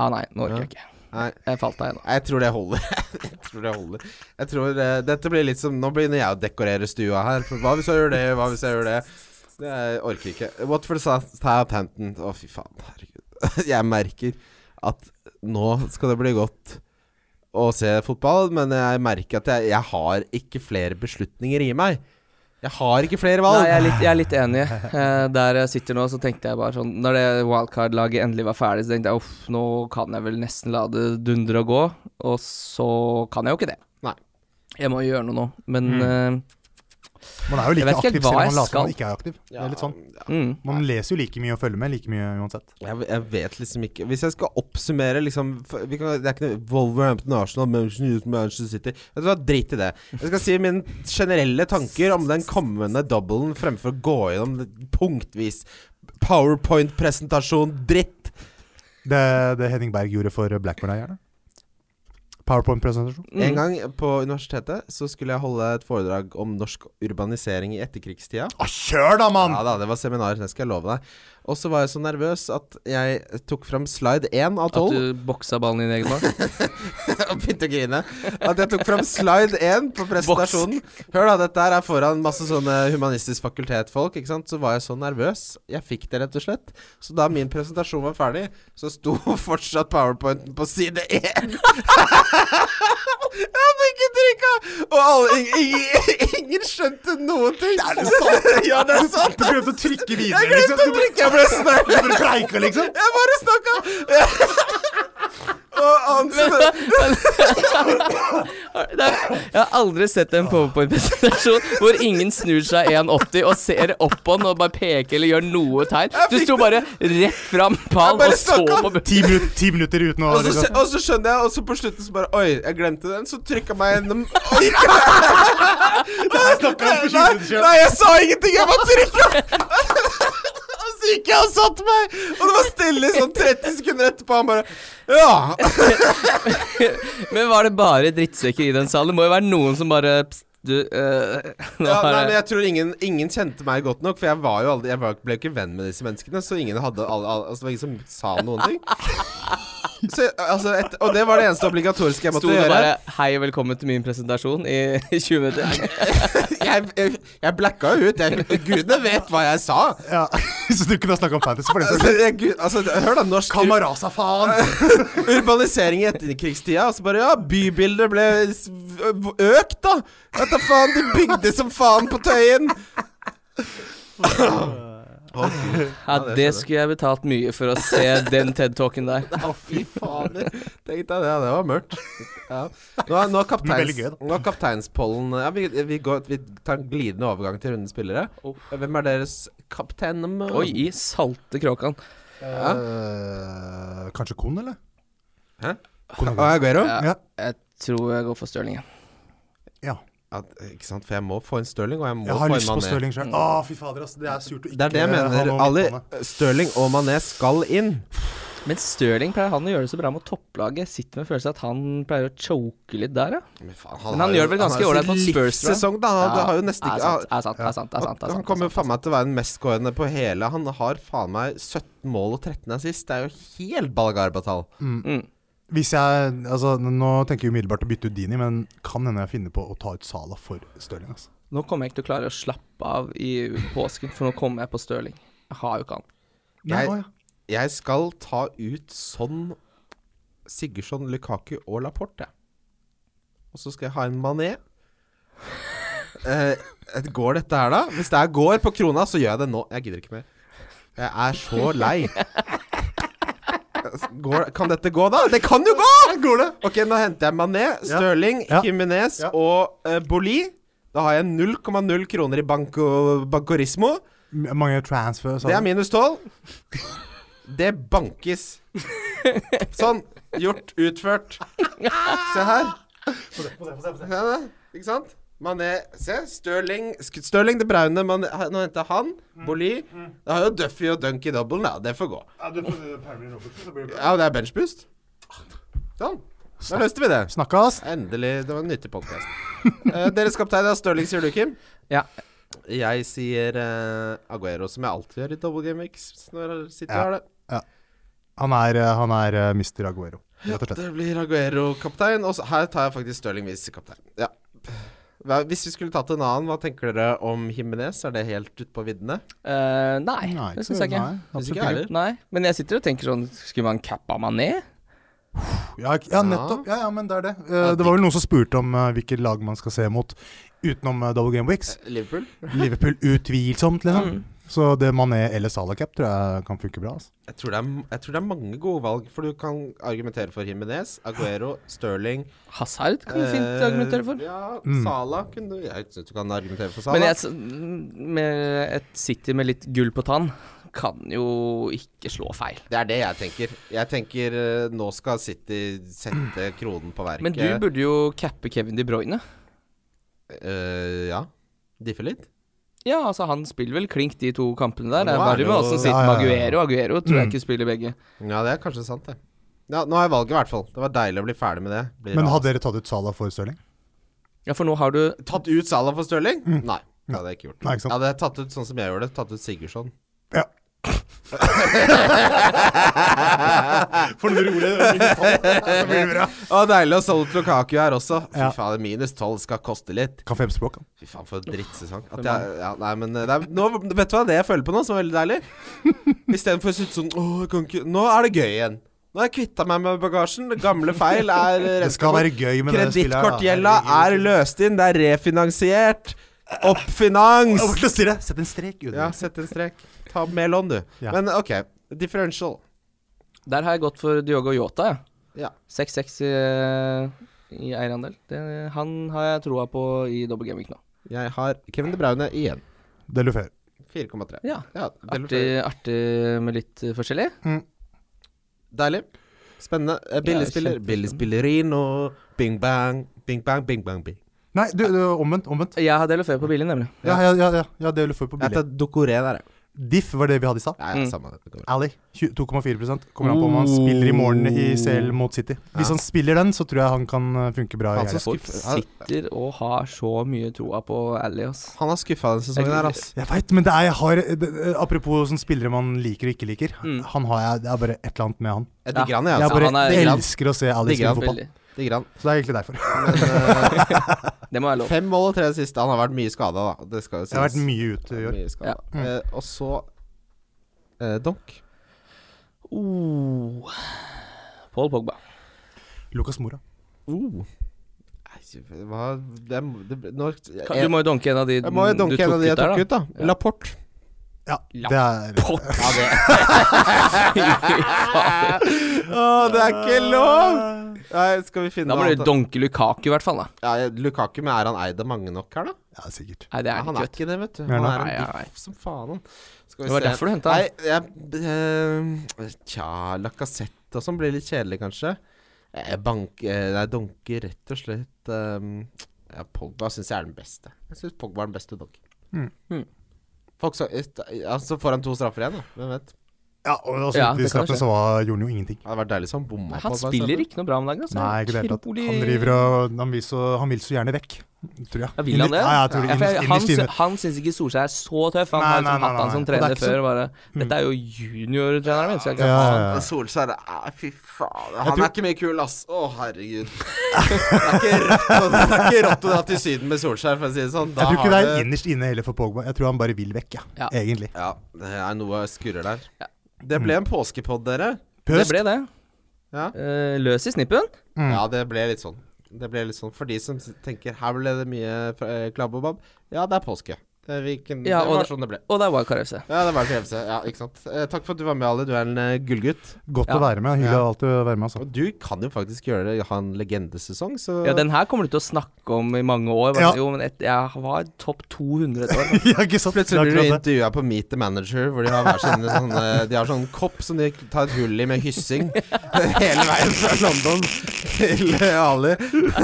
[SPEAKER 2] Ah, nei, nå orker jeg ikke.
[SPEAKER 3] Nei,
[SPEAKER 2] Jeg falt av, jeg nå.
[SPEAKER 3] jeg tror det holder. *laughs* jeg tror det holder. Jeg tror eh, Dette blir litt som Nå begynner jeg å dekorere stua her. For hva hvis jeg gjør det, hva hvis jeg gjør det? Det jeg orker ikke. Watford sa Southampton. Å, fy faen. Herregud. *laughs* jeg merker at nå skal det bli godt å se fotball, men jeg merker at jeg, jeg har ikke flere beslutninger i meg. Jeg har ikke flere valg!
[SPEAKER 2] Nei, jeg er litt, jeg er litt enig. Eh, der jeg sitter nå, så tenkte jeg bare sånn Når det wildcard-laget endelig var ferdig, så tenkte jeg uff, nå kan jeg vel nesten la det dundre og gå. Og så kan jeg jo ikke det.
[SPEAKER 3] Nei.
[SPEAKER 2] Jeg må jo gjøre noe nå. Men
[SPEAKER 3] Mm.
[SPEAKER 2] eh,
[SPEAKER 4] Man er jo
[SPEAKER 2] Jeg
[SPEAKER 4] like
[SPEAKER 2] vet ikke
[SPEAKER 4] aktiv
[SPEAKER 2] hva
[SPEAKER 4] selv om man
[SPEAKER 2] jeg
[SPEAKER 4] later som man
[SPEAKER 2] skal.
[SPEAKER 4] ikke er aktiv. Det er litt sånn.
[SPEAKER 3] Ja,
[SPEAKER 2] eh, mm.
[SPEAKER 4] Man leser jo like mye og følger med like mye uansett.
[SPEAKER 3] Jeg, jeg vet liksom ikke Hvis jeg skal oppsummere liksom for, vi kan, Det er ikke noe Wolverhampton, Arsenal, Manchester Manchester City Vet du hva, Drit i det. Jeg skal si mine generelle tanker om den kommende doublen fremfor å gå gjennom det punktvis PowerPoint-presentasjon dritt.
[SPEAKER 4] Det, det Henning Berg gjorde for eh, Blackburn her, gjerne. PowerPoint-presentasjon.
[SPEAKER 2] Mm.
[SPEAKER 3] En gang på universitetet så skulle jeg holde et foredrag om norsk urbanisering i etterkrigstida.
[SPEAKER 4] Ah, kjør da, mann!
[SPEAKER 3] Ja da, det var seminar, det skal jeg love deg. Og så var jeg så nervøs at jeg tok fram slide 1 av 12.
[SPEAKER 2] At du boksa ballen din egen
[SPEAKER 3] *laughs*
[SPEAKER 2] bak? *laughs*
[SPEAKER 3] og begynte å grine. At jeg tok fram slide 1 på presentasjonen. Hør da, dette her er foran masse sånne humanistisk fakultet-folk. ikke sant? Så var jeg så nervøs. Jeg fikk det, rett og slett. Så da min presentasjon var ferdig, så sto *laughs* fortsatt powerpointen på side 1. *laughs* jeg hadde ikke trykka! Og alle, ingen, ingen skjønte noen ting. Det er det sant? *laughs* ja, det er sant.
[SPEAKER 4] Du glemte å trykke videre, liksom.
[SPEAKER 3] Jeg glemte å trykke! Jeg ble så nervøs.
[SPEAKER 4] Du bare preika, liksom.
[SPEAKER 3] Jeg bare snakka! *laughs* og han
[SPEAKER 2] Det er- Jeg har aldri sett en powerpoint-presentasjon hvor ingen snur seg 1,80 og ser opp på den og bare peker eller gjør noe tegn. Du sto bare rett fram pallen og
[SPEAKER 3] Jeg bare
[SPEAKER 2] så
[SPEAKER 3] snakka.
[SPEAKER 2] på
[SPEAKER 4] Ti, minut, ti minutter uten å
[SPEAKER 3] Og så, skjø-
[SPEAKER 4] liksom.
[SPEAKER 3] og så skjønner jeg, og så på slutten så bare Oi, jeg glemte den. Så trykka meg
[SPEAKER 2] *laughs*
[SPEAKER 3] gjennom og gikk
[SPEAKER 4] Jeg snakket om for 20
[SPEAKER 3] Nei,
[SPEAKER 4] minutter siden.
[SPEAKER 3] nei, jeg sa ingenting! Jeg bare trykka! *laughs* Og så gikk jeg og satte meg, og det var stille i sånn 30 sekunder etterpå. Han bare Ja!
[SPEAKER 2] Men var det bare drittsekker i den salen? Det må jo være noen som bare pst, du, øh, *laughs* *laughs* nå
[SPEAKER 3] ja
[SPEAKER 2] har
[SPEAKER 3] nei,
[SPEAKER 2] jeg-
[SPEAKER 3] men jeg tror ingen, ingen kjente meg godt nok, for jeg var jo aldri Jeg var, ble jo ikke venn med disse menneskene, så ingen hadde alle, alle, Altså, det var ingen som sa noen
[SPEAKER 2] *laughs*
[SPEAKER 3] ting. Så, jeg- altså, et, og det var det eneste obligatoriske jeg
[SPEAKER 2] Sto
[SPEAKER 3] måtte
[SPEAKER 2] det
[SPEAKER 3] gjøre.
[SPEAKER 2] bare 'hei, velkommen til min presentasjon' i *laughs* 20 minutter?
[SPEAKER 3] Jeg, jeg, jeg blacka jo ut. Jeg, gudene vet hva jeg sa.
[SPEAKER 4] Ja. *laughs* Så du kunne ha snakka om fantasy for det som
[SPEAKER 3] Altså, jeg, gud, altså, hør da, norsk ur-
[SPEAKER 4] Kamarasa, faen!
[SPEAKER 3] *laughs* urbanisering i etterkrigstida. Og så bare ja, bybildet ble s- ø- økt, da. Vet da faen, de bygde som faen på Tøyen. Å, gud.
[SPEAKER 2] Ja,
[SPEAKER 3] det skjønner jeg.
[SPEAKER 2] det skulle jeg betalt mye for å se den TED-talken der.
[SPEAKER 3] Å, fy fader. Tenk deg det, det var mørkt. Ja. Nå er, nå er, kapteins,
[SPEAKER 4] veldig gøy, da.
[SPEAKER 3] nå er kapteinspollen ja, vi, vi, går, vi tar en glidende overgang til rundens spillere. Hvem er deres kaptein?
[SPEAKER 2] Oi, i salte kråkan.
[SPEAKER 4] Eh, kanskje Kon, eller?
[SPEAKER 3] Hæ?
[SPEAKER 4] Kon Aguero.
[SPEAKER 3] Aguero?
[SPEAKER 4] Ja.
[SPEAKER 2] Jeg tror jeg går for Stirling. jeg.
[SPEAKER 4] ja.
[SPEAKER 3] Ja, ikke sant, for jeg må få en Stirling, og jeg må
[SPEAKER 4] Jeg
[SPEAKER 3] få
[SPEAKER 4] har
[SPEAKER 3] en
[SPEAKER 4] lyst på
[SPEAKER 3] Mané.
[SPEAKER 4] Stirling sjøl. Å, fy fader, ass. Det er surt å ikke
[SPEAKER 3] Det er det jeg
[SPEAKER 4] ha
[SPEAKER 3] mener.
[SPEAKER 4] noe
[SPEAKER 3] Ali,
[SPEAKER 4] midtbane.
[SPEAKER 3] Stirling og Mané skal inn.
[SPEAKER 2] Men Stirling pleier han å gjøre det så bra mot topplaget. Jeg Sitter med følelsen at han pleier å choke litt der, ja.
[SPEAKER 3] Men,
[SPEAKER 2] Men han gjør det vel ganske ålreit på Spurs, tror jeg.
[SPEAKER 3] sesong, da. Han
[SPEAKER 2] Ja,
[SPEAKER 3] har jo nesten
[SPEAKER 2] er
[SPEAKER 3] ikke
[SPEAKER 2] sant, er sant, er sant, er
[SPEAKER 3] han,
[SPEAKER 2] sant, er sant,
[SPEAKER 3] han
[SPEAKER 2] er
[SPEAKER 3] kommer
[SPEAKER 2] sant.
[SPEAKER 3] faen meg til å være den mestskårende på hele. Han har faen meg 17 mål og 13 assist. Det er jo helt balgarbatall.
[SPEAKER 4] Hvis jeg Altså, nå tenker jeg umiddelbart å bytte ut Dini, men kan hende jeg finner på å ta ut Sala for Stirling, ass.
[SPEAKER 2] Nå kommer jeg ikke til å klare å slappe av i påsken, for nå kommer jeg på Stirling. Jeg har jo ikke han.
[SPEAKER 4] Nei,
[SPEAKER 3] Jeg-
[SPEAKER 4] å, ja.
[SPEAKER 3] Jeg skal ta ut sånn Sigurdsson, Lukaku og Laporte. Og så skal jeg ha en mané. Eh, går dette her, da? Hvis det her går på krona, så gjør jeg det nå. Jeg gidder ikke mer. Jeg er så lei. Går, kan dette gå, da? Det kan jo gå! Ok, nå henter jeg Mané, Stirling,
[SPEAKER 4] Ja.
[SPEAKER 3] Jimenez
[SPEAKER 4] Ja.
[SPEAKER 3] og eh, Boli. Da har jeg 0,0 kroner i banko, bankorismo.
[SPEAKER 4] M- Mange transfers.
[SPEAKER 3] Det
[SPEAKER 4] altså.
[SPEAKER 3] er minus 12. *laughs* Det bankes. Sånn. Gjort. Utført. Se her. Se det. Ikke sant? Mané Se. Stirling Sk- Stirling det braune. Man, nå henter han. Boli. Da har jo Duffy og Dunk i doublen. Ja, det får gå. Ja, det er benchboost. Sånn. Da løste vi det.
[SPEAKER 4] Snakkas.
[SPEAKER 3] Endelig. Det var en nyttig podkast. deres kaptein er Stirling, sier du, Kim?
[SPEAKER 2] Ja,
[SPEAKER 3] Jeg sier eh, Aguero, som jeg alltid gjør i double game weeks når jeg sitter
[SPEAKER 4] Ja.
[SPEAKER 3] og har det.
[SPEAKER 4] Han er, eh, han er eh, Mr. Aguero, rett og slett.
[SPEAKER 3] Det blir Aguero kaptein. Og så- her tar jeg faktisk Stirling Wies kaptein. Ja. Hva, hvis vi skulle tatt en annen, hva tenker dere om Himminez? Er det helt ute på viddene?
[SPEAKER 2] Eh, nei, det syns jeg ikke.
[SPEAKER 4] Nei, absolutt
[SPEAKER 3] ikke jeg
[SPEAKER 4] ikke.
[SPEAKER 3] heller.
[SPEAKER 2] Nei, men jeg sitter og tenker sånn Skulle man cappa meg ned?
[SPEAKER 4] Ja, ikke- ja, nettopp. Ja, ja, men det er det. Eh, det var vel noen som spurte om eh, hvilket lag man skal se mot utenom eh, double game weeks.
[SPEAKER 3] Liverpool?
[SPEAKER 4] Liverpool utvilsomt, liksom.
[SPEAKER 3] Mm.
[SPEAKER 4] Så det Mané eller Salah Cap tror jeg kan funke bra. Altså.
[SPEAKER 3] Jeg tror, det er, jeg tror det er mange gode valg, for du kan argumentere for Jimenez, Aguero, Sterling
[SPEAKER 2] Hazard kan du
[SPEAKER 3] Eh,
[SPEAKER 2] fint argumentere for.
[SPEAKER 3] Ja,
[SPEAKER 4] Mm.
[SPEAKER 3] Salah kunne du Jeg syns du kan argumentere for Salah.
[SPEAKER 2] Men jeg, s- med et City med litt gull på tann kan jo ikke slå feil.
[SPEAKER 3] Det er det jeg tenker. Jeg tenker eh, nå skal City sette kronen på verket.
[SPEAKER 2] Men du burde jo cappe Kevin De Bruyne.
[SPEAKER 3] Eh, Ja. Diffe litt.
[SPEAKER 2] Ja, altså han spiller vel klink de to kampene der. Det
[SPEAKER 3] Nå
[SPEAKER 2] er
[SPEAKER 3] er
[SPEAKER 2] bare
[SPEAKER 3] det
[SPEAKER 2] med
[SPEAKER 3] jo-
[SPEAKER 2] oss som sitter
[SPEAKER 4] Ja,
[SPEAKER 2] med
[SPEAKER 4] ja, ja.
[SPEAKER 2] Aguero. Aguero tror jeg ikke spiller begge.
[SPEAKER 3] Ja, det er kanskje sant, det. Ja, nå har jeg valget, i hvert fall. Det var deilig å bli ferdig med det. Blir
[SPEAKER 4] Men
[SPEAKER 3] rart.
[SPEAKER 4] hadde dere tatt ut Salah for Stirling?
[SPEAKER 2] Ja, for nå har du
[SPEAKER 3] Tatt ut Salah for Stirling? Nei. Det hadde jeg ikke gjort.
[SPEAKER 4] Mm. Nei, ikke sant.
[SPEAKER 3] Jeg hadde tatt ut sånn som jeg gjorde det. Tatt ut Sigurdsson.
[SPEAKER 4] *laughs* Ja. For noe rolig. Så blir det bra.
[SPEAKER 3] Å, deilig å solgt Lukaku her også. Fy
[SPEAKER 4] Ja.
[SPEAKER 3] faen, minus 12 skal koste litt.
[SPEAKER 4] Kan fem språk, han.
[SPEAKER 3] Fy faen, for en drittsesong. At jeg, ja, nei, men eh, det er, nå, Vet du hva det jeg føler på nå, som er veldig
[SPEAKER 4] *laughs*
[SPEAKER 3] deilig? Istedenfor å sitte sånn Åh, jeg kan ikke Nå er det gøy igjen. Nå har jeg kvitta meg med bagasjen. Gamle feil er
[SPEAKER 4] *laughs* Det skal være gøy med det spillet. her, da.
[SPEAKER 3] Kredittkortgjelda er
[SPEAKER 4] Herregud.
[SPEAKER 3] løst inn. Det er refinansiert. Oppfinans!
[SPEAKER 4] Jeg har vært å si det. Sett en strek under.
[SPEAKER 3] Ja, sett en strek. Ta mer lån, du.
[SPEAKER 4] Ja.
[SPEAKER 3] Men OK. Differential.
[SPEAKER 2] Der har jeg gått for Diogo Yota, jeg.
[SPEAKER 3] Ja.
[SPEAKER 2] 6-6 i, eh, i eierandel. Det, han har jeg troa på i double gaming nå.
[SPEAKER 3] Jeg har Kevin De Bruyne igjen.
[SPEAKER 4] Det lufer.
[SPEAKER 3] 4,3.
[SPEAKER 2] Ja.
[SPEAKER 3] Ja, det er
[SPEAKER 2] Artig, artig med litt eh, forskjellig.
[SPEAKER 3] Deilig. Spennende. Eh,
[SPEAKER 2] Ja,
[SPEAKER 3] Billigspiller.
[SPEAKER 2] kjempespennende.
[SPEAKER 3] Billigspillerino. Bing bang. Bing bang, bing bang, bing.
[SPEAKER 4] Nei, du, du, omvendt. Omvendt.
[SPEAKER 2] Jeg har Delofeu på bilen, nemlig.
[SPEAKER 4] Ja, ja, ja, ja, ja det lufer på
[SPEAKER 3] Jeg
[SPEAKER 4] billig.
[SPEAKER 3] tar Dokoré der, jeg.
[SPEAKER 4] Diff var det vi hadde i stad.
[SPEAKER 3] Nei,
[SPEAKER 2] Mm.
[SPEAKER 3] samme det. det. går bra.
[SPEAKER 4] Ally, 2,4 Kommer an på om han spiller i morgen i CL mot City. Hvis han spiller den, så tror jeg han kan eh, funke bra. i
[SPEAKER 3] Han, som
[SPEAKER 4] helga.
[SPEAKER 2] Folk
[SPEAKER 3] skuff- han,
[SPEAKER 2] sitter og har så mye troa på Ally, ass.
[SPEAKER 3] han har skuffa denne sesongen her, ass.
[SPEAKER 4] Jeg veit, men det er, jeg har, det, apropos sånne spillere man liker og ikke liker.
[SPEAKER 2] Mm.
[SPEAKER 4] Han har jeg, Det er bare et eller annet med han.
[SPEAKER 3] Jeg digger han, jeg.
[SPEAKER 4] Jeg
[SPEAKER 3] Altså.
[SPEAKER 4] bare
[SPEAKER 2] han er-
[SPEAKER 3] digger han.
[SPEAKER 4] elsker å se Ally
[SPEAKER 3] Digger
[SPEAKER 4] spille
[SPEAKER 3] han
[SPEAKER 4] fotball.
[SPEAKER 2] Veldig.
[SPEAKER 3] Digger han.
[SPEAKER 4] Så det er egentlig derfor.
[SPEAKER 2] Det må være lov.
[SPEAKER 3] Fem mål og tre siste. Han har vært mye skada, da. Det skal jo sies.
[SPEAKER 4] Jeg har vært mye ute i år.
[SPEAKER 3] Mye skadet. Eh, og så eh, Donk.
[SPEAKER 2] Oh. Paul Pogba.
[SPEAKER 4] Lucas Mora.
[SPEAKER 3] Oh. Nei, Hva det, er- det, når, jeg,
[SPEAKER 2] Kan, du må jo donke en av de
[SPEAKER 3] jeg må jo
[SPEAKER 2] du
[SPEAKER 3] donke en av de jeg tok
[SPEAKER 2] der,
[SPEAKER 3] ut, da.
[SPEAKER 2] Ja.
[SPEAKER 3] Lapport.
[SPEAKER 4] Ja, det er
[SPEAKER 3] Ja, det. Å, det er ikke lov! Nei, skal vi
[SPEAKER 2] *laughs*
[SPEAKER 3] finne
[SPEAKER 2] Da må
[SPEAKER 3] noe
[SPEAKER 2] du
[SPEAKER 3] annet?
[SPEAKER 2] donke Lukaku, i hvert fall. da
[SPEAKER 3] ja, jeg- Lukaku, men er han eid av mange nok her, da?
[SPEAKER 4] Ja, sikkert.
[SPEAKER 2] Nei, det
[SPEAKER 3] Nei,
[SPEAKER 2] er
[SPEAKER 3] han
[SPEAKER 2] han
[SPEAKER 3] er
[SPEAKER 2] ikke.
[SPEAKER 3] ikke det, vet du.
[SPEAKER 4] Nei,
[SPEAKER 3] Han
[SPEAKER 4] nei.
[SPEAKER 3] er
[SPEAKER 2] Nei,
[SPEAKER 3] en
[SPEAKER 2] nei.
[SPEAKER 3] biff som faen. han. Skal vi
[SPEAKER 2] Det var
[SPEAKER 3] se.
[SPEAKER 2] derfor du hentet han.
[SPEAKER 3] Nei, jeg eh, Tja, Lacassette og sånn blir litt kjedelig, kanskje. Eh, bank eh, Nei, donke rett og slett eh, ja, Pogba syns jeg er den beste. Jeg syns Pogba er den beste donk.
[SPEAKER 4] Mm.
[SPEAKER 2] Mm.
[SPEAKER 3] Folk så, ja, så får han to straffer igjen, da. Hvem vet.
[SPEAKER 4] Ja, og da
[SPEAKER 2] Ja,
[SPEAKER 4] ja,
[SPEAKER 2] det kan jo skje.
[SPEAKER 4] så var, gjorde han jo ingenting.
[SPEAKER 3] Det hadde vært deilig hvis han bomma
[SPEAKER 2] Han spiller ikke noe bra om dagen. Altså.
[SPEAKER 4] Nei, ikke i det hele tatt.
[SPEAKER 2] Utrolig-
[SPEAKER 4] Han driver og Han vil så, han vil så gjerne vekk, tror jeg.
[SPEAKER 2] Ja, vil han det?
[SPEAKER 4] Nei, jeg tror
[SPEAKER 2] Ja,
[SPEAKER 4] det
[SPEAKER 2] for jeg-
[SPEAKER 4] innerst-
[SPEAKER 2] han,
[SPEAKER 4] innerst inne.
[SPEAKER 2] sy- han syns ikke Solskjær er så tøff. Han
[SPEAKER 4] Nei,
[SPEAKER 2] har liksom
[SPEAKER 4] nei, nei,
[SPEAKER 2] hatt han som
[SPEAKER 4] nei, nei. Og
[SPEAKER 2] trener
[SPEAKER 4] det er Mm.
[SPEAKER 2] før. og Bare. Dette er jo juniortreneren min, så jeg kan
[SPEAKER 4] Ja,
[SPEAKER 2] ha
[SPEAKER 4] ja,
[SPEAKER 2] han.
[SPEAKER 4] ja.
[SPEAKER 3] Solskjær eh, Fy faen. Han
[SPEAKER 4] tror-
[SPEAKER 3] er ikke mye kul, ass. Å,
[SPEAKER 4] *laughs*
[SPEAKER 3] herregud. Det er ikke rått å- det er ikke rått å dra til Syden med Solskjær, for å si det sånn.
[SPEAKER 4] Jeg
[SPEAKER 3] Da
[SPEAKER 4] tror ikke det
[SPEAKER 3] har
[SPEAKER 4] er innerst inne heller for Pogba. Jeg tror han bare vil vekk, ja.
[SPEAKER 2] Ja.
[SPEAKER 4] egentlig.
[SPEAKER 3] Ja, det er noe skurrer der.
[SPEAKER 2] Ja.
[SPEAKER 3] Det ble en påskepod, dere.
[SPEAKER 2] Det
[SPEAKER 4] Pøst.
[SPEAKER 2] ble det.
[SPEAKER 3] Ja.
[SPEAKER 2] Eh, løs i snippen.
[SPEAKER 4] Mm.
[SPEAKER 3] ja, det ble litt sånn. Det ble litt sånn For de som s- tenker her ble det mye eh, klabbobab. Ja, det er påske. Det, vi kan,
[SPEAKER 2] Ja,
[SPEAKER 3] det
[SPEAKER 2] og
[SPEAKER 3] var
[SPEAKER 2] det-
[SPEAKER 3] sånn det ble.
[SPEAKER 2] Og det er Wildcard FC.
[SPEAKER 3] Ja, det var en hevelse. Ja, ikke sant. Eh, takk for at du var med, Ali. Du er en eh, gullgutt.
[SPEAKER 4] Godt
[SPEAKER 2] Ja.
[SPEAKER 4] å være med. Hyggelig
[SPEAKER 3] Ja.
[SPEAKER 4] alltid å være med, altså.
[SPEAKER 3] Og du kan jo faktisk gjøre det, ha en legendesesong, så
[SPEAKER 2] Ja, den her kommer du til å snakke om i mange år. Bare,
[SPEAKER 4] Ja.
[SPEAKER 2] Jo, men et, jeg var topp 200 et
[SPEAKER 4] *laughs*
[SPEAKER 2] år.
[SPEAKER 4] *laughs* Ja, ikke sant?
[SPEAKER 3] Plutselig blir du
[SPEAKER 4] Akkurat det.
[SPEAKER 3] intervjua på Meet the Manager, hvor de har hver sin sånne,
[SPEAKER 4] *laughs*
[SPEAKER 3] De har sånn kopp som de tar et hull i med hyssing hele veien
[SPEAKER 4] *laughs*
[SPEAKER 3] fra London til eh, Ali.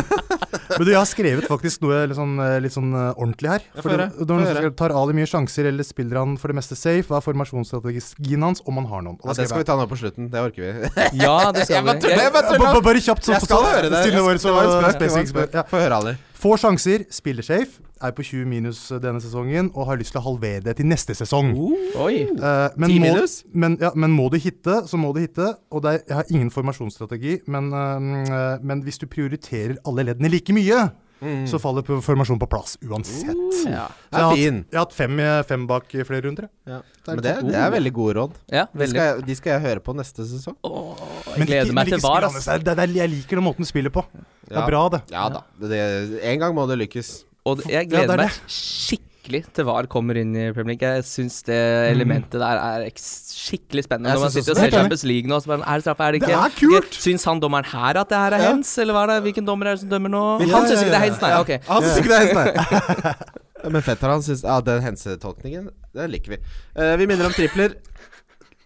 [SPEAKER 4] Men du, jeg har skrevet faktisk noe litt sånn, eh, litt sånn eh, ordentlig her.
[SPEAKER 3] Ja, få
[SPEAKER 4] For det,
[SPEAKER 3] høre, få
[SPEAKER 4] når han
[SPEAKER 3] høre.
[SPEAKER 4] tar Ali mye sjanser, eller spiller han for det meste safe? Hva er formasjonsstrategien hans, om han har noen? Og da
[SPEAKER 3] Ja, det
[SPEAKER 4] skrev
[SPEAKER 3] skal vi ta nå på slutten. Det orker vi.
[SPEAKER 2] Ja, det skal vi.
[SPEAKER 3] Jeg
[SPEAKER 2] Jeg,
[SPEAKER 3] bare
[SPEAKER 4] jeg-
[SPEAKER 3] tuller.
[SPEAKER 4] Ba- ba- Bare kjapt, så
[SPEAKER 3] *laughs* Jeg skal høre det.
[SPEAKER 4] Stille
[SPEAKER 3] Jeg
[SPEAKER 4] vår,
[SPEAKER 3] skal- det var
[SPEAKER 4] så
[SPEAKER 3] en spøk, det var en
[SPEAKER 4] spesifikt
[SPEAKER 3] spøk.
[SPEAKER 4] spør- ja.
[SPEAKER 3] Få høre, Ali.
[SPEAKER 4] Får sjanser, spiller safe, er på 20 minus eh, denne sesongen og har lyst til å halvere det til neste sesong.
[SPEAKER 2] Uh, oi.
[SPEAKER 4] Eh, men,
[SPEAKER 3] 10
[SPEAKER 4] må,
[SPEAKER 3] Oh. minus?
[SPEAKER 4] men, ja, men må du hitte, så må du hitte. Og det er, jeg har ingen formasjonsstrategi, men, eh, men hvis du prioriterer alle leddene like mye,
[SPEAKER 3] Mm.
[SPEAKER 4] så faller p- formasjonen på plass uansett.
[SPEAKER 3] Oh,
[SPEAKER 2] Ja.
[SPEAKER 3] Det
[SPEAKER 4] jeg,
[SPEAKER 3] er
[SPEAKER 4] har
[SPEAKER 3] fin.
[SPEAKER 4] hatt, jeg har hatt fem, eh, fem bak i flere runder. jeg.
[SPEAKER 3] Men det, det er veldig gode råd.
[SPEAKER 2] ja,
[SPEAKER 3] De
[SPEAKER 2] veldig.
[SPEAKER 3] skal, jeg- de skal jeg høre på neste sesong.
[SPEAKER 2] Jeg gleder
[SPEAKER 4] ikke-
[SPEAKER 2] meg til
[SPEAKER 4] ikke
[SPEAKER 2] VAR.
[SPEAKER 4] spill,
[SPEAKER 2] ass.
[SPEAKER 4] Anders. Det er- det er- Jeg liker den måten du spiller på. Det
[SPEAKER 3] Ja.
[SPEAKER 4] er bra, det.
[SPEAKER 3] Ja da. Det, en gang må det lykkes.
[SPEAKER 2] Og jeg
[SPEAKER 4] Ja, det
[SPEAKER 2] gleder
[SPEAKER 4] er det.
[SPEAKER 2] meg skikkelig til VAR kommer inn i Premier League. Jeg syns det elementet der er eks- skikkelig spennende. Når
[SPEAKER 3] Jeg
[SPEAKER 2] man
[SPEAKER 3] synes
[SPEAKER 2] sitter og
[SPEAKER 4] også
[SPEAKER 2] ser
[SPEAKER 4] det.
[SPEAKER 2] Champions League nå, så bare Er det straffe, er det
[SPEAKER 4] Det
[SPEAKER 2] ikke?
[SPEAKER 4] er kult!
[SPEAKER 2] Syns han dommeren her at det her er
[SPEAKER 4] Ja.
[SPEAKER 2] hands, eller hva er det? Hvilken dommer er det som dømmer nå?
[SPEAKER 4] Ja,
[SPEAKER 2] Han
[SPEAKER 4] ja,
[SPEAKER 2] syns ikke det
[SPEAKER 4] ja,
[SPEAKER 2] er hands, nei.
[SPEAKER 3] ja.
[SPEAKER 2] Ok.
[SPEAKER 3] Han syns ikke det er hennes, nei. Men fetter han syns Ja, den hensetolkningen, det liker vi. Eh, vi minner om tripler.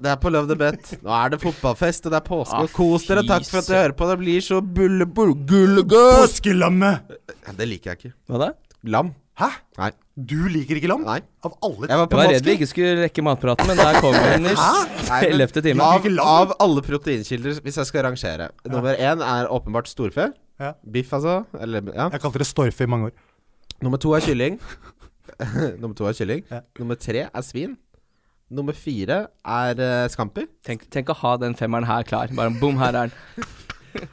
[SPEAKER 3] Det er på Love the Bet. Nå er det fotballfest, og det er påske.
[SPEAKER 2] Ah,
[SPEAKER 3] og Kos dere.
[SPEAKER 2] fy
[SPEAKER 3] Takk for at dere
[SPEAKER 2] søren.
[SPEAKER 3] hører på. Det blir så bulle... bulle gullegøs!
[SPEAKER 4] Påskelammet!
[SPEAKER 3] Ja, det liker jeg ikke.
[SPEAKER 2] Hva da?
[SPEAKER 3] Lam.
[SPEAKER 4] Hæ?
[SPEAKER 3] Nei.
[SPEAKER 4] Du liker ikke lam?
[SPEAKER 3] Nei.
[SPEAKER 4] Av alle
[SPEAKER 3] Jeg var
[SPEAKER 2] Jeg
[SPEAKER 3] på
[SPEAKER 2] var redd vi
[SPEAKER 3] påske.
[SPEAKER 2] ikke skulle rekke matpraten, men der kom den i
[SPEAKER 3] Nei, men-
[SPEAKER 2] 11. time.
[SPEAKER 3] Av,
[SPEAKER 4] Ikke lam.
[SPEAKER 3] av alle proteinkilder, hvis jeg skal rangere Nummer én er åpenbart storfe.
[SPEAKER 4] Ja.
[SPEAKER 3] Biff, altså. Eller, ja.
[SPEAKER 4] Jeg kalte det storfe i mange år.
[SPEAKER 3] Nummer to er kylling. Nummer to er kylling.
[SPEAKER 4] Ja.
[SPEAKER 3] Nummer tre er svin. Nummer fire er eh, scampi.
[SPEAKER 2] Tenk, tenk å ha den femmeren her klar. Bare bom, her er den.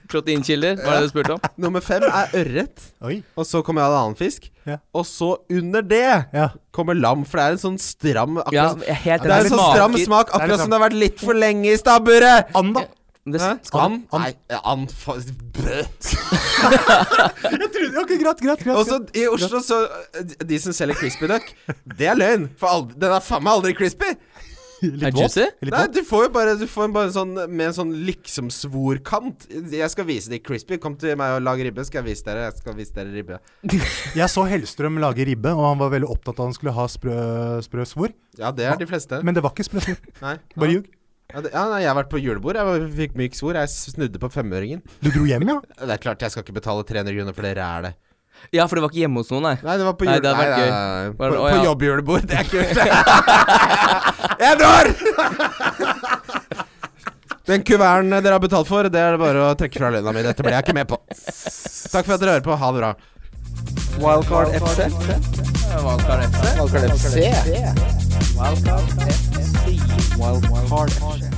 [SPEAKER 2] Proteinkilder, var det du spurte om?
[SPEAKER 3] Nummer fem er ørret.
[SPEAKER 4] Oi.
[SPEAKER 3] Og så kommer jeg av en annen fisk.
[SPEAKER 4] Ja.
[SPEAKER 3] Og så under det
[SPEAKER 4] Ja.
[SPEAKER 3] kommer lam, for det er en sånn stram akkurat,
[SPEAKER 2] Ja,
[SPEAKER 3] som-
[SPEAKER 2] jeg er helt
[SPEAKER 3] Det er en
[SPEAKER 2] enig.
[SPEAKER 3] sånn stram
[SPEAKER 2] Smaker-
[SPEAKER 3] smak,
[SPEAKER 4] Det er
[SPEAKER 3] akkurat
[SPEAKER 4] litt
[SPEAKER 3] som det har vært litt for lenge i stabburet.
[SPEAKER 4] And, da?
[SPEAKER 2] Det,
[SPEAKER 3] Hæ?
[SPEAKER 2] s-
[SPEAKER 3] And?
[SPEAKER 4] And?
[SPEAKER 3] Nei, ja, and fa- brød.
[SPEAKER 4] Jeg trodde Ok, greit, greit. greit,
[SPEAKER 3] *laughs* Og så
[SPEAKER 4] greit.
[SPEAKER 3] i Oslo, så eh, De som selger crispy duck, det er løgn. For aldri, den er faen meg aldri crispy.
[SPEAKER 2] er juicy?
[SPEAKER 4] Litt
[SPEAKER 3] Nei,
[SPEAKER 4] våt.
[SPEAKER 3] du får jo bare Du får en bare sånn med en sånn liksom-svor-kant. Jeg skal vise deg crispy. Kom til meg og lag ribbe, skal jeg vise dere. Jeg skal vise dere ribbe.
[SPEAKER 4] Jeg så Hellstrøm lage ribbe, og han var veldig opptatt av at han skulle ha sprø, sprø svor.
[SPEAKER 3] Ja, det er de fleste.
[SPEAKER 4] Men det var ikke sprø svor.
[SPEAKER 3] Nei.
[SPEAKER 4] Bare
[SPEAKER 3] ja.
[SPEAKER 4] ljug.
[SPEAKER 3] Ja, det, ja, nei, jeg har vært på julebord. Jeg var- fikk myk svor. Jeg snudde på femøringen.
[SPEAKER 4] Du dro hjem, ja?
[SPEAKER 3] Det er klart jeg skal ikke betale 300 kroner for det rælet.
[SPEAKER 2] Ja, for det var ikke hjemme hos noen, nei.
[SPEAKER 3] Nei, det var på
[SPEAKER 2] Nei,
[SPEAKER 3] jule...
[SPEAKER 2] det hadde vært gøy.
[SPEAKER 3] nei,
[SPEAKER 2] Bare,
[SPEAKER 3] På,
[SPEAKER 2] å,
[SPEAKER 3] på
[SPEAKER 2] ja.
[SPEAKER 3] jobbjulebord. Det *laughs* er kult. jeg drar! Den kuverten dere har betalt for, det er det bare å trekke fra lønna mi. Dette blir jeg ikke med på. Takk for at dere hører på. Ha det bra.
[SPEAKER 1] Wildcard FC.
[SPEAKER 2] Wildcard FC.
[SPEAKER 1] Wildcard FC. Wildcard FC.